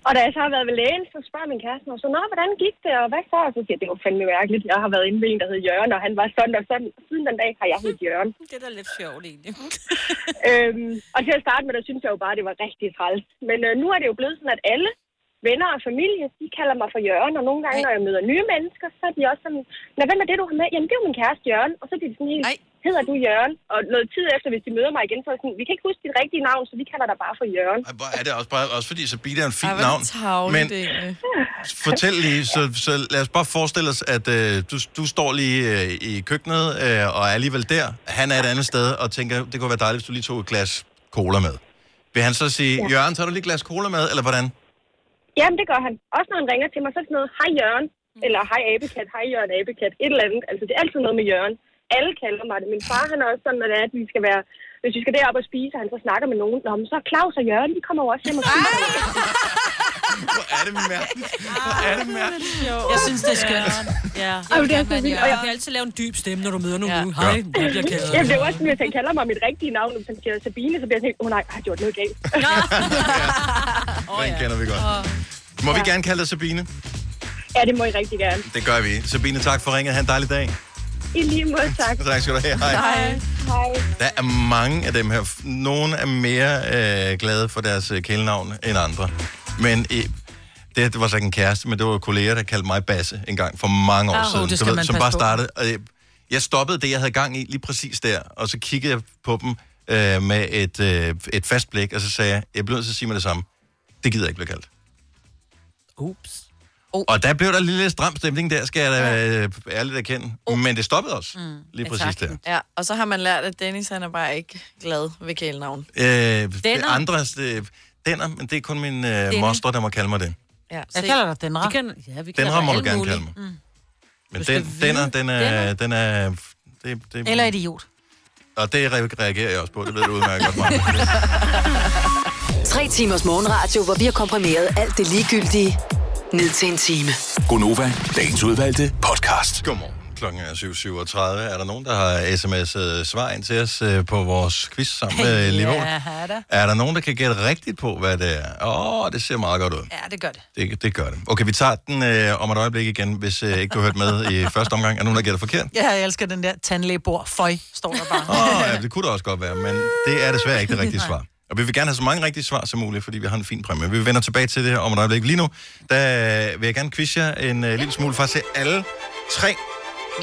Speaker 21: og da jeg så har været ved lægen, så spørger min kæreste mig, så nå, hvordan gik det, og hvad så? Og så siger jeg, det var fandme mærkeligt. Jeg har været inde ved en, der hed Jørgen, og han var sådan og sådan. Siden den dag har jeg heddet Jørgen.
Speaker 4: Det er da lidt sjovt, egentlig.
Speaker 21: øhm, og til at starte med, der syntes jeg jo bare, at det var rigtig træls. Men øh, nu er det jo blevet sådan, at alle venner og familie, de kalder mig for Jørgen, og nogle gange, når jeg møder nye mennesker, så er de også sådan, Nå, hvem er det, du har med? Jamen, det er jo min kæreste Jørgen. Og så bliver de sådan helt, Ej. hedder du Jørgen? Og noget tid efter, hvis de møder mig igen, så er jeg sådan, vi kan ikke huske dit rigtige navn, så vi kalder dig bare for Jørgen.
Speaker 1: Hvor er det også, bare, også fordi Sabine er en fin
Speaker 21: Ej, hvor er det øh.
Speaker 1: navn. Men fortæl lige, så, så lad os bare forestille os, at øh, du, du står lige øh, i køkkenet øh, og er alligevel der. Han er et andet sted og tænker, det kunne være dejligt, hvis du lige tog et glas cola med. Vil han så sige,
Speaker 21: Ja.
Speaker 1: ja. Jørgen, tager du lige et glas cola med, eller hvordan?
Speaker 21: Jamen, det gør han. Også når han ringer til mig, så er det sådan noget, hej Jørgen, eller hej Abekat, hej Jørgen Abekat, et eller andet. Altså, det er altid noget med Jørgen. Alle kalder mig det. Min far, han er også sådan, når det er, at vi skal være... Hvis vi skal derop og spise, og han så snakker med nogen, Nå, men så er Claus og Jørgen, de kommer jo også hjem og spiser.
Speaker 1: <laughs> Hvor er det mærkeligt. Hvor er det mærkeligt.
Speaker 4: Jeg synes, det er skønt. Ja.
Speaker 21: Ej,
Speaker 4: Jeg
Speaker 21: men
Speaker 4: vil
Speaker 21: det er
Speaker 4: gerne
Speaker 21: så
Speaker 4: være en
Speaker 21: vildt, og
Speaker 4: Jørgen.
Speaker 21: jeg-
Speaker 4: kan altid lave en dyb stemme, når du møder nogen. Ja. Hej, jeg bliver ked af det.
Speaker 21: Jamen, det er jo også sådan, hvis han kalder mig mit rigtige navn, hvis han siger Sabine, så bliver jeg sådan, helt, åh oh, nej, har jeg gjort noget galt? <laughs>
Speaker 1: Den kender vi godt. Må vi gerne kalde dig Sabine?
Speaker 21: ja, det må I rigtig gerne.
Speaker 1: Det gør vi. Sabine, tak for ringet. Ha' en dejlig dag.
Speaker 21: I lige måde, tak.
Speaker 1: Tak skal du have. <laughs> Hej.
Speaker 21: Hej.
Speaker 1: Der er mange af dem her. Nogle er mere øh, glade for deres øh, kælenavn end andre. Men øh, det, det var så ikke en kæreste, men det var kolleger, der kaldte mig Basse en gang for mange år
Speaker 3: Ah,
Speaker 1: siden.
Speaker 3: det skal man
Speaker 1: som
Speaker 3: passe
Speaker 1: bare
Speaker 3: på.
Speaker 1: startede. Og, øh, jeg stoppede det, jeg havde gang i lige præcis der, og så kiggede jeg på dem øh, med et, øh, et fast blik, og så sagde jeg, jeg bliver nødt til at sige mig det samme. Det gider jeg ikke blive kaldt.
Speaker 3: Ups.
Speaker 1: Oh. Og der blev der lidt stram stemning der, skal jeg da øh, ærligt erkende. Oh. Men det stoppede også, mm. lige præcis der.
Speaker 2: Ja, og så har man lært, at Dennis han er bare ikke glad ved kælenavn.
Speaker 1: Øh,
Speaker 2: Denner.
Speaker 1: denner. Andres, øh, denner, men det er kun min øh,
Speaker 2: Denner.
Speaker 1: moster, der må kalde mig det.
Speaker 2: Ja,
Speaker 3: Jeg kalder dig Denra.
Speaker 4: Ja, vi
Speaker 1: Denra må du gerne kalde mig.
Speaker 3: Mm.
Speaker 1: Men den, denner, den er... Den er det, det,
Speaker 3: Eller idiot.
Speaker 1: Og det re- reagerer jeg også på, det ved du udmærket godt, Maja.
Speaker 18: Tre timers morgenradio, hvor vi har komprimeret alt det ligegyldige ned til en time.
Speaker 7: Gonova, dagens udvalgte podcast.
Speaker 1: Godmorgen. Klokken er 7.37. Er der nogen, der har sms'et svar ind til os øh, på vores quiz sammen <laughs> med Livon?
Speaker 3: <laughs> Ja, da.
Speaker 1: Er der nogen, der kan gætte rigtigt på, hvad det er? Åh, oh, det ser meget godt ud.
Speaker 3: ja, det gør det.
Speaker 1: Det, det gør det. Okay, vi tager den øh, om et øjeblik igen, hvis øh, ikke du har hørt med i første omgang. Er der nogen, der gætter forkert?
Speaker 3: Ja, jeg elsker den der tandlægebord. Føj, står der bare.
Speaker 1: Åh, oh, ja, det kunne det også godt være, men det er desværre ikke det rigtige
Speaker 3: Nej.
Speaker 1: svar. Og vi vil gerne have så mange rigtige svar som muligt, fordi vi har en fin præmie. Vi vender tilbage til det her om et øjeblik. Lige nu, der vil jeg gerne quizze jer en uh, lille smule faktisk til alle tre,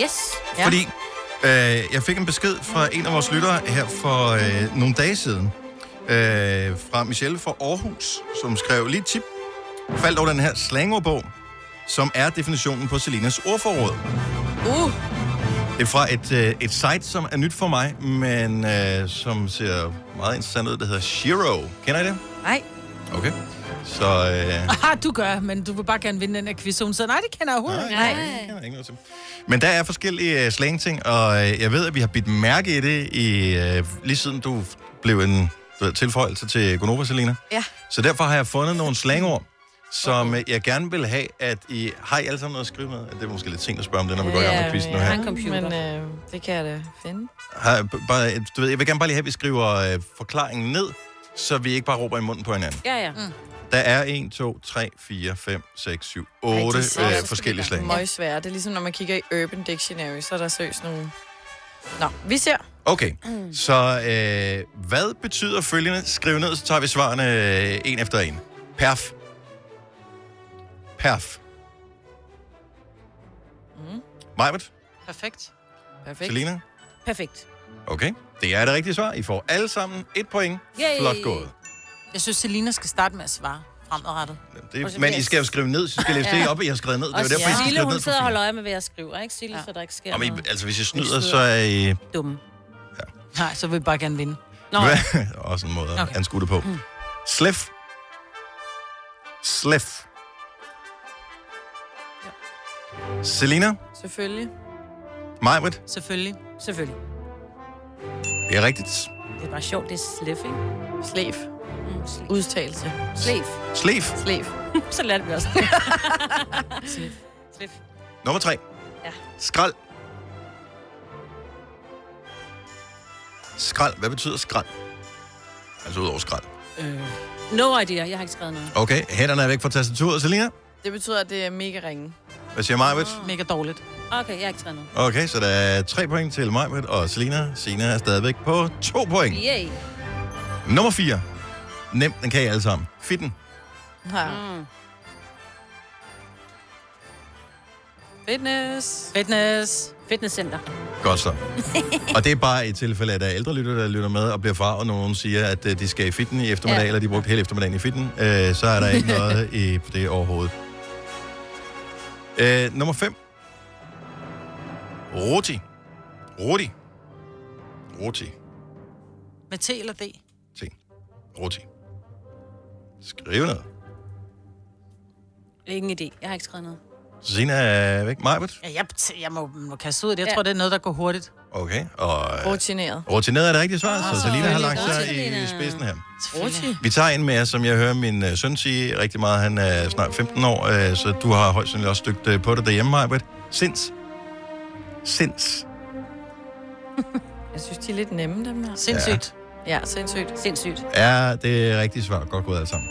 Speaker 4: Yes.
Speaker 1: ja. fordi øh, jeg fik en besked fra en af vores lyttere her for øh, nogle dage siden, øh, fra Michelle fra Aarhus, som skrev lige et tip, faldt over den her slangordbog, som er definitionen på Selinas ordforråd.
Speaker 2: Uh.
Speaker 1: Det er fra et, øh, et site, som er nyt for mig, men øh, som ser meget interessant ud. Det hedder Shiro. Kender I det?
Speaker 3: Nej.
Speaker 1: Okay. Så øh,
Speaker 3: Aha, du gør, men du vil bare gerne vinde den her quiz. Så hun siger, nej, det kender jeg overhovedet ikke.
Speaker 1: Nej, det kender jeg ikke noget til. Men der er forskellige øh, slangting, og øh, jeg ved, at vi har bidt mærke i det, i, øh, lige siden du blev en du ved, tilføjelse til Gonova, Selina.
Speaker 2: Ja.
Speaker 1: Så derfor har jeg fundet nogle slangord, som øh, jeg gerne vil have, at I... Har I alle sammen noget at skrive med? Det er måske lidt sent at spørge om det, når vi går i gang med quizzen nu
Speaker 2: jeg
Speaker 1: her.
Speaker 2: har en computer. Men øh, det kan jeg da finde.
Speaker 1: Har, b- bare, øh, du ved, jeg vil gerne bare lige have, at vi skriver øh, forklaringen ned, så vi ikke bare råber i munden på hinanden.
Speaker 4: Ja, ja. Mm.
Speaker 1: Der er 1, 2, 3, 4, 5, 6, 7, 8 øh, forskellige slag.
Speaker 2: Møg svære. Det er ligesom, når man kigger i Urban Dictionary, så er der seriøst nogle... Nå, vi ser.
Speaker 1: Okay, så øh, hvad betyder følgende? Skriv ned, så tager vi svarene øh, en efter en. Perf. Perf.
Speaker 3: Mm.
Speaker 1: Majbert,
Speaker 3: Perfekt.
Speaker 1: Perfekt. Selina.
Speaker 3: Perfekt.
Speaker 1: Okay, det er det rigtige svar. I får alle sammen et point.
Speaker 3: Yay.
Speaker 1: Flot gået.
Speaker 3: Jeg synes, Selina skal starte med at svare fremadrettet.
Speaker 1: Det, men I skal jo skrive ned, så I skal læse det
Speaker 4: Ja.
Speaker 1: op, jeg har skrevet ned. Det er
Speaker 4: Og
Speaker 1: jo derfor, I skal
Speaker 4: Sille,
Speaker 1: skrive
Speaker 4: hun
Speaker 1: ned for
Speaker 4: sidder og holder øje med, hvad jeg skriver, ikke? Sille, ja. så der ikke sker
Speaker 1: Om I,
Speaker 4: noget.
Speaker 1: altså, hvis I snyder, så er I...
Speaker 4: Dumme.
Speaker 3: Nej, så vil vi bare gerne vinde.
Speaker 4: Nå.
Speaker 1: Hvad? <laughs> Også en måde at
Speaker 3: Okay.
Speaker 1: okay. anskue det på.
Speaker 3: Mm.
Speaker 1: Slef. Slef. Selina,
Speaker 2: Selvfølgelig.
Speaker 1: Majbrit,
Speaker 3: Selvfølgelig.
Speaker 4: Selvfølgelig.
Speaker 1: det er rigtigt.
Speaker 4: Det er bare sjovt, det er slef, ikke?
Speaker 2: Slef.
Speaker 4: Mm, slef.
Speaker 2: Udtalelse.
Speaker 4: Slef.
Speaker 1: Slef.
Speaker 2: Slef.
Speaker 4: <laughs> så lærte vi også.
Speaker 1: Nummer tre.
Speaker 4: Ja.
Speaker 1: Skrald. Skrald. Hvad betyder skrald? Altså ud over skrald.
Speaker 4: øh. No idea, jeg har ikke skrevet noget.
Speaker 1: Okay, hænderne er væk fra tastaturet, Selina.
Speaker 2: Det betyder, at det er mega ringe.
Speaker 1: Hvad siger Majbrit?
Speaker 3: Mega dårligt.
Speaker 4: Ah. Okay, jeg har ikke skrevet noget.
Speaker 1: Okay, så der er tre point til Majbrit og Selina. Sina er stadigvæk på to point.
Speaker 4: Yay.
Speaker 1: Nummer 4. Nem, den kan I alle sammen. Fitten.
Speaker 2: Ja.
Speaker 4: Mm.
Speaker 2: Fitness.
Speaker 3: Fitness.
Speaker 4: Fitnesscenter.
Speaker 1: Godt så. Og det er bare i tilfælde, at der er ældre lytter, der lytter med og bliver far, og nogen siger, at øh, de skal i fitten i eftermiddag,
Speaker 4: Ja.
Speaker 1: ja. eller de brugte hele eftermiddagen i fitten, øh, så er der ikke noget i på det overhovedet. Øh, nummer 5. Roti. Roti. Roti.
Speaker 3: Med T eller D?
Speaker 1: Roti. Skriv noget.
Speaker 4: Ingen idé, jeg har ikke skrevet noget.
Speaker 1: Sina er væk. Majbert.
Speaker 3: Ja, jeg, jeg må, må kaste ud af det. Jeg ja. tror, det er noget, der går hurtigt.
Speaker 1: Okay. Og, øh,
Speaker 2: Rutineret.
Speaker 1: rutineret er det rigtige svar, så Selina har lagt sig i
Speaker 2: Selvfølgelig.
Speaker 1: spidsen her.
Speaker 2: Roti.
Speaker 1: Vi tager en med, som jeg hører min øh, søn sige rigtig meget. Han er snart 15 år, øh, så du har højst sandsynligt også stødt øh, på det derhjemme, Arbet. Sinds. Sinds.
Speaker 2: Jeg synes, de er lidt nemme, dem her.
Speaker 1: Sindssygt.
Speaker 2: Ja, ja sindssygt.
Speaker 4: Sindssygt.
Speaker 1: Ja, det er rigtigt svar. Godt gået alle sammen.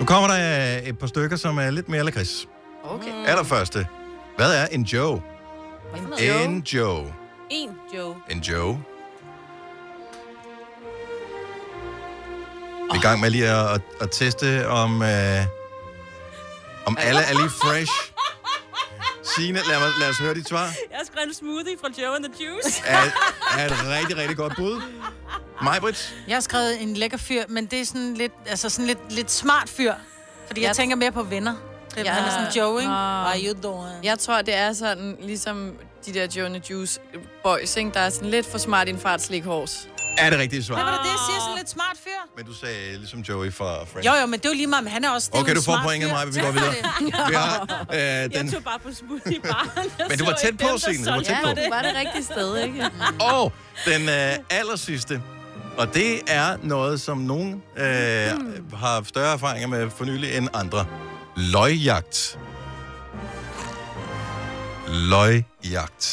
Speaker 1: Nu kommer der øh, et par stykker, som er lidt mere lakrids.
Speaker 2: Okay.
Speaker 1: Mm. Allerførste. Hvad er en Joe? En Joe.
Speaker 4: En Joe.
Speaker 1: En Joe. Vi er i gang med lige at, at, at teste, om, øh, om alle er lige fresh. Signe, lad, mig, lad os høre dit svar.
Speaker 4: Jeg har skrevet en smoothie fra Joe and the Juice.
Speaker 1: Er, er et rigtig, rigtig godt bud. Majbrit,
Speaker 3: Jeg har skrevet en lækker fyr, men det er sådan lidt, altså sådan lidt, lidt smart fyr. Fordi jeg,
Speaker 2: Jeg-
Speaker 3: tænker mere på venner. Det ja. er sådan Joe, ikke? Why you doing?
Speaker 2: Jeg tror, det er sådan, ligesom de der Joe and the Juice boys, ikke? der er sådan lidt for smart i en fart slikhårs.
Speaker 1: er det rigtige svar?
Speaker 3: Hvad var det, det jeg siger? Sådan lidt smart fyr?
Speaker 1: Men du sagde ligesom Joey fra Friends.
Speaker 3: Jo, jo, men det er jo lige meget, men han er også... det er
Speaker 1: Okay,
Speaker 3: jo en
Speaker 1: du får
Speaker 3: smart
Speaker 1: pointet,
Speaker 3: fyr.
Speaker 1: Maja, vi går
Speaker 3: <laughs>
Speaker 1: videre. Vi har, øh, Jeg den- tog
Speaker 4: bare på smoothie baren.
Speaker 1: <laughs> Men du var tæt på, Signe. Du var tæt på.
Speaker 2: var det rigtige sted, ikke?
Speaker 1: <laughs> Og den øh, aller sidste. Og det er noget, som nogen øh, har større erfaringer med for nylig end andre. Løgjagt. Løgjagt.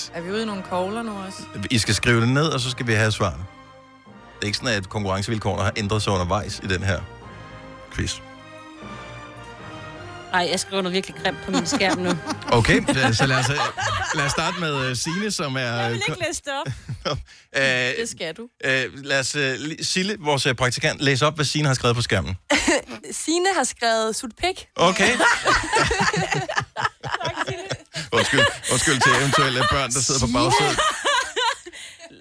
Speaker 2: <laughs> Er vi ude i nogle kogler nu også?
Speaker 1: I skal skrive det ned, og så skal vi have svarene. Det er ikke sådan, at konkurrencevilkårene har ændret sig undervejs i den her quiz.
Speaker 4: Nej, jeg skriver noget virkelig grimt på min skærm nu.
Speaker 1: <laughs> Okay, øh, så lad os, øh, lad os starte med øh, Signe, som er...
Speaker 4: Jeg vil ikke læse det op.
Speaker 1: øh,
Speaker 2: Det skal du.
Speaker 1: øh, lad os, øh, li- Sille, vores øh, praktikant, læse op, hvad Signe har skrevet på skærmen.
Speaker 6: Sine har skrevet sut pik.
Speaker 1: Okay. undskyld, undskyld til eventuelle børn, der sidder på bagsædet.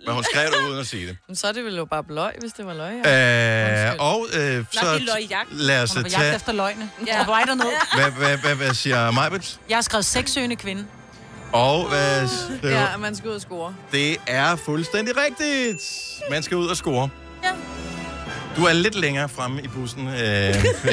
Speaker 1: Men hun skrev det uden at sige det.
Speaker 2: <laughs> Men så er det vel jo bare bløj, hvis det var løg.
Speaker 1: Øh, og øh,
Speaker 2: Nå, det er
Speaker 1: så
Speaker 2: løgjagt.
Speaker 1: lad os
Speaker 3: Hun
Speaker 1: øh,
Speaker 3: er på jagt
Speaker 1: tage...
Speaker 3: efter løgne. Ja. Right on
Speaker 1: Hvad, hvad, hvad, hvad siger Majbet?
Speaker 3: Jeg har skrevet sexsøgende kvinde.
Speaker 1: Og hvad skriver...
Speaker 2: Ja, man skal ud og score.
Speaker 3: um-
Speaker 1: Det er fuldstændig rigtigt. Man skal ud og score. Du er lidt længere fremme i bussen
Speaker 3: <laughs>
Speaker 1: øh, end det.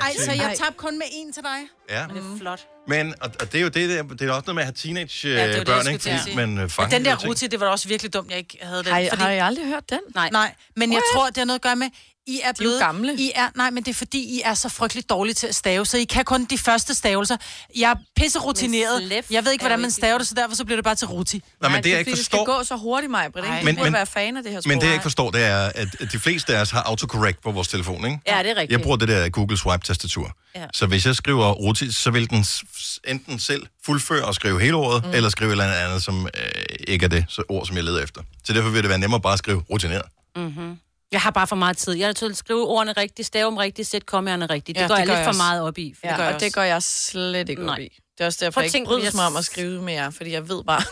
Speaker 3: Ej, så
Speaker 1: Signe.
Speaker 3: jeg tabte kun med en til dig. Mm.
Speaker 1: Ja.
Speaker 3: Men det er flot.
Speaker 1: Men, og, og det er jo det, der- det er også noget med at have teenagebørn,
Speaker 3: Ja, det
Speaker 1: ja,
Speaker 3: er jo
Speaker 1: øh,
Speaker 3: det, jeg
Speaker 1: børn,
Speaker 3: skulle
Speaker 1: ikke?
Speaker 3: til at
Speaker 1: Fordi
Speaker 3: sige.
Speaker 1: man øh,
Speaker 3: Men
Speaker 1: fanger
Speaker 3: den
Speaker 1: de
Speaker 3: der
Speaker 1: her ting.
Speaker 3: ruti, det var da også virkelig dumt, jeg ikke havde den.
Speaker 2: Har I- har I aldrig hørt den?
Speaker 3: Nej. Nej, men jeg tror, det har noget at gøre med, I er
Speaker 2: er jo
Speaker 3: blevet... gamle. I er, nej, men det er fordi, I er så frygteligt dårlige til at stave, så I kan kun de første stavelser. Jeg er pisserutineret. Jeg ved ikke, hvordan man staver det, så derfor så bliver det bare til ruti.
Speaker 1: Nej, men det, jeg ikke
Speaker 2: ligesom- Det skal
Speaker 1: forstår...
Speaker 2: gå så hurtigt, mig, Britt.
Speaker 1: Ej.
Speaker 2: ikke? Du
Speaker 1: Men-
Speaker 2: burde
Speaker 1: men-
Speaker 2: være fan af det her sprog.
Speaker 1: Men det, jeg ikke forstår, det er, at at de fleste af os har autocorrect på vores telefon, ikke?
Speaker 2: Ja, det er rigtigt.
Speaker 1: Jeg bruger det der Google Swipe-tastatur.
Speaker 2: Ja.
Speaker 1: Ja. Så hvis jeg skriver ruti, så vil den s- s- enten selv fuldføre og skrive hele ordet,
Speaker 2: Mm.
Speaker 1: mm. eller skrive et eller andet, som øh, ikke er det så ord, som jeg leder efter. Så derfor vil det være nemmere bare at skrive rutineret.
Speaker 4: Mm-hmm. Jeg har bare for meget tid. Jeg er nødt til at skrive ordene rigtigt, stave dem rigtigt, sætte kommerne rigtigt. Det ja, går det jeg gør lidt jeg for meget op i.
Speaker 2: Ja, det gør og det går jeg slet ikke Nej. op i. Det er også derfor,
Speaker 4: Prøv
Speaker 2: jeg
Speaker 4: at
Speaker 2: ikke
Speaker 4: tænke,
Speaker 2: bryder
Speaker 4: jeg-
Speaker 2: mig om at skrive med jer, fordi jeg ved bare...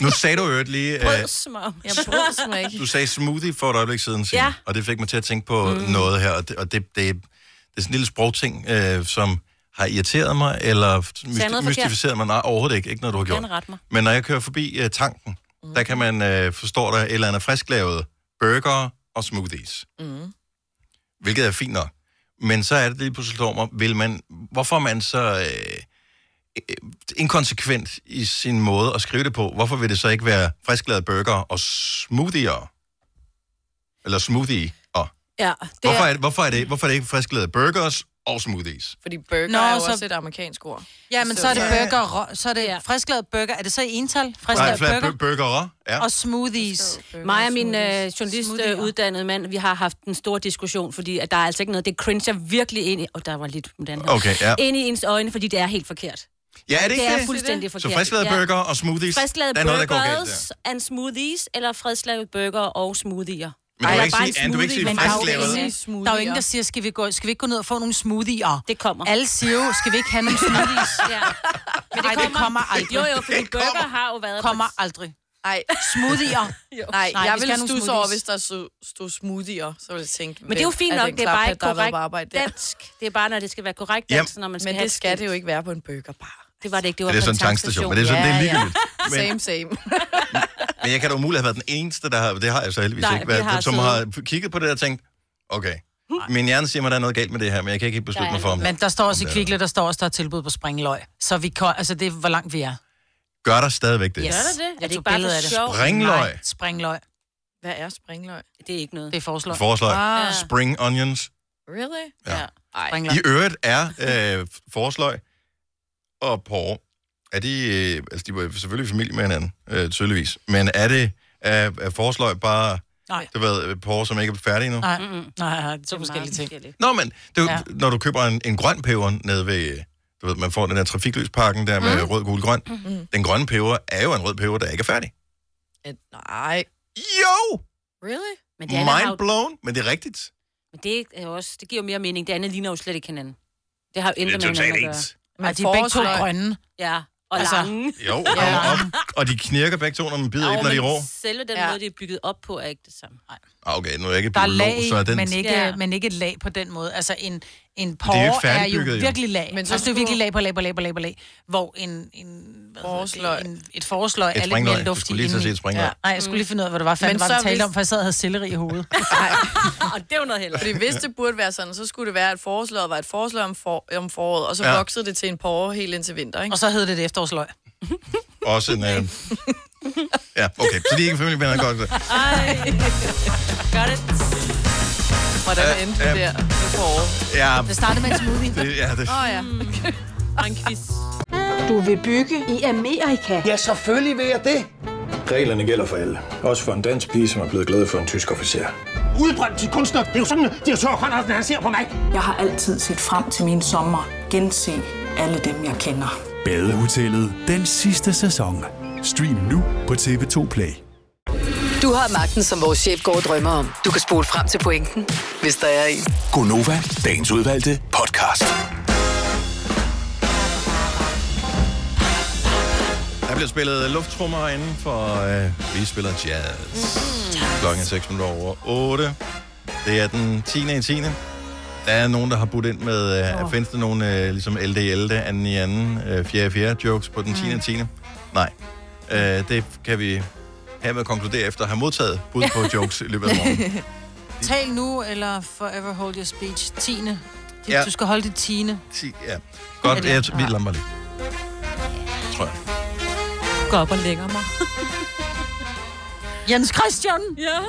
Speaker 1: Nu sagde du jo lige... øh,
Speaker 4: mig om.
Speaker 2: Jeg <laughs> bryder mig ikke.
Speaker 1: Du sagde smoothie for et øjeblik siden, Signe, ja.
Speaker 2: Ja.
Speaker 1: og det fik mig til at tænke på mm. noget her, og det, og det, det, det er sådan en lille sprogting, øh, som har irriteret mig, eller
Speaker 4: jeg
Speaker 1: mysti-
Speaker 4: noget
Speaker 1: mystificeret mig. Nej, overhovedet ikke. Ikke noget, du har
Speaker 4: Du
Speaker 1: gjort.
Speaker 4: kan rette mig.
Speaker 1: Men når jeg kører forbi øh, tanken, mm. der kan man øh, forstå, der er et eller andet frisklavet burger og smoothies,
Speaker 2: Mm.
Speaker 1: hvilket er fint nok. Men så er det lige pludselig slår mig, vil man, hvorfor er man så øh, øh, inkonsekvent i sin måde at skrive det på? Hvorfor vil det så ikke være frisklavet burger og smoothier? Eller smoothie? Og.
Speaker 4: Ja,
Speaker 1: Det hvorfor, er... det, hvorfor, er det, hvorfor er det ikke frisklavet burgers og smoothies?
Speaker 2: Fordi burger
Speaker 3: Nå,
Speaker 2: Nå, er jo
Speaker 3: så-
Speaker 2: så... også et amerikansk ord.
Speaker 3: Ja, men så er det burger, og rå- så er det frisklavet burger. Er det så i ental?
Speaker 1: Nej,
Speaker 3: Frisklavet
Speaker 1: fla-
Speaker 3: burger
Speaker 1: bu- burger, ja.
Speaker 3: og smoothies.
Speaker 4: Mig og min øh, journalist øh, uddannede mand, vi har haft en stor diskussion, fordi at der er altså ikke noget, det cringer virkelig ind i, og der var lidt moderne her,
Speaker 1: Okay, ja.
Speaker 4: ind i ens øjne, fordi det er helt forkert.
Speaker 1: Ja, er det ikke
Speaker 4: det er
Speaker 1: det?
Speaker 4: fuldstændig
Speaker 1: Så
Speaker 4: forkert.
Speaker 1: frisklavet
Speaker 4: ja.
Speaker 1: burger og smoothies,
Speaker 4: Frisklavet
Speaker 1: der er noget, der går galt der.
Speaker 4: burgers and smoothies, eller frisklavet burger og smoothier.
Speaker 1: Men du
Speaker 4: Ej,
Speaker 1: kan ikke
Speaker 4: bare
Speaker 1: sige,
Speaker 4: en
Speaker 1: Anne, du kan ikke sige
Speaker 4: smoothie, men der er jo
Speaker 1: frisklavet.
Speaker 3: Der er jo ingen, der siger, skal vi, gå, skal vi ikke gå ned og få nogle smoothier?
Speaker 4: Det kommer.
Speaker 3: Alle siger jo, skal vi ikke have nogle
Speaker 4: <laughs>
Speaker 3: smoothies?
Speaker 4: ja.
Speaker 3: Men det, Ej, det kommer aldrig.
Speaker 4: Jo, jo,
Speaker 1: <laughs>
Speaker 4: fordi burger har jo været...
Speaker 3: Kommer aldrig.
Speaker 2: Nej, <laughs>
Speaker 3: Smoothier.
Speaker 2: Nej,
Speaker 3: Nej,
Speaker 2: Nej, jeg
Speaker 3: vi skal have
Speaker 2: ville
Speaker 3: nogle
Speaker 2: stusse over,
Speaker 3: smoothies.
Speaker 2: hvis der stod, stod smoothier, så ville jeg tænke,
Speaker 4: Men det er jo
Speaker 2: hvem
Speaker 4: fint nok,
Speaker 2: den
Speaker 4: det er bare
Speaker 2: klaphat,
Speaker 4: ikke
Speaker 2: der har været
Speaker 4: korrekt
Speaker 2: på arbejde der?
Speaker 4: dansk. Det er bare, når det skal være korrekt
Speaker 1: Jamen.
Speaker 4: dansk, når man skal
Speaker 2: Men
Speaker 4: have
Speaker 2: det skal
Speaker 4: skilt.
Speaker 2: det jo ikke være på en burgerbar.
Speaker 4: Det var det ikke, det var
Speaker 1: Det er
Speaker 4: på en
Speaker 1: sådan en tankstation, men det er sådan, det er ligegyldigt.
Speaker 2: Ja, ja. Same, same.
Speaker 1: Men jeg kan da umuligt have været den eneste, der har, det har jeg så heldigvis
Speaker 2: Nej,
Speaker 1: ikke,
Speaker 2: vi
Speaker 1: været,
Speaker 2: har
Speaker 1: som har kigget på det og tænkt, okay, min hjerne siger mig, der er noget galt med det her, men jeg kan ikke helt beslutte mig for, om
Speaker 3: Men der står også i
Speaker 1: om det er
Speaker 3: Kvickle, der står også, der er tilbud på springløg. Så vi kan, altså det er, hvor langt vi er.
Speaker 1: noget. Gør der stadigvæk det?
Speaker 3: Yes.
Speaker 4: Gør der det? Er det
Speaker 3: Jeg
Speaker 4: ikke
Speaker 3: tog
Speaker 4: bare
Speaker 3: billede
Speaker 4: for
Speaker 3: af det.
Speaker 4: sjov?
Speaker 1: Springløg?
Speaker 3: Nej, springløg.
Speaker 2: Hvad er springløg?
Speaker 4: Det er ikke noget.
Speaker 3: Det er forsløg.
Speaker 1: Forslag.
Speaker 3: Ah.
Speaker 1: Ah. Spring onions.
Speaker 2: Really?
Speaker 1: Ja.
Speaker 2: Ej.
Speaker 1: I øvrigt er øh, forsløg og porre, er de, øh, altså de var selvfølgelig i familie med hinanden, øh, tydeligvis, men er det, er, er forsløg bare,
Speaker 3: Nej.
Speaker 1: du ved, porre, som ikke er færdig endnu?
Speaker 3: Nej, mm-mm. nej, nej, det er to forskellige ting.
Speaker 1: Nå, men det er jo,
Speaker 3: Ja.
Speaker 1: ja. når du køber en, en grøn peber nede ved, øh, du ved, man får den der trafikløspakken der
Speaker 3: Mhm.
Speaker 1: med mm. rød, gul, grøn. Mm. Den grønne peber er jo en rød peber, der ikke er færdig.
Speaker 2: Et, nej.
Speaker 1: Jo!
Speaker 2: Really?
Speaker 4: Men det, andet har
Speaker 1: Mind
Speaker 4: jo,
Speaker 1: blown, men det er rigtigt.
Speaker 4: men det, er jo også, det giver jo mere mening. Det andet ligner jo slet ikke hinanden. Det har jo
Speaker 1: Det er
Speaker 4: intet med
Speaker 1: totalt
Speaker 4: hinanden at gøre.
Speaker 1: ens.
Speaker 3: Men Altså, de er begge to grønne.
Speaker 4: Ja, og
Speaker 3: Altså,
Speaker 4: altså, lange.
Speaker 1: Jo, og, og, og de knirker begge to, når man bider i
Speaker 4: Jo,
Speaker 1: dem, når de er
Speaker 4: men
Speaker 1: rå.
Speaker 4: Selve den ja. måde, det er bygget op på, er ikke det samme. Nej.
Speaker 1: Ah, Okay, nu er jeg ikke
Speaker 3: Der er
Speaker 1: biolog,
Speaker 3: lag,
Speaker 1: så er den...
Speaker 3: men, ikke,
Speaker 4: Ja.
Speaker 3: men ikke et lag på den måde. Altså en, en
Speaker 1: jo ikke
Speaker 3: porre er, jo
Speaker 1: færdigbygget, jo.
Speaker 3: virkelig lag. Men
Speaker 2: Men
Speaker 3: så
Speaker 2: så
Speaker 3: altså, det er
Speaker 2: skulle-
Speaker 3: virkelig lag på lag på lag på lag på lag. Hvor en, en, hvad hedder det, en et forsløg
Speaker 1: Et
Speaker 3: er lidt
Speaker 1: springløg.
Speaker 3: mere
Speaker 1: Du
Speaker 3: luftig.
Speaker 1: <laughs>
Speaker 3: <laughs>
Speaker 1: skulle lige til at
Speaker 3: indeni.
Speaker 1: sige et springløg.
Speaker 3: Nej, jeg skulle lige finde ud af, hvad det var, fanden
Speaker 2: Men
Speaker 3: var, du
Speaker 2: så
Speaker 3: talte
Speaker 2: hvis-
Speaker 3: om, for jeg sad og havde selleri i hovedet.
Speaker 4: og det er jo noget heller.
Speaker 2: Fordi hvis det burde være sådan, så skulle det være, at forslaget var et forslag om, for, om foråret, og så
Speaker 1: Ja.
Speaker 2: ja. voksede det til en porre helt indtil vinter, ikke?
Speaker 3: Og så hed det et efterårsløg.
Speaker 1: Også
Speaker 3: <laughs>
Speaker 1: en... Øh... Ja, okay, så de er ikke familievenner godt.
Speaker 4: Ej. Gør det.
Speaker 2: Hvordan
Speaker 1: Ja,
Speaker 2: endte
Speaker 1: ja.
Speaker 2: det der med porre?
Speaker 1: Ja,
Speaker 3: Det startede med en smoothie.
Speaker 1: det, ja, det,
Speaker 2: Åh oh, ja.
Speaker 4: Og en quiz.
Speaker 14: Du vil bygge i Amerika? Ja, selvfølgelig vil jeg det.
Speaker 15: Reglerne gælder for alle. Også for en dansk pige, som er blevet glad for en tysk officer.
Speaker 14: Udbrændt til kunstner. Det er jo sådan, at de har tørt, Andersen, han ser på mig. Jeg har altid set frem til min sommer. Gense alle dem, jeg kender.
Speaker 16: Badehotellet den sidste sæson. Stream nu på TV2 Play.
Speaker 18: Du har magten, som vores chef går og drømmer om. Du kan spole frem til pointen, hvis der er en.
Speaker 7: Gonova, dagens udvalgte podcast.
Speaker 1: der bliver spillet lufttrummer herinde, for øh, vi spiller jazz. Klokken er 6 minutter over 8. Det er den 10. i 10. Der er nogen, der har budt ind med, øh, oh. findes der nogen øh, ligesom LDL, det anden i anden, øh, fjerde i fjerde jokes på den 10. i 10. Nej, øh, det kan vi have med at konkludere efter at have modtaget bud
Speaker 3: <laughs>
Speaker 1: på jokes i løbet af morgenen.
Speaker 3: Tal nu, eller forever hold your speech. Tiende. Du,
Speaker 1: Ja.
Speaker 3: ja. du skal holde dit tiende.
Speaker 1: Ti- Ja. Godt,
Speaker 3: Ja, det
Speaker 1: jeg,
Speaker 3: er-
Speaker 1: vi lamper lidt. Tror jeg.
Speaker 4: Gå op og lægger mig.
Speaker 3: <laughs> Jens Christian!
Speaker 4: Ja.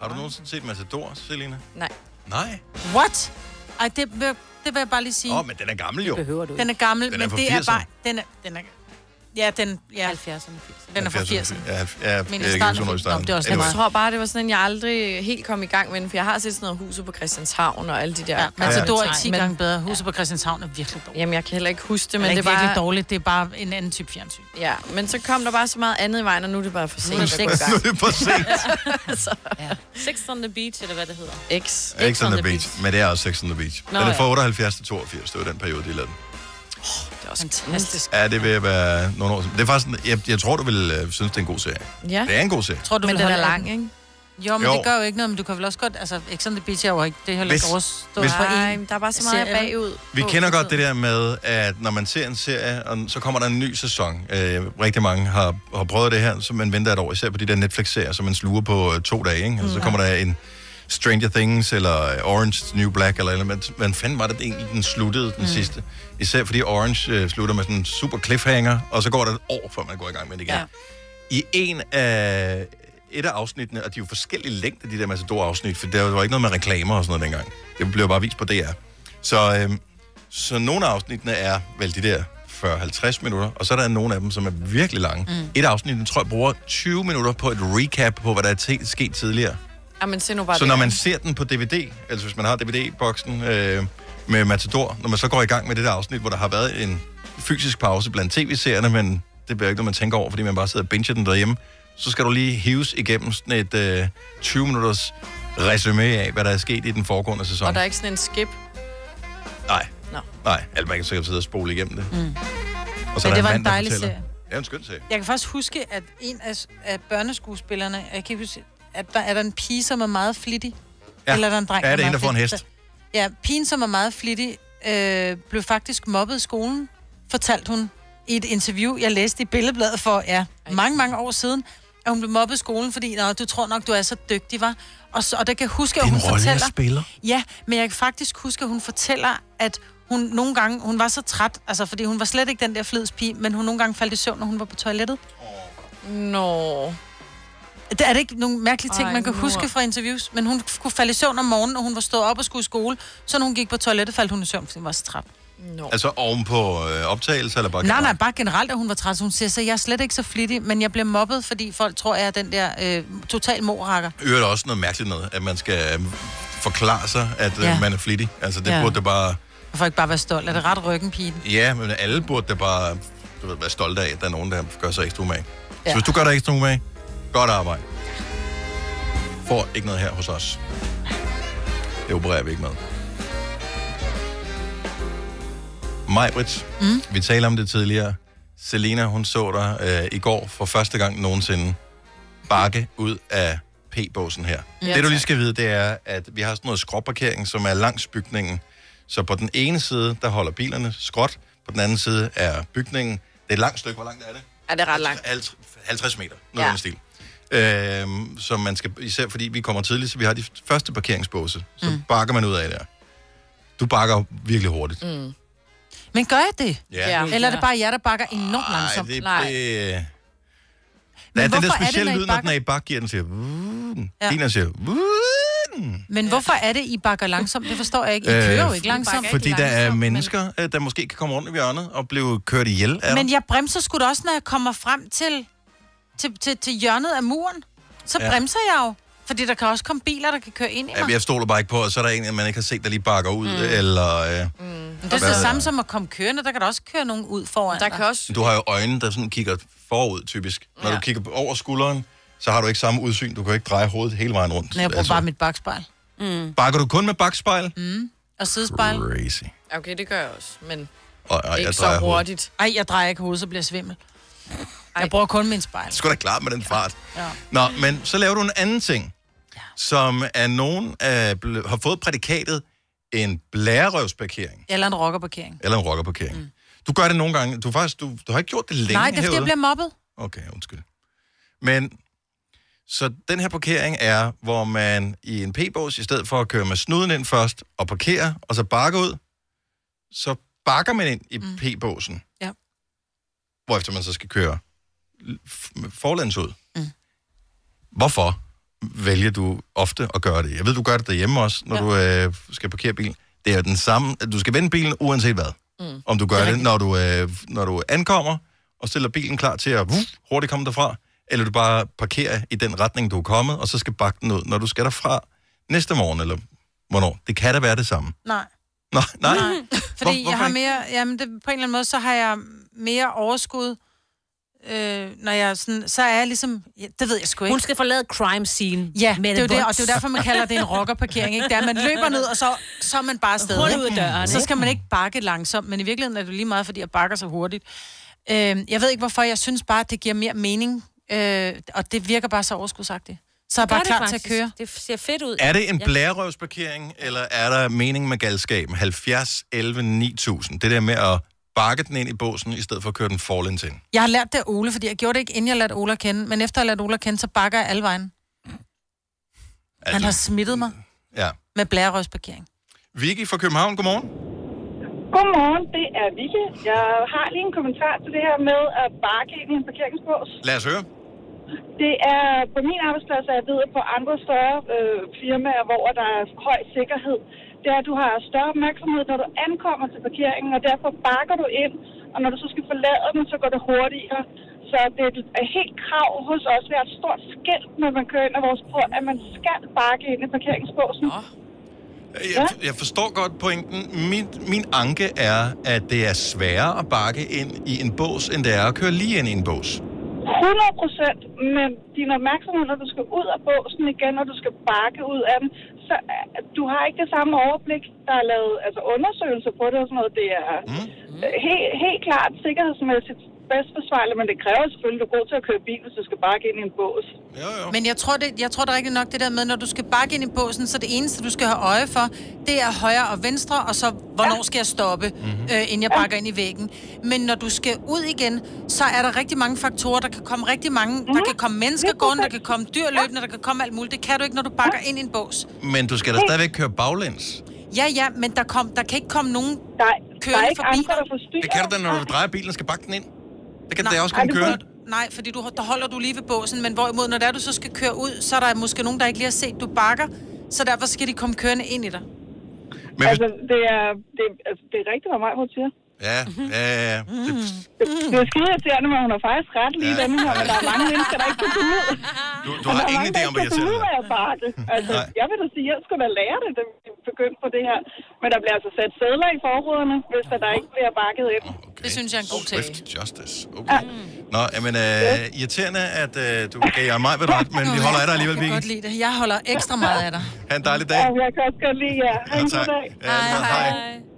Speaker 1: Har du nogensinde set Matador, Selina?
Speaker 2: Nej.
Speaker 1: Nej.
Speaker 3: What? Ej, det, vil- det vil jeg bare lige sige.
Speaker 1: Åh, oh, men den er gammel jo.
Speaker 4: behøver du
Speaker 3: Den er gammel,
Speaker 1: Den er
Speaker 3: men
Speaker 1: fra
Speaker 3: det er
Speaker 1: 80'erne.
Speaker 3: bare... Den er, den er, Ja, den... Ja. 70'erne. Den er fra 80'erne.
Speaker 1: Ja, ja,
Speaker 2: Men
Speaker 1: ja, jeg
Speaker 2: i
Speaker 1: kan
Speaker 2: starten
Speaker 1: huske, hvornår i starten.
Speaker 3: Nå, det er også
Speaker 2: Jeg
Speaker 1: Anyway.
Speaker 2: tror bare, det var sådan, at jeg aldrig helt kom i gang med den, for jeg har set sådan noget huset på Christianshavn og alle de der... Ja,
Speaker 3: Matador Altså, er 10 gange bedre. Huset på Christianshavn er virkelig dårligt.
Speaker 2: Jamen, jeg kan heller ikke huske det,
Speaker 3: men
Speaker 2: men
Speaker 3: det er
Speaker 2: det var-
Speaker 3: virkelig dårligt. Det er bare en anden type fjernsyn.
Speaker 2: Ja, men så kom der bare så meget andet i vejen, og nu er det bare for sent.
Speaker 3: Nu er det for- nu er det for sent.
Speaker 2: <laughs> så.
Speaker 4: Sex on the Beach, eller hvad det hedder.
Speaker 2: X.
Speaker 1: X on the beach. Men det er også Sex on the Beach.
Speaker 4: Nå,
Speaker 1: den er
Speaker 4: ja.
Speaker 1: fra 78 til 82. Det var den periode, de lavede den.
Speaker 2: Det er også fantastisk.
Speaker 1: Ja, det vil være nogle år siden. Det er faktisk, en- jeg, jeg tror, du vil øh, synes, det er en god serie.
Speaker 3: Ja.
Speaker 1: Det er en god serie.
Speaker 3: Tror du,
Speaker 2: Men
Speaker 3: vil
Speaker 2: den er
Speaker 3: holde af
Speaker 2: lang, ikke?
Speaker 3: Jo, men
Speaker 1: Jo.
Speaker 3: jo. det gør jo ikke noget, men du kan vel også godt... Altså, X on the Beach er jo ikke... Det er heller ikke
Speaker 1: Hvis-
Speaker 3: overstået
Speaker 1: hvis-
Speaker 3: for
Speaker 2: Nej,
Speaker 3: en
Speaker 2: der er bare så meget
Speaker 3: serie.
Speaker 2: bagud.
Speaker 1: Vi kender godt det der med, at når man ser en serie, og så kommer der en ny sæson. Øh, rigtig mange har, har prøvet det her, så man venter et år, især på de der Netflix-serier, som man sluger på øh, to dage. Ikke? Og så
Speaker 13: Mm.
Speaker 1: kommer der en Stranger Things, eller Orange is the New Black, eller, eller man fanden var det egentlig, den sluttede den
Speaker 13: Mm.
Speaker 1: mm. sidste. Især fordi Orange øh, slutter med sådan en super cliffhanger, og så går der et år, før man går i gang med det igen. Ja. I en af et af afsnittene, og de er jo forskellige længder, de der Matador-afsnit, for der var ikke noget med reklamer og sådan noget dengang. Det blev bare vist på DR. Så, øhm, så nogle af afsnittene er vel de der 40-50 minutter, og så er der nogle af dem, som er virkelig lange. Mm.
Speaker 2: Mm.
Speaker 1: Et afsnit, den tror jeg, bruger 20 minutter på et recap på, hvad der er t- sket tidligere.
Speaker 2: Ja, men se nu bare
Speaker 1: så
Speaker 2: det
Speaker 1: når
Speaker 2: her.
Speaker 1: man ser den på DVD, altså hvis man har DVD-boksen øh, med Matador, når man så går i gang med det der afsnit, hvor der har været en fysisk pause blandt tv-serierne, men det bliver ikke noget, man tænker over, fordi man bare sidder og binger den derhjemme, så skal du lige hives igennem sådan et øh, 20-minutters resume af, hvad der er sket i den foregående sæson.
Speaker 2: Og der er ikke sådan en skip.
Speaker 1: Nej.
Speaker 2: Nå.
Speaker 1: Nej, altså man kan sikkert sidde og spole igennem det.
Speaker 3: Mm.
Speaker 1: Og så er
Speaker 3: Men
Speaker 1: der
Speaker 3: det var en
Speaker 1: mand, der
Speaker 3: dejlig
Speaker 1: fortæller.
Speaker 3: serie.
Speaker 1: Ja, en skøn serie.
Speaker 3: Jeg kan faktisk huske, at en af, af børneskuespillerne, jeg kan ikke huske, at der er der en pige, som er meget flittig.
Speaker 1: Ja.
Speaker 3: Eller er der en dreng,
Speaker 1: Ja, det er
Speaker 3: er
Speaker 1: en, der får en
Speaker 3: meget
Speaker 1: hest.
Speaker 3: Ja, pigen, som er meget flittig, øh, blev faktisk mobbet i skolen, fortalte hun i et interview, jeg læste i Billedbladet for ja, mange, mange år siden, at hun blev mobbet i skolen, fordi Nå, du tror nok, du er så dygtig, var. Og, så, og der kan jeg huske, at hun fortæller... Ja, men jeg kan faktisk huske, at hun fortæller, at hun nogle gange, hun var så træt, altså fordi hun var slet ikke den der flidspige, men hun nogle gange faldt i søvn, når hun var på toilettet.
Speaker 2: Nå.
Speaker 3: Det er det ikke nogle mærkelige ting,
Speaker 2: Ej,
Speaker 3: Ej, man kan
Speaker 2: mor.
Speaker 3: huske fra interviews, men hun kunne falde i søvn om morgenen, og hun var stået op og skulle i skole, så når hun gik på toilettet, faldt hun i søvn, fordi hun var så træt.
Speaker 2: No.
Speaker 1: Altså ovenpå øh, optagelser, eller bare...
Speaker 3: Nej, nej, bare generelt, at hun var træt. Så hun siger, så jeg er slet ikke så flittig, men jeg bliver mobbet, fordi folk tror, jeg er den der øh, total morrakker.
Speaker 1: Øger der også noget mærkeligt noget, at man skal øh, forklare sig, at øh,
Speaker 3: Ja.
Speaker 1: man er flittig. Altså, det ja.
Speaker 3: Ja.
Speaker 1: burde da bare...
Speaker 3: Jeg får ikke bare være stolt. Er det ret ryggen, pigen?
Speaker 1: Ja, men alle burde da bare du ved, være stolte af, at der er nogen, der gør sig ekstra umage. Ja. Så
Speaker 3: Ja.
Speaker 1: hvis du gør dig ekstra umage, godt arbejde. Får ikke noget her hos os. Det opererer vi ikke med. Majbrit, mm? vi talte om det tidligere. Selina, hun så dig øh, i går for første gang nogensinde bakke ud af P-båsen her.
Speaker 13: Ja,
Speaker 1: det du lige
Speaker 13: tak.
Speaker 1: skal vide, det er, at vi har sådan noget skråparkering, som er langs bygningen. Så på den ene side, der holder bilerne skråt. På den anden side er bygningen. Det er et langt stykke. Hvor langt er det?
Speaker 2: Ja, det er ret langt.
Speaker 1: 50 meter, noget ja. den stil. Øhm, som man skal, især fordi vi kommer tidligt, så vi har de første parkeringsbåse. Så mm. bakker man ud af der. Du bakker virkelig hurtigt.
Speaker 3: Mm. Men gør jeg det?
Speaker 1: Ja. Ja.
Speaker 3: Eller er det bare jer, der bakker enormt langsomt?
Speaker 1: det,
Speaker 3: Nej.
Speaker 1: det...
Speaker 3: Men
Speaker 1: Der er den der
Speaker 3: hvorfor er det,
Speaker 1: specielle
Speaker 3: når I
Speaker 1: lyd, når den
Speaker 3: bakker?
Speaker 1: er i bak, giver den siger... "Vuh".
Speaker 3: Ja.
Speaker 1: Din er siger... "Vuh".
Speaker 3: Men hvorfor er det, I bakker langsomt? Det forstår jeg ikke. I
Speaker 1: Øh,
Speaker 3: kører jo ikke langsomt.
Speaker 1: Fordi der er mennesker, øh, der måske kan komme rundt i hjørnet og blive kørt ihjel af
Speaker 3: Men
Speaker 1: dig.
Speaker 3: jeg bremser sgu da også, når jeg kommer frem til, til, til, til hjørnet af muren. Så
Speaker 1: Ja.
Speaker 3: ja. bremser jeg jo. Fordi der kan også komme biler, der kan køre ind i mig.
Speaker 1: Ja, jeg stoler bare ikke på, og så er der en, man ikke har set, der lige bakker ud, mm. eller... Øh,
Speaker 3: Men det er så
Speaker 1: Hvad
Speaker 3: det
Speaker 1: ved
Speaker 3: samme
Speaker 1: jeg?
Speaker 3: som at komme kørende. Der kan der også køre nogen ud foran Der kan
Speaker 2: også...
Speaker 1: Du har jo øjnene, der sådan kigger forud, typisk. Når ja.
Speaker 3: Ja.
Speaker 1: du kigger over skulderen, så har du ikke samme udsyn. Du kan ikke dreje hovedet hele vejen rundt.
Speaker 3: Nej, jeg bruger altså... bare mit bagspejl.
Speaker 1: Mm. Bakker du kun med bakspejl?
Speaker 3: Mm. Og sidespejl.
Speaker 1: Crazy.
Speaker 2: Okay, det gør jeg også, men
Speaker 1: Og, og
Speaker 2: ikke
Speaker 1: jeg
Speaker 2: så
Speaker 1: drejer hovedet.
Speaker 2: hurtigt.
Speaker 3: Ej, jeg drejer ikke hovedet, så bliver jeg svimmel. Ej. Jeg bruger kun min spejl.
Speaker 1: Sgu da klart med den fart.
Speaker 3: Ja.
Speaker 1: Nå, men så laver du en anden ting, ja. som er nogen er ble- har fået prædikatet en blærerøvsparkering,
Speaker 3: Eller en rockerparkering.
Speaker 1: eller en rockerparkering. Mm. Du gør det nogle gange. Du, faktisk, du, du har ikke gjort det længe
Speaker 3: Nej, det er fordi, jeg
Speaker 1: herude.
Speaker 3: bliver mobbet.
Speaker 1: Okay, undskyld. Men, så den her parkering er, hvor man i en p-bås, i stedet for at køre med snuden ind først, og parkere, og så bakke ud, så bakker man ind i mm. p-båsen.
Speaker 3: Ja.
Speaker 1: Hvorefter man så skal køre l- f- forlæns ud. Mm. Hvorfor vælger du ofte at gøre det? Jeg ved, du gør det derhjemme også, når ja. du øh, skal parkere bilen. Det er jo den samme, at du skal vende bilen uanset hvad. Mm. Om du gør det, når du, øh, når du ankommer, og stiller bilen klar til at vuff, hurtigt komme derfra, eller du bare parkerer i den retning, du er kommet, og så skal bakke den ud, når du skal derfra næste morgen, eller hvornår. Det kan da være det samme. <laughs>
Speaker 3: Nej.
Speaker 1: Nå, nej.
Speaker 3: Fordi Hvor, jeg har
Speaker 1: ikke?
Speaker 3: mere, jamen det, på en eller anden måde, så har jeg mere overskud, øh, når jeg sådan, så er jeg ligesom, ja, det ved jeg sgu ikke.
Speaker 4: Hun skal forlade crime scene.
Speaker 3: Ja,
Speaker 4: med
Speaker 3: det er jo det, og
Speaker 4: voks.
Speaker 3: det er jo derfor, man kalder det en rockerparkering, ikke? Det er, at man løber ned, og så, så er man
Speaker 4: <laughs>
Speaker 3: bare afsted.
Speaker 4: Hul
Speaker 3: ikke?
Speaker 4: ud af døren,
Speaker 3: Så skal
Speaker 4: ikke?
Speaker 3: man ikke bakke langsomt, men i virkeligheden er det jo lige meget, fordi jeg bakker så hurtigt. Øh, jeg ved ikke, hvorfor, jeg synes bare, at det giver mere mening, øh, og det virker bare så overskudsagtigt. Så er jeg
Speaker 4: Gør
Speaker 3: bare
Speaker 4: det
Speaker 3: klar
Speaker 4: faktisk.
Speaker 3: til at køre.
Speaker 4: Det ser fedt ud.
Speaker 1: Er det en blærerøvsparkering, eller er der mening med galskaben? 70, 11, 9000. Det der med at bakke den ind i båsen, i stedet for at køre den forlæns ind.
Speaker 3: Jeg har lært det af Ole, fordi jeg gjorde det ikke, inden jeg lærte Ole at kende. Men efter jeg lærte Ole at kende, så bakker jeg alle vejen. Altså... Han har smittet mig
Speaker 1: Ja.
Speaker 3: med blærerøvsparkering.
Speaker 1: Vicky fra København, godmorgen.
Speaker 13: <laughs> Godmorgen, det er Vicky. Jeg har lige en kommentar til det her med at bakke ind i en parkeringsbås.
Speaker 1: Lad
Speaker 3: <laughs>
Speaker 1: os høre.
Speaker 13: Det er på min arbejdsplads, og jeg ved, at på andre større øh, firmaer, hvor der er høj sikkerhed, det er, at du har større opmærksomhed, når du ankommer til parkeringen, og derfor bakker du ind, og når du så skal forlade den, så går det hurtigere. Så det er et helt krav hos os, vi har et stort skæld, når man kører ind af vores grund, at man skal bakke ind i parkeringsbåsen.
Speaker 1: Jeg, jeg forstår godt pointen. Min, min anke er, at det er sværere at bakke ind i en bås, end det er at køre lige ind i en bås.
Speaker 13: 100 procent, men din opmærksomhed, når du skal ud af båsen igen, når du skal bakke ud af den, så øh, du har ikke det samme overblik. Der er lavet altså, undersøgelser på det og sådan noget. Det er mm. helt, helt klart sikkerhedsmæssigt bedst forsvarligt, men det kræver selvfølgelig, at du er god til at køre bil, hvis du skal bakke ind i en bås.
Speaker 3: Men jeg tror, det, jeg tror det er rigtigt nok det der med, når du skal bakke ind i båsen, så det eneste, du skal have øje for, det er højre og venstre, og så hvornår skal jeg stoppe,
Speaker 13: Mhm.
Speaker 3: mm-hmm. øh, inden jeg bakker ind i væggen. Men når du skal ud igen, så er der rigtig mange faktorer. Der kan komme rigtig mange, mm-hmm. der
Speaker 13: Mhm.
Speaker 3: kan komme mennesker gående, der kan komme dyr løbende, der kan komme alt muligt. Det kan du ikke, når du bakker ind i en bås.
Speaker 1: Men du skal da stadigvæk køre baglæns.
Speaker 3: Ja, ja, men der, kom, der kan ikke komme nogen
Speaker 13: der er
Speaker 3: kørende
Speaker 13: ikke
Speaker 3: forbi.
Speaker 13: andre, der forstyrrer.
Speaker 1: Det kan du da, når du drejer bilen og skal bakke den ind. Det kan da også kun
Speaker 3: Ej,
Speaker 1: køre.
Speaker 3: det må- Nej, fordi du, der holder du lige ved båsen, men hvorimod, når det er, du så skal køre ud, så er der måske nogen, der ikke lige har set, du bakker, så derfor skal de komme kørende ind i dig.
Speaker 1: Men
Speaker 13: altså, det er, det, altså, det er rigtigt, hvad mig hun siger.
Speaker 1: Ja, ja, ja. Det,
Speaker 13: Det, det er skide irriterende, men hun har faktisk ret lige
Speaker 1: Ja.
Speaker 13: Mm. ja. den her, men der er mange mennesker, der ikke kan finde ud.
Speaker 1: du, du
Speaker 3: Altså,
Speaker 13: Altså,
Speaker 1: har ingen idé om, hvad jeg
Speaker 13: siger.
Speaker 1: siger.
Speaker 13: Nu jeg bare
Speaker 1: <laughs>
Speaker 13: det. Altså,
Speaker 1: Nej.
Speaker 13: jeg vil da sige, jeg skulle da lære det, da vi begyndte på det her. Men der bliver altså sat sædler i forruderne, hvis der, der ikke bliver bakket ind.
Speaker 3: Det synes jeg er en god ting.
Speaker 1: Swift justice. Okay. Nå, men øh, irriterende, at øh, du gav mig ved ret, men vi holder af dig alligevel,
Speaker 3: Jeg kan godt
Speaker 1: Vicky.
Speaker 3: lide det. Jeg holder ekstra meget af dig.
Speaker 1: <laughs> Ha' en dejlig dag.
Speaker 13: Jeg kan også godt lide jer. Ha'
Speaker 1: Ja,
Speaker 13: en
Speaker 1: tak.
Speaker 13: god dag.
Speaker 1: Ja, Hej, tak. hej. Hej.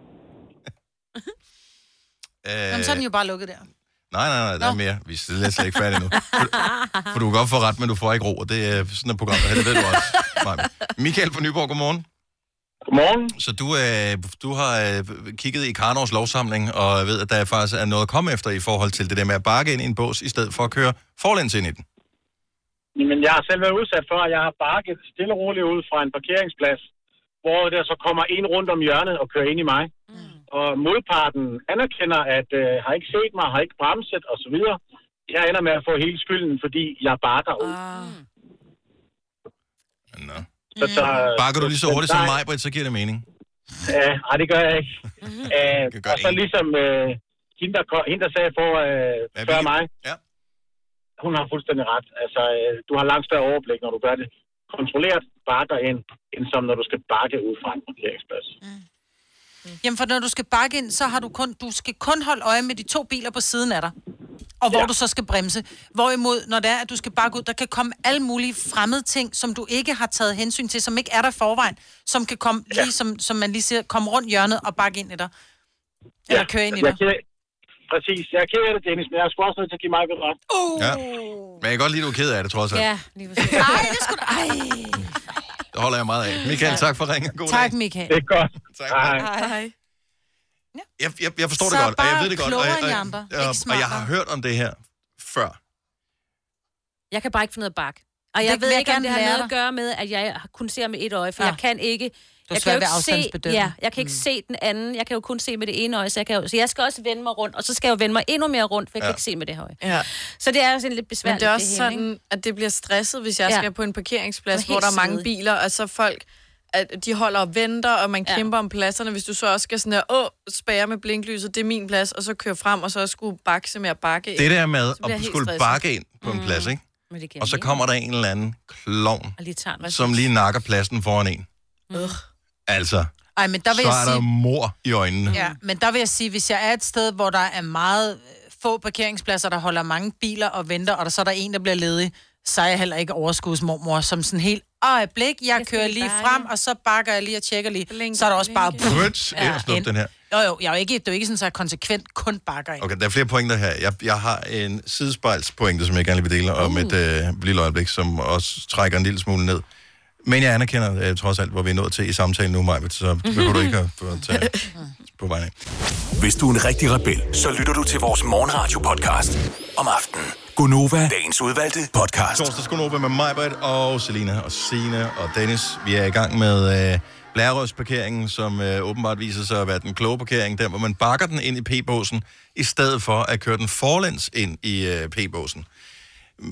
Speaker 1: Øh,
Speaker 3: Jamen, så er den jo bare lukket der.
Speaker 1: Nej, nej, nej, der er mere. Vi er slet slet ikke
Speaker 3: <laughs>
Speaker 1: færdige nu. For, for du kan godt få ret, men du får ikke ro, og det er sådan et program, der er. det ved du også. Nej. Michael fra Nyborg, godmorgen.
Speaker 9: Godmorgen.
Speaker 1: Så du, øh, du har øh, kigget i Karnovs lovsamling, og ved, at der faktisk er noget at komme efter i forhold til det der med at bakke ind i en bås, i stedet for at køre forlæns ind i den.
Speaker 9: <laughs> Men jeg har selv været udsat for, at jeg har bakket stille og roligt ud fra en parkeringsplads, hvor der så kommer en rundt om hjørnet og kører ind i mig. Mm. Og modparten anerkender, at øh, har ikke set mig, har ikke bremset osv. Jeg ender med at få hele skylden, fordi jeg bakker ud. Ah.
Speaker 1: Nå.
Speaker 9: Så, så,
Speaker 1: Bakker du lige så
Speaker 9: Øh, men
Speaker 1: hurtigt som
Speaker 9: der-
Speaker 1: mig, Britt, så giver det mening.
Speaker 3: Uh.
Speaker 9: Ja, nej, det gør jeg ikke.
Speaker 3: Mhm.
Speaker 9: Æh, og så ligesom øh, hende, der, kom- hende, der sagde for øh, før mig,
Speaker 1: ja.
Speaker 9: hun har fuldstændig ret. Altså, øh, du har langt større overblik, når du gør det kontrolleret bakker ind, end som når du skal bakke ud fra en parkeringsplads.
Speaker 3: Mhm. Jamen, for når du skal bakke ind, så har du kun, du skal kun holde øje med de to biler på siden af dig. Og hvor ja. du så skal bremse. Hvorimod, når det er, at du skal bakke ud, der kan komme alle mulige fremmede ting, som du ikke har taget hensyn til, som ikke er der i forvejen, som kan komme, ja. lige som, som man lige siger, komme rundt hjørnet og bakke ind i dig. Eller ja. køre ind i
Speaker 9: jeg
Speaker 3: dig.
Speaker 9: er ked af, præcis. Jeg er ked af det, Dennis, men jeg er sgu også nødt til at give mig ved ret.
Speaker 3: Uh.
Speaker 1: Ja. Men jeg kan godt lide, at du er ked af det, trods alt. Ja.
Speaker 3: lige Ej, det skulle Ej.
Speaker 1: Det holder jeg meget af. Michael, tak for ringen. God
Speaker 3: Tak,
Speaker 1: dag.
Speaker 3: Michael.
Speaker 9: Det er godt.
Speaker 1: Tak.
Speaker 3: Hej.
Speaker 1: Jeg, jeg, jeg forstår
Speaker 3: Så
Speaker 1: det godt, og jeg
Speaker 3: bare
Speaker 1: ved det godt. og,
Speaker 3: klogere
Speaker 1: jeg,
Speaker 3: end de andre,
Speaker 1: og, og,
Speaker 4: ikke
Speaker 1: og jeg
Speaker 4: smartere.
Speaker 1: har hørt om det her før.
Speaker 4: Jeg kan bare ikke finde noget bak. Og
Speaker 3: Det
Speaker 4: jeg
Speaker 3: vil
Speaker 4: ved
Speaker 3: jeg
Speaker 4: ikke, om
Speaker 3: gerne
Speaker 4: det har
Speaker 3: lære
Speaker 4: noget
Speaker 3: dig.
Speaker 4: at gøre med, at jeg har- kun ser med et øje, for
Speaker 3: Ja.
Speaker 4: jeg kan ikke...
Speaker 3: Du har
Speaker 4: jeg
Speaker 3: svært
Speaker 4: kan jo
Speaker 3: ved
Speaker 4: ikke se,
Speaker 3: afstandsbedømme.
Speaker 4: ja, jeg kan ikke mm. se den anden. Jeg kan jo kun se med det ene øje, så jeg, kan jo, så jeg skal også vende mig rundt. Og så skal jeg jo vende mig endnu mere rundt, for jeg ja.
Speaker 2: Ja.
Speaker 4: kan ikke se med det her øje.
Speaker 2: Ja.
Speaker 4: Så det er jo sådan lidt
Speaker 2: Men
Speaker 4: besværligt.
Speaker 2: det er også
Speaker 4: hele,
Speaker 2: sådan, at det bliver stresset, hvis jeg
Speaker 4: Ja.
Speaker 2: skal på en parkeringsplads,
Speaker 4: Det er
Speaker 2: hvor der er
Speaker 4: helt
Speaker 2: mange
Speaker 4: side.
Speaker 2: biler, og så folk at de holder og venter, og man ja. kæmper om pladserne. Hvis du så også skal sådan her, åh, spære med blinklyset, det er min plads, og så køre frem, og så skulle bakse med at bakke ind.
Speaker 1: Det der med
Speaker 2: så bliver jeg
Speaker 1: at
Speaker 2: helt
Speaker 1: skulle
Speaker 2: stresset.
Speaker 1: bakke ind på en plads, ikke?
Speaker 4: Mm. Men det kan
Speaker 1: Og så
Speaker 4: jeg
Speaker 1: kommer der en eller anden klovn,
Speaker 4: ikke. Og lige tager en
Speaker 1: som lige nakker pladsen foran en.
Speaker 3: Øh.
Speaker 1: Altså,
Speaker 3: Ej, men der vil
Speaker 1: så
Speaker 3: jeg
Speaker 1: er der
Speaker 3: sige...
Speaker 1: mor i øjnene.
Speaker 3: Ja, men der vil jeg sige, hvis jeg er et sted, hvor der er meget øh, få parkeringspladser, der holder mange biler og venter, og der så er der en, der bliver ledig, så er jeg heller ikke overskudsmormor, som sådan helt øjeblik, jeg kører lige frem, og så bakker jeg lige og tjekker lige. så er der også bare...
Speaker 1: Brøds, ja.
Speaker 3: ind.
Speaker 1: den her.
Speaker 3: Jo, jo, jeg er jo ikke, det er jo ikke sådan, at jeg konsekvent kun bakker ind.
Speaker 1: Okay, der er flere pointer her. Jeg, jeg har en sidespejlspointe, som jeg gerne vil dele om
Speaker 3: Uh.
Speaker 1: et øh, lille øjeblik, som også trækker en lille smule ned. Men jeg anerkender øh, trods alt, hvor vi er nået til i samtalen nu, Maja, så det behøver du ikke at at
Speaker 3: <laughs>
Speaker 1: tage på vejen af.
Speaker 7: Hvis du er en rigtig rebel, så lytter du til vores morgenradio-podcast om aftenen. Gunova, dagens udvalgte podcast.
Speaker 1: Torsdags Konoba med Majbert og Selina og Sine og Dennis. Vi er i gang med øh, Blærerødsparkeringen, som øh, åbenbart viser sig at være den kloge parkering, der hvor man bakker den ind i p-båsen, i stedet for at køre den forlæns ind i øh, p-båsen.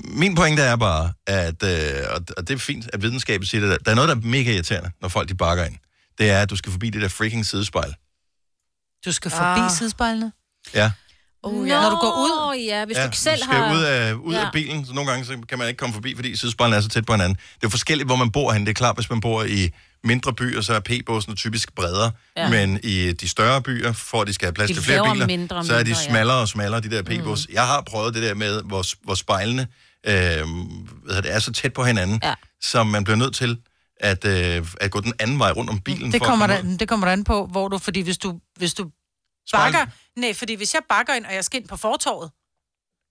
Speaker 1: Min pointe er bare, at, øh, og- og det er fint, at videnskaben siger det der, der er noget, der er mega irriterende, når folk de bakker ind. Det er, at du skal forbi det der freaking sidespejl.
Speaker 3: Du skal forbi
Speaker 4: Ah.
Speaker 3: ah. sidespejlene.
Speaker 1: Ja.
Speaker 4: Oh,
Speaker 3: ja. Når du går
Speaker 4: ud? ja, hvis
Speaker 1: ja,
Speaker 4: du ikke selv
Speaker 1: du skal
Speaker 4: har...
Speaker 1: ud af, ud ja.
Speaker 4: Ja.
Speaker 1: af bilen, så nogle gange så kan man ikke komme forbi, fordi sidespejlene er så tæt på hinanden. Det er jo forskelligt, hvor man bor hen. Det er klart, hvis man bor i mindre byer, så er p-båsene typisk bredere, ja.
Speaker 4: Ja.
Speaker 1: men i de større byer, for at de skal have plads
Speaker 4: De
Speaker 1: til flere
Speaker 4: laver
Speaker 1: biler,
Speaker 4: mindre og
Speaker 1: så er de
Speaker 4: mindre, ja.
Speaker 1: smallere og smallere, de der p-bås. Mm. Jeg har prøvet det der med, hvor, hvor spejlene øh, hvad hedder det er så tæt på hinanden, ja. som man bliver nødt til at, øh, at gå den anden vej rundt om bilen.
Speaker 3: Det
Speaker 1: for at
Speaker 3: kommer,
Speaker 1: komme
Speaker 3: der, det kommer der an på, hvor du... Fordi hvis du, hvis du
Speaker 1: Spejl.
Speaker 3: bakker... Nej, fordi hvis jeg bakker ind, og jeg skal ind på fortorvet,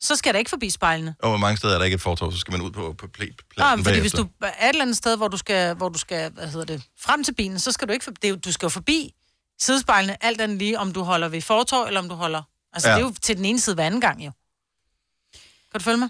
Speaker 3: så skal jeg da ikke forbi spejlene.
Speaker 1: ud. Og hvor mange steder er der ikke et fortov, så skal man ud på, på pl-
Speaker 3: Nej,
Speaker 1: pladsen
Speaker 3: men fordi hvis du er et eller andet sted, hvor du skal, hvor du skal hvad hedder det, frem til bilen, så skal du ikke forbi, det, er jo- du skal jo forbi sidespejlene, alt andet lige, om du holder ved fortorv, eller om du holder... Altså,
Speaker 1: Ja.
Speaker 3: ja. det er jo til den ene side hver anden gang, jo. Kan du følge mig?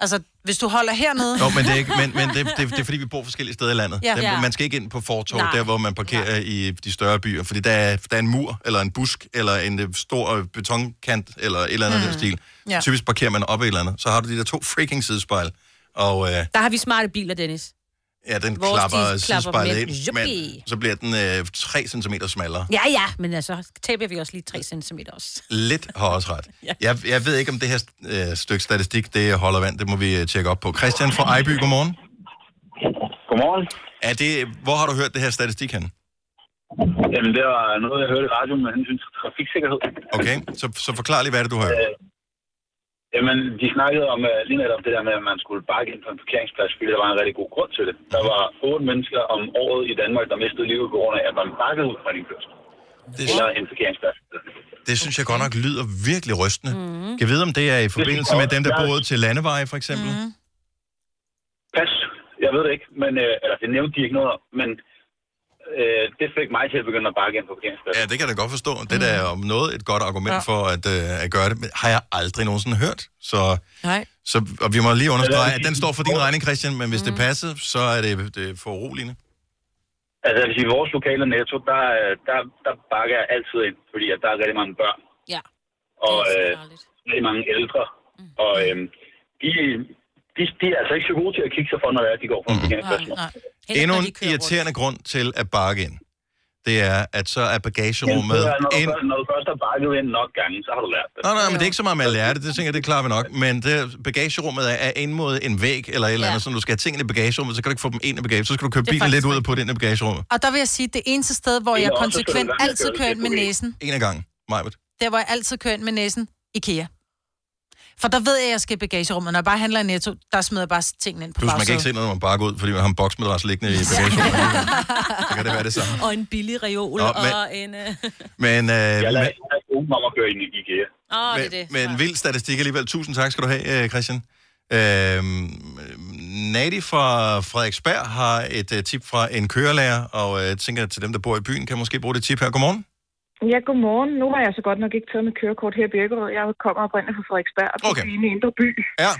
Speaker 3: Altså, hvis du holder hernede...
Speaker 1: Nå, men det er, ikke, men, men det, det, det er fordi, vi bor forskellige steder i landet. Ja.
Speaker 3: Ja.
Speaker 1: Der,
Speaker 3: Ja.
Speaker 1: man skal ikke ind på fortov,
Speaker 3: Nej.
Speaker 1: der hvor man parkerer i de større byer, fordi der er, der er en mur, eller en busk, eller en øh, stor øh, betonkant, eller et eller andet mm.
Speaker 4: Mm.
Speaker 1: stil. Ja.
Speaker 4: Ja.
Speaker 1: Typisk parkerer man op i et eller andet. Så har du de der to freaking sidespejl, og øh,
Speaker 4: Der har vi smarte biler, Dennis.
Speaker 1: ja, den
Speaker 4: Vores, de klapper
Speaker 1: klapper
Speaker 4: dem
Speaker 1: sidespejlet
Speaker 4: ind.
Speaker 1: ind, men
Speaker 4: Yuppie.
Speaker 1: så bliver den øh, 3 cm smallere.
Speaker 4: Ja, ja, men altså, taber vi også lige 3 cm også.
Speaker 1: Lidt har også ret. Jeg, jeg ved ikke, om det her øh, stykke statistik, det holder vand. Det må vi øh, tjekke op på. Christian fra Ejby, godmorgen.
Speaker 12: Godmorgen.
Speaker 1: Er det, hvor har du hørt det her statistik henne?
Speaker 12: Jamen, det var noget, jeg hørte i radioen med hensyn til trafiksikkerhed.
Speaker 1: Okay, så, så forklar lige, hvad er det, du har hørt.
Speaker 12: Øh, Jamen, de snakkede om uh, lige netop det der med, at man skulle bakke ind på en parkeringsplads, fordi der var en rigtig god grund til det. Der var otte mennesker om året i Danmark, der mistede livet på grund af, at man bakkede ud fra en indkørsel.
Speaker 1: Det...
Speaker 12: Eller en parkeringsplads.
Speaker 1: Det synes jeg godt nok lyder virkelig rystende. Mm. Kan vide, om det er i forbindelse med dem, der bor ud til landeveje, for eksempel? Mm.
Speaker 12: Pas. Jeg ved det ikke, men øh, eller, det nævnte de ikke noget om, men øh, det fik mig til at begynde at bakke ind på parkeringspladsen.
Speaker 1: Ja, det kan jeg da godt forstå. Det er da om noget et godt argument ja. for at, øh, at gøre det. Men har jeg aldrig nogensinde hørt. Så,
Speaker 2: Nej.
Speaker 1: så, og vi må lige understrege, at den står for din regning, Christian, men hvis mm. det passer, så er det, det er for roligende.
Speaker 12: Altså, jeg vil sige, i vores lokale netto, der, øh, der, der bakker jeg altid ind, fordi at der er rigtig mange børn.
Speaker 4: Ja.
Speaker 12: Og øh, rigtig mange ældre. Mm. Og øh, de, de, de er altså ikke så gode til at kigge sig for, når det er, de går på en parkeringsplads.
Speaker 1: Endnu en irriterende grund til at bakke ind, det er, at så er bagagerummet...
Speaker 12: Når, du- når du først har bakket ind nok gange, så har du lært det.
Speaker 1: Nå, nej, men det er ikke så meget med at lære det. Det tænker jeg, det klarer vi nok. Men det, bagagerummet er- er ind mod en væg eller et eller andet, ja. så når du skal have ting ind i bagagerummet, så kan du ikke få dem ind i bagagerummet. Så skal du køre
Speaker 3: Det er
Speaker 1: bilen lidt
Speaker 3: faktisk
Speaker 1: ud og putte ind i bagagerummet.
Speaker 3: Og der vil jeg sige, det eneste sted, hvor
Speaker 1: Det er
Speaker 3: jeg
Speaker 1: også
Speaker 3: konsekvent
Speaker 1: sådan, at
Speaker 3: altid
Speaker 1: det er
Speaker 3: kører ind med
Speaker 1: problem.
Speaker 3: næsen,
Speaker 1: En af gangen, Majbet.
Speaker 3: der hvor jeg altid kører ind med næsen, IKEA. For der ved jeg, at jeg skal i bagagerummet. Når jeg bare handler i Netto, der smider jeg bare tingene ind på
Speaker 1: Plus, man kan ikke se noget, når man bare går ud, fordi man har en boksmadras
Speaker 3: <laughs>
Speaker 1: liggende i bagagerummet. så kan det være det samme.
Speaker 4: Og en billig reol
Speaker 1: Nå,
Speaker 4: Nå,
Speaker 1: men-
Speaker 4: men... og en... Øh...
Speaker 1: Men, øh,
Speaker 12: Jeg
Speaker 1: men,
Speaker 12: lader ikke have nogen om at køre ind i IKEA.
Speaker 4: Åh, det er
Speaker 1: men,
Speaker 4: det.
Speaker 1: men vild statistik alligevel. Tusind tak skal du have, øh, Christian. Øhm, Nadi fra Frederiksberg har et øh, tip fra en kørelærer, og øh, jeg tænker, til dem, der bor i byen, kan måske bruge det tip her. Godmorgen.
Speaker 8: Ja, godmorgen. Nu har jeg så godt nok ikke taget mit kørekort her i Birkerød. Jeg kommer oprindeligt fra Frederiksberg og okay. i en indre by.
Speaker 1: Ja.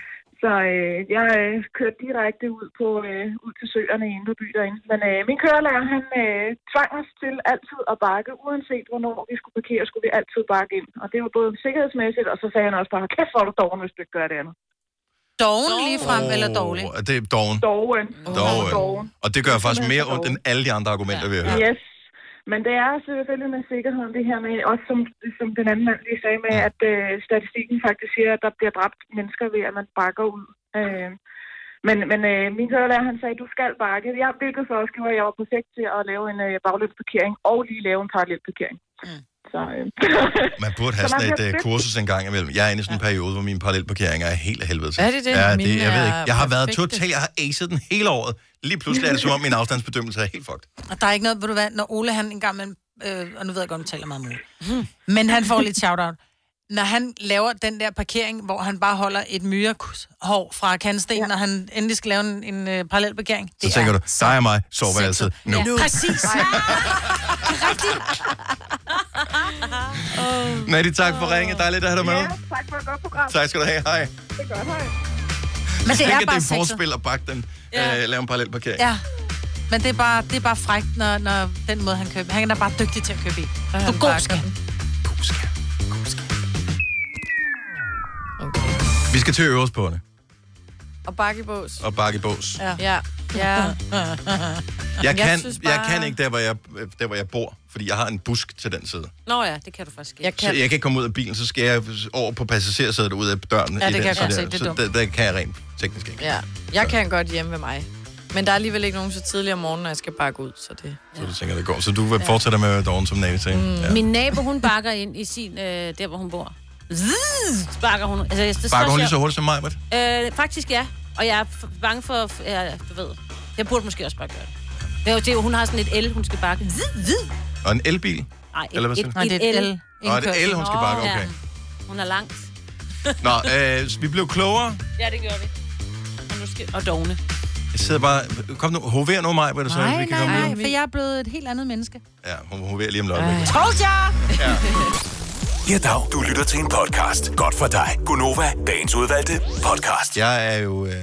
Speaker 8: Så øh, jeg øh, kørte direkte ud på øh, ud til søerne i indre by derinde. Men øh, min kørelærer, han øh, tvang os til altid at bakke. Uanset hvornår vi skulle parkere, skulle vi altid bakke ind. Og det var både sikkerhedsmæssigt, og så sagde han også bare, kæft hvor er du dårlig, hvis du ikke gør det andet.
Speaker 3: Dogen ligefrem, oh. eller dårlig?
Speaker 1: Og det er doven.
Speaker 8: Dogen.
Speaker 1: Doven. Og det gør faktisk mere ondt end alle de andre argumenter, vi har hørt.
Speaker 8: Yes. Men det er selvfølgelig med sikkerheden, det her med, også som, som den anden mand lige sagde med, at øh, statistikken faktisk siger, at der bliver dræbt mennesker ved, at man bakker ud. Øh, men men øh, min kørelærer, han sagde, du skal bakke. Jeg hvilket så også gjorde, at jeg var perfekt til at lave en øh, bagløbsparkering og lige lave en parallelparkering. Mm. Så, øh.
Speaker 1: Man burde have
Speaker 8: Så man
Speaker 1: sådan et
Speaker 8: bliver
Speaker 1: øh,
Speaker 8: dygtig.
Speaker 1: kursus en gang imellem. Jeg er inde i sådan en periode, hvor mine parallelparkeringer er helt af helvede. til.
Speaker 2: Er det det?
Speaker 1: Ja,
Speaker 2: Mine
Speaker 1: det jeg ved
Speaker 2: er
Speaker 1: ikke. Jeg har været
Speaker 2: perfekte.
Speaker 1: totalt, jeg har aced den hele året. Lige pludselig er det som om, min afstandsbedømmelse er helt fucked.
Speaker 3: Og der er ikke noget, ved du hvad, når Ole han engang, men, øh, og nu ved jeg godt, at taler meget om Ole. Men han får lidt shout-out. Når han laver den der parkering, hvor han bare holder et myrehår fra kandsten, ja. når han endelig skal lave en, en øh, parallel parkering.
Speaker 1: Så tænker du, dig og mig, sover jeg altid. Nu.
Speaker 3: Ja, præcis.
Speaker 1: Natty, tak for ringet. Dejligt at have dig med.
Speaker 8: <laughs> Tak for et godt program.
Speaker 1: Tak skal du have. Hej.
Speaker 8: Det er godt, hej.
Speaker 3: Men det
Speaker 1: Tænk,
Speaker 3: er
Speaker 1: at
Speaker 3: bare
Speaker 1: det er
Speaker 3: sexet.
Speaker 1: forspil at bakke den.
Speaker 3: Ja.
Speaker 1: Øh, lave en parallelparkering.
Speaker 3: Ja. Men det er bare, det er bare frækt, når, når den måde, han køber. Han er bare dygtig til at købe i. Du er god, skat.
Speaker 1: Vi skal til at øve os på det.
Speaker 2: Og bakkebås.
Speaker 1: Og bakke i bås.
Speaker 2: Ja. Ja. ja.
Speaker 1: <laughs> Jeg kan,
Speaker 2: synes bare-
Speaker 1: jeg kan ikke der hvor jeg, der, hvor jeg bor, fordi jeg har en busk til den side.
Speaker 4: Nå ja, det kan du faktisk ikke.
Speaker 2: Jeg
Speaker 1: Så jeg kan ikke komme ud af bilen, så skal jeg over på passagersædet ud af døren.
Speaker 2: Ja, det
Speaker 1: i den
Speaker 2: kan jeg
Speaker 1: side
Speaker 2: godt
Speaker 1: der.
Speaker 2: se. Det er
Speaker 1: Så
Speaker 2: dumt.
Speaker 1: der, der kan jeg rent teknisk ikke.
Speaker 2: Ja, jeg kan godt hjemme ved mig. Men der er alligevel ikke nogen så tidlig om morgenen, at jeg skal bakke ud, så det...
Speaker 1: Så du tænker, det går. Så du vil fortsætte med at være doven som navetag. Mm. Ja.
Speaker 4: Min nabo, hun bakker ind i sin, øh, der hvor hun bor. Zzz, bakker hun. Altså, det er
Speaker 1: Bakker hun lige
Speaker 4: sjovt.
Speaker 1: så hurtigt som mig, Britt?
Speaker 4: Øh, faktisk ja. Og jeg er f- bange for, f- ja, du ved, jeg burde måske også bare gøre det. Det er jo det, hun har sådan et el, hun skal bakke. Zzz, zzz.
Speaker 1: Og en elbil?
Speaker 4: Nej,
Speaker 1: Eller hvad
Speaker 4: et,
Speaker 1: siger
Speaker 4: et,
Speaker 1: du?
Speaker 4: et, et el.
Speaker 1: Nå, det er el, hun skal
Speaker 4: Nå,
Speaker 1: bakke, okay.
Speaker 4: Ja. Hun er langt.
Speaker 1: Nå, øh, så vi blev klogere.
Speaker 4: <laughs> Ja, det gør vi. Og, nu skal, og dogne.
Speaker 1: Jeg sidder bare... Kom nu, hover nu mig, Britt, så
Speaker 3: Nej,
Speaker 1: vi kan
Speaker 3: nej,
Speaker 1: komme
Speaker 3: nej,
Speaker 1: videre.
Speaker 3: for jeg er blevet et helt andet menneske.
Speaker 1: Ja, hun hover lige om lidt.
Speaker 3: Troels jer!
Speaker 1: Ja.
Speaker 7: Ja, dag. Du lytter til en podcast. Godt for dig. Gunova, dagens udvalgte podcast.
Speaker 1: Jeg er jo, øh, jeg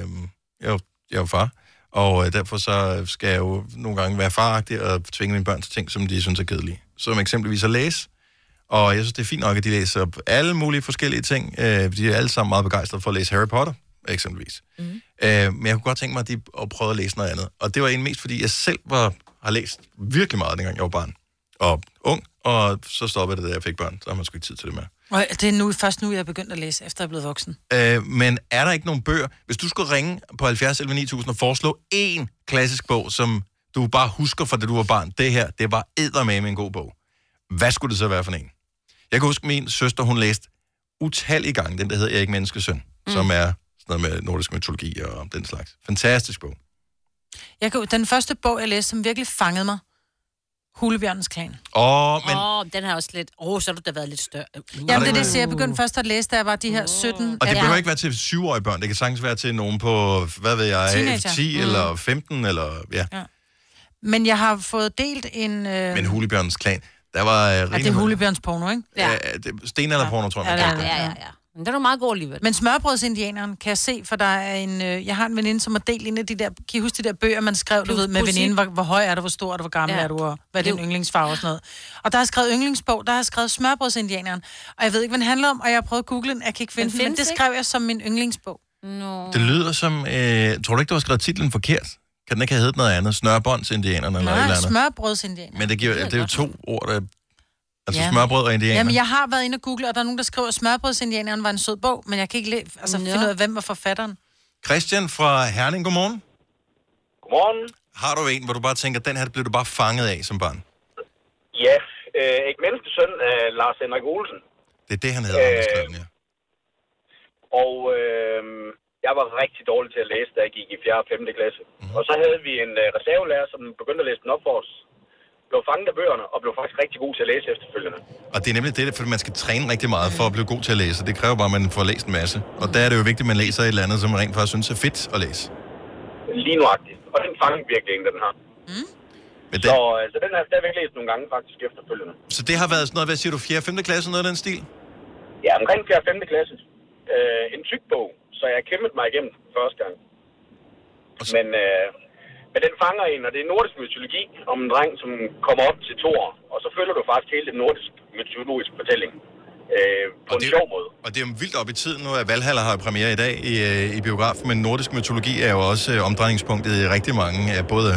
Speaker 1: er jo, jeg er jo far, og øh, derfor så skal jeg jo nogle gange være faragtig og tvinge mine børn til ting, som de synes er kedelige. Som eksempelvis at læse. Og jeg synes, det er fint nok, at de læser alle mulige forskellige ting. Øh, de er alle sammen meget begejstrede for at læse Harry Potter, eksempelvis. Mm. Øh, men jeg kunne godt tænke mig, at de at prøvede at læse noget andet. Og det var egentlig mest, fordi jeg selv var, har læst virkelig meget, dengang jeg var barn. Og ung, og så stoppede det, da jeg fik børn. Så har man sgu ikke tid til det mere.
Speaker 3: Og det er nu, først nu, jeg er begyndt at læse, efter jeg er blevet voksen.
Speaker 1: Øh, men er der ikke nogen bøger? Hvis du skulle ringe på 70 11 9000 og foreslå én klassisk bog, som du bare husker fra da du var barn, det her, det var eddermame en god bog. Hvad skulle det så være for en? Jeg kan huske, min søster, hun læste utallige gange den, der hedder Erik Menneskesøn, mm. som er sådan noget med nordisk mytologi og den slags. Fantastisk bog.
Speaker 3: Jeg kan, den første bog, jeg læste, som virkelig fangede mig, Hulebjørnens Klan.
Speaker 1: Åh, men...
Speaker 4: Men... Åh, den har også lidt... Åh, oh, så har du da været lidt større. Uh.
Speaker 3: Jamen, det er det, jeg siger. jeg begyndte først at læse, da jeg var de her 17.
Speaker 1: Og det
Speaker 3: Ja.
Speaker 1: behøver ikke være til syvårige børn. Det kan sagtens være til nogen på, hvad ved jeg,
Speaker 3: Teenager.
Speaker 1: 10
Speaker 3: Mm.
Speaker 1: eller 15, eller ja.
Speaker 3: Ja. Men jeg har fået delt en... Øh...
Speaker 1: Men Hulebjørnens Klan, der var... Øh,
Speaker 3: Ja, det er Hulebjørns porno, ikke?
Speaker 1: Ja. Stenalderporno, tror jeg, man
Speaker 3: Ja,
Speaker 1: kalder det.
Speaker 3: ja, ja,
Speaker 4: ja. Men den er meget god alligevel.
Speaker 3: Men smørbrødsindianeren kan jeg se, for der er en... Øh, jeg har en veninde, som har delt en af de der... Kan I huske de der bøger, man skrev, du
Speaker 4: Plus
Speaker 3: ved, med
Speaker 4: musik.
Speaker 3: veninden, hvor, hvor høj er du, hvor stor er du, hvor gammel
Speaker 4: Ja.
Speaker 3: ja. er du, og hvad er din yndlingsfarve og sådan noget. Og der har jeg skrevet yndlingsbog, der har jeg skrevet smørbrødsindianeren. Og jeg ved ikke, hvad den handler om, og jeg har prøvet at google den, jeg kan ikke finde
Speaker 4: Den
Speaker 3: den, men
Speaker 4: findes
Speaker 3: det
Speaker 4: ikke?
Speaker 3: skrev jeg som min yndlingsbog.
Speaker 4: No.
Speaker 1: Det lyder som... Øh, tror du ikke, du har skrevet titlen forkert? Kan den ikke have heddet noget andet? Snørbåndsindianerne eller et
Speaker 3: Nej,
Speaker 1: eller andet?
Speaker 3: smørbrødsindianeren.
Speaker 1: Men det, giver, det er jo to ord, der... Altså
Speaker 3: Ja.
Speaker 1: ja. smørbrød og indianer.
Speaker 3: Jamen, jeg har været inde og google, og der er nogen, der skriver, at Smørbrødsindianeren var en sød bog, men jeg kan ikke læ- altså, finde ud af, hvem var forfatteren.
Speaker 1: Christian fra Herning, godmorgen.
Speaker 11: Godmorgen.
Speaker 1: Har du en, hvor du bare tænker, den her det blev du bare fanget af som barn?
Speaker 11: Ja, øh, ikke menneskesøn af Lars Henrik Olsen.
Speaker 1: Det er det, han hedder. Øh.
Speaker 11: Og øh, jeg var rigtig dårlig til at læse, da jeg gik i 4. og 5. klasse.
Speaker 1: Mhm.
Speaker 11: Mm. Og så havde vi en øh, reservelærer, som begyndte at læse den op for os. Blev fanget af bøgerne, og blev faktisk rigtig god til at læse efterfølgende.
Speaker 1: Og det er nemlig det, fordi man skal træne rigtig meget for at blive god til at læse. Det kræver bare, at man får læst en masse. Og der er det jo vigtigt, at man læser et eller andet, som man rent faktisk synes er fedt at læse.
Speaker 11: Lige nuagtigt. Og den fangede virkelig en, den her.
Speaker 1: Men
Speaker 11: Så, øh, så den har jeg stadigvæk læst nogle gange faktisk efterfølgende.
Speaker 1: Så det har været sådan noget, hvad siger du, 4. og 5. klasse, noget af den stil?
Speaker 11: Ja, omkring 4. og 5. klasse. Øh, en tyk bog, så jeg kæmpede mig igennem den første gang. Men, øh, men den fanger en, og det er nordisk mytologi om en dreng, som kommer op til Thor. Og så følger du faktisk hele den nordisk mytologiske fortælling. øh, på en
Speaker 1: det-
Speaker 11: sjov måde.
Speaker 1: Og det er jo vildt op i tiden nu, at Valhalla har premiere i dag i, øh, i biografen, men nordisk mytologi er jo også øh, omdrejningspunktet i rigtig mange af både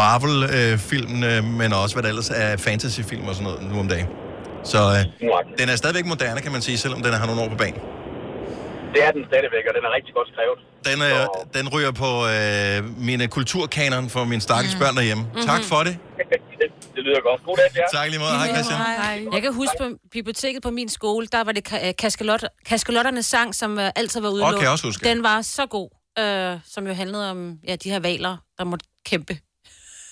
Speaker 1: Marvel-filmene, øh, men også hvad der ellers er fantasyfilm og sådan noget nu om dagen. Så øh, den er stadigvæk moderne, kan man sige, selvom den har nogle år på banen.
Speaker 11: Det er den stadigvæk, og den er rigtig godt skrevet.
Speaker 1: Den, øh, den ryger på øh, mine kulturkanon for mine stakkels mm. børn derhjemme. Mm-hmm. Tak for det.
Speaker 11: <laughs> det lyder godt. God dag,
Speaker 1: Tak lige måde. Hej, Christian.
Speaker 4: Jeg kan huske på biblioteket på min skole, der var det ka- øh, kaskelot, kaskelotternes sang, som øh, altid var udelukket.
Speaker 1: kan jeg også huske.
Speaker 4: Den var så god, øh, som jo handlede om ja, de her valer, der måtte kæmpe.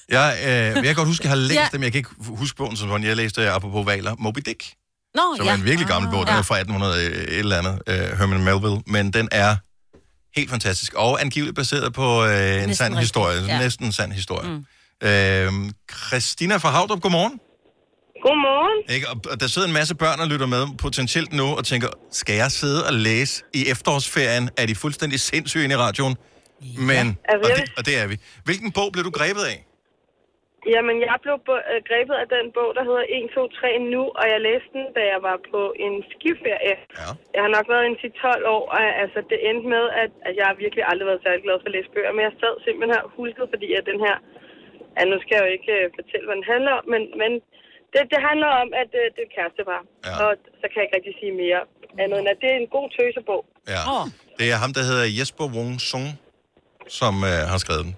Speaker 1: Jeg, øh, jeg kan godt huske, at
Speaker 4: <laughs>
Speaker 1: jeg har læst
Speaker 4: Ja.
Speaker 1: ja. dem. Jeg kan ikke huske bogen, som sådan. jeg læste øh, apropos valer. Moby Dick.
Speaker 4: Nå,
Speaker 1: som
Speaker 4: ja. Ah.
Speaker 1: er en virkelig gammel bog. Den
Speaker 4: Ja.
Speaker 1: er fra 1800 et eller andet, øh, Herman Melville. Men den er helt fantastisk. Og angiveligt baseret på øh, en sand
Speaker 11: rigtigt,
Speaker 1: historie.
Speaker 11: ja.
Speaker 1: Næsten en sand historie. Mm. Øh, Christina fra Havdrup, godmorgen.
Speaker 21: Godmorgen.
Speaker 1: Ikke? Og og der sidder en masse børn og lytter med potentielt nu og tænker, skal jeg sidde og læse i efterårsferien? Er de fuldstændig sindssyge inde i radioen? Men,
Speaker 21: Altså,
Speaker 1: og,
Speaker 21: jeg
Speaker 1: det, og det er vi. Hvilken bog blev du grebet af?
Speaker 21: Jamen, jeg blev bo- øh, grebet af den bog, der hedder 1, 2, 3 nu, og jeg læste den, da jeg var på en skiferie.
Speaker 1: Ja.
Speaker 21: Jeg har nok været en til 12 år, og altså, det endte med, at, at jeg har virkelig aldrig været særlig glad for at læse bøger, men jeg sad simpelthen her hulket, fordi at den her, ja, nu skal jeg jo ikke øh, fortælle, hvad den handler om, men, men det, det handler om, at øh, det er et kærestepar, ja. og så kan jeg ikke rigtig sige mere andet end, at det er en god tøsebog.
Speaker 1: Ja. Oh. Det er ham, der hedder Jesper Wong Sung, som øh, har skrevet den.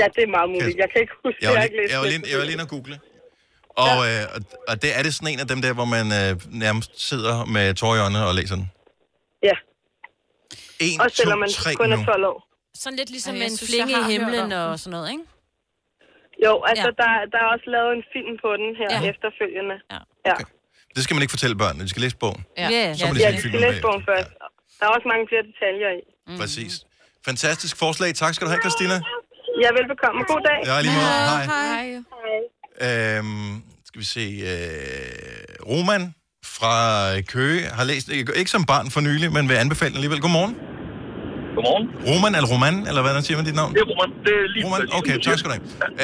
Speaker 21: Ja, det er meget muligt. Jeg kan ikke huske,
Speaker 1: Jeg var,
Speaker 21: har
Speaker 1: lige,
Speaker 21: ikke læst
Speaker 1: jeg, var
Speaker 21: den.
Speaker 1: lige, jeg var lige inde og google. Og, ja. øh, og- og det er det sådan en af dem der, hvor man øh, nærmest sidder med tårer i øjnene og læser den.
Speaker 21: Ja.
Speaker 1: 1,
Speaker 21: Også selvom man
Speaker 1: 2, 3
Speaker 21: kun
Speaker 1: nu.
Speaker 21: er 12 år.
Speaker 4: Sådan lidt ligesom
Speaker 21: Ej,
Speaker 4: Ej,
Speaker 21: jeg
Speaker 4: en
Speaker 21: synes,
Speaker 4: flænge
Speaker 21: jeg
Speaker 4: i
Speaker 21: har
Speaker 4: himlen
Speaker 21: hørt om den.
Speaker 4: og sådan noget, ikke?
Speaker 21: Jo, altså
Speaker 4: Ja.
Speaker 21: ja. der, der er også lavet en film på den her ja. efterfølgende. Ja. Ja.
Speaker 1: Det skal man ikke fortælle børnene, de skal læse bogen.
Speaker 21: Ja.
Speaker 1: Så må
Speaker 21: ja,
Speaker 1: de se
Speaker 21: de skal
Speaker 1: filmen
Speaker 21: læse bogen først. Der er også mange flere detaljer i.
Speaker 1: Mm. Præcis. Fantastisk forslag. Tak skal du have, Christina.
Speaker 21: Ja, velbekomme. God dag.
Speaker 1: Ja, lige måde. Hej.
Speaker 21: Hej.
Speaker 1: Øhm, skal vi se. Øh, Roman fra Køge har læst, ikke ikke som barn for nylig, men vil anbefale den alligevel. Godmorgen.
Speaker 17: Godmorgen.
Speaker 1: Roman eller Roman, eller hvordan siger man dit navn?
Speaker 17: Det er Roman. Det er lige
Speaker 1: Roman,
Speaker 17: præcis,
Speaker 1: okay,
Speaker 17: som du
Speaker 1: tak skal du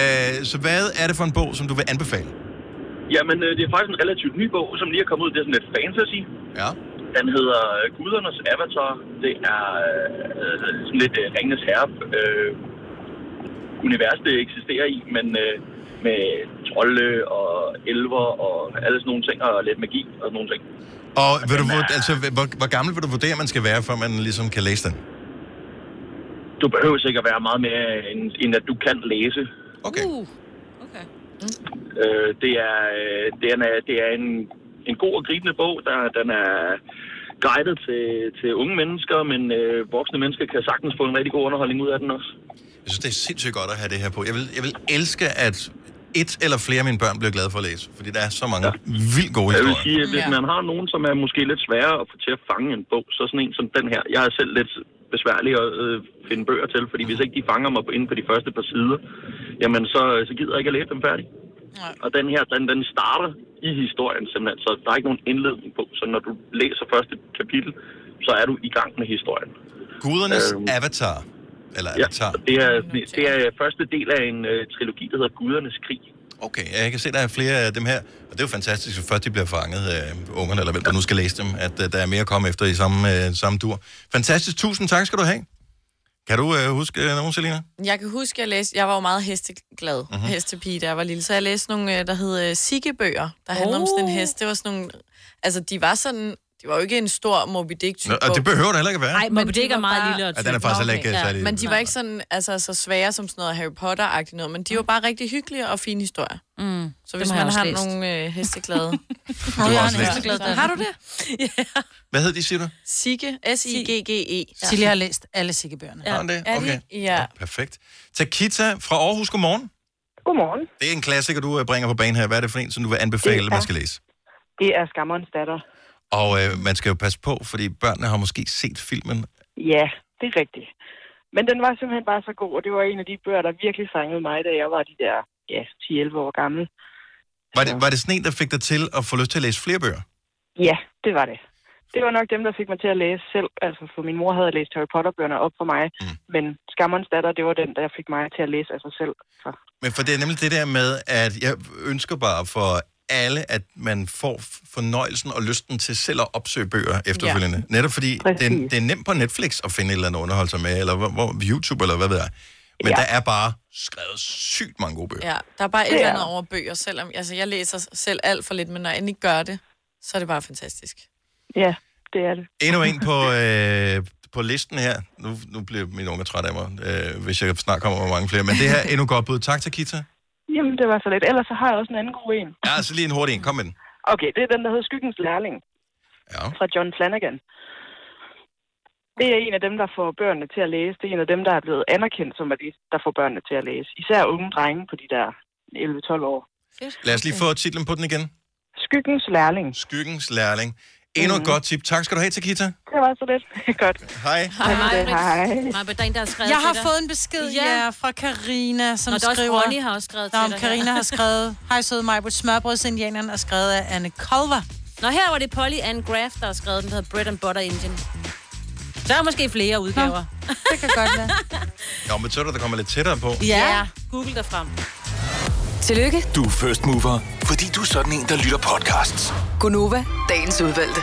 Speaker 1: have. Øh, så hvad er det for en bog, som du vil anbefale?
Speaker 17: Jamen, øh, det er faktisk en relativt ny bog, som lige er kommet ud. Det er sådan lidt fantasy.
Speaker 1: Ja.
Speaker 17: Den hedder øh, Gudernes Avatar. Det er øh, sådan lidt øh, Ringenes Herre øh, univers, det eksisterer i, men øh, med trolde og elver og alle sådan nogle ting, og lidt magi og sådan nogle ting.
Speaker 1: Og vil du, vurd- altså, hvor, hvor gammel vil du vurdere, man skal være, før man ligesom kan læse den?
Speaker 17: Du behøver sikkert være meget mere, end, end at du kan læse.
Speaker 1: Okay.
Speaker 17: Uh, okay. Øh, det, er, øh, det, er, en- det er en, en god og gribende bog, der den er guidet til, til unge mennesker, men øh, voksne mennesker kan sagtens få en rigtig god underholdning ud af den også.
Speaker 1: Jeg synes, det er sindssygt godt at have det her på. Jeg vil, jeg vil elske, at et eller flere af mine børn bliver glade for at læse, fordi der er så mange ja. vildt gode
Speaker 17: Jeg
Speaker 1: historier.
Speaker 17: vil sige, at hvis man har nogen, som er måske lidt sværere at få til at fange en bog, så sådan en som den her. Jeg er selv lidt besværlig at øh, finde bøger til, fordi hvis ikke de fanger mig på- inden på de første par sider, jamen så, øh, så gider jeg ikke at læse dem færdig.
Speaker 2: Nej.
Speaker 17: Og den her, den, den starter i historien simpelthen, så der er ikke nogen indledning på. Så når du læser første kapitel, så er du i gang med historien.
Speaker 1: Gudernes
Speaker 17: Øhm.
Speaker 1: øhm. Avatar. Eller
Speaker 17: Ja,
Speaker 1: Avatar.
Speaker 17: og det er, det- det er første del af en øh, trilogi, der hedder Gudernes Krig.
Speaker 1: Okay, ja, jeg kan se, der er flere af dem her. Og det er jo fantastisk, at først de bliver fanget af ungerne, eller hvem der nu skal læse dem, at øh, der er mere at komme efter i samme, øh, samme dur. Fantastisk. Tusind tak skal du have. Kan du øh, huske øh, nogen, Selina?
Speaker 2: Jeg kan huske, jeg læste, jeg var jo meget hesteglad,
Speaker 1: Mhm.
Speaker 2: mm-hmm. hestepige, da jeg var lille, så jeg læste nogle, øh, der hed øh, Sikkebøger, der handlede oh. om sådan en hest. Det var sådan nogle, altså de var sådan, det var jo ikke en stor Moby Dick
Speaker 1: Nå,
Speaker 2: type
Speaker 1: og det behøver det heller ikke være.
Speaker 4: Nej, Moby Dick er meget lille og
Speaker 1: Ja, den er faktisk heller ikke, øh, særlig-
Speaker 2: Men de var
Speaker 1: Nej.
Speaker 2: ikke sådan, altså så svære som sådan noget Harry Potter-agtigt noget, men de var bare rigtig hyggelige og fine historier. Så
Speaker 4: Mm. Dem
Speaker 2: hvis
Speaker 4: har jeg
Speaker 2: man
Speaker 4: også
Speaker 2: har
Speaker 4: læst.
Speaker 2: nogle øh, hesteglade...
Speaker 4: <laughs>
Speaker 1: Du har også læst.
Speaker 2: Har du det? <laughs>
Speaker 1: Hvad hed de, siger du?
Speaker 2: Sigge, S-I-G-G-E.
Speaker 3: Ja. Silje har læst alle sikkebøgerne.
Speaker 1: Har hun det?
Speaker 2: Er de
Speaker 1: Okay.
Speaker 2: ikke? E. Ja.
Speaker 1: Perfekt. Takita fra Aarhus, godmorgen.
Speaker 22: Godmorgen.
Speaker 1: Det er en klassiker, du øh, bringer på banen her. Hvad er det for en, som du vil anbefale, at man skal læse?
Speaker 22: Det er skammerens datter.
Speaker 1: Og øh, man skal jo passe på, fordi børnene har måske set filmen.
Speaker 22: Ja, det er rigtigt. Men den var simpelthen bare så god, og det var en af de bøger, der virkelig fangede mig, da jeg var de der ja, 10-11 år gammel.
Speaker 1: Var det, var det sådan en, der fik dig til at få lyst til at læse flere bøger?
Speaker 22: Ja, det var det. Det var nok dem, der fik mig til at læse selv. Altså, for min mor havde læst Harry Potter-bøgerne op for mig, mm. men Skammerens datter, det var den, der fik mig til at læse af sig selv. Så.
Speaker 1: Men for det er nemlig det der med, at jeg ønsker bare for alle, at man får fornøjelsen og lysten til selv at opsøge bøger efterfølgende. Ja. Netop fordi det, er- det er nemt på Netflix at finde et eller andet at underholde sig med, eller hvor, hvor, YouTube, eller hvad ved jeg. Men ja.
Speaker 2: Ja.
Speaker 1: der er bare skrevet sygt mange gode bøger.
Speaker 2: Ja, der er bare et
Speaker 1: Det
Speaker 2: eller
Speaker 1: er
Speaker 2: andet over bøger, selvom... Altså, jeg læser selv alt for lidt, men når jeg endelig gør det, så er det bare fantastisk.
Speaker 22: Ja, det er det.
Speaker 1: Endnu en
Speaker 2: <laughs>
Speaker 1: på, øh, på listen her. Nu, nu bliver min unge træt af mig, øh, hvis jeg snart kommer med mange flere. Men det her er endnu et godt bud. Tak til Kita.
Speaker 22: Jamen, det var så lidt. Ellers så har jeg også en anden god en.
Speaker 1: Ja, så lige en hurtig en. Kom med den.
Speaker 22: Okay, det er den, der hedder Skyggens Lærling.
Speaker 1: Ja.
Speaker 22: Fra John Flanagan. Det er en af dem, der får børnene til at læse. Det er en af dem, der er blevet anerkendt som er de, der får børnene til at læse. Især unge drenge på de der 11-12 år.
Speaker 1: Lad os lige få titlen på den igen.
Speaker 22: Skyggens Lærling. Mhm.
Speaker 1: Skyggens Lærling. Endnu et godt tip. Tak skal du have til Kita.
Speaker 22: Det var så lidt. <laughs> Godt.
Speaker 1: Hej.
Speaker 4: Hej,
Speaker 22: Hej.
Speaker 4: Maj, der er en, der har skrevet
Speaker 3: Jeg har
Speaker 4: til dig.
Speaker 3: fået en besked ja.
Speaker 4: Ja.
Speaker 3: Ja, fra Karina, som
Speaker 4: Nå, der er også
Speaker 3: skriver...
Speaker 4: Ronny har også skrevet
Speaker 3: Nå,
Speaker 4: til
Speaker 3: om
Speaker 4: dig her.
Speaker 3: Karina har skrevet... Hej søde Majbrit, smørbrødsindianeren er skrevet af Anne Kolver.
Speaker 4: Nå, her var det Polly Ann Graff, der har skrevet den, der hedder Bread and Butter Engine. Der er måske flere udgaver. Nå,
Speaker 3: det kan godt være.
Speaker 1: Jo, men så er der, der kommer lidt tættere på.
Speaker 4: ja. ja. Google dig frem.
Speaker 18: Tillykke,
Speaker 7: Du er first mover, fordi du er sådan en, der lytter podcasts.
Speaker 18: Gunova, dagens udvalgte.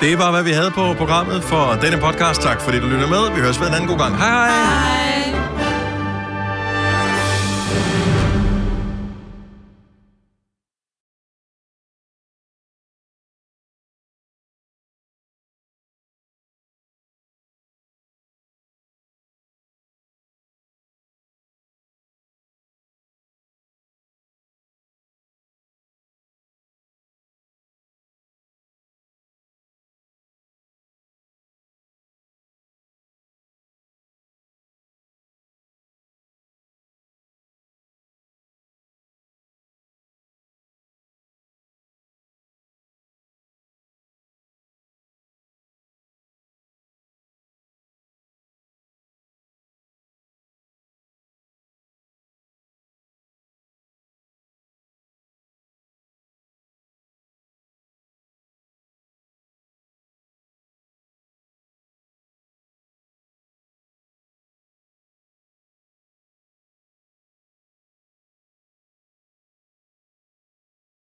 Speaker 1: Det er bare, hvad vi havde på programmet for denne podcast. Tak fordi du lytter med. Vi høres ved en anden god gang. Hej hej. hej.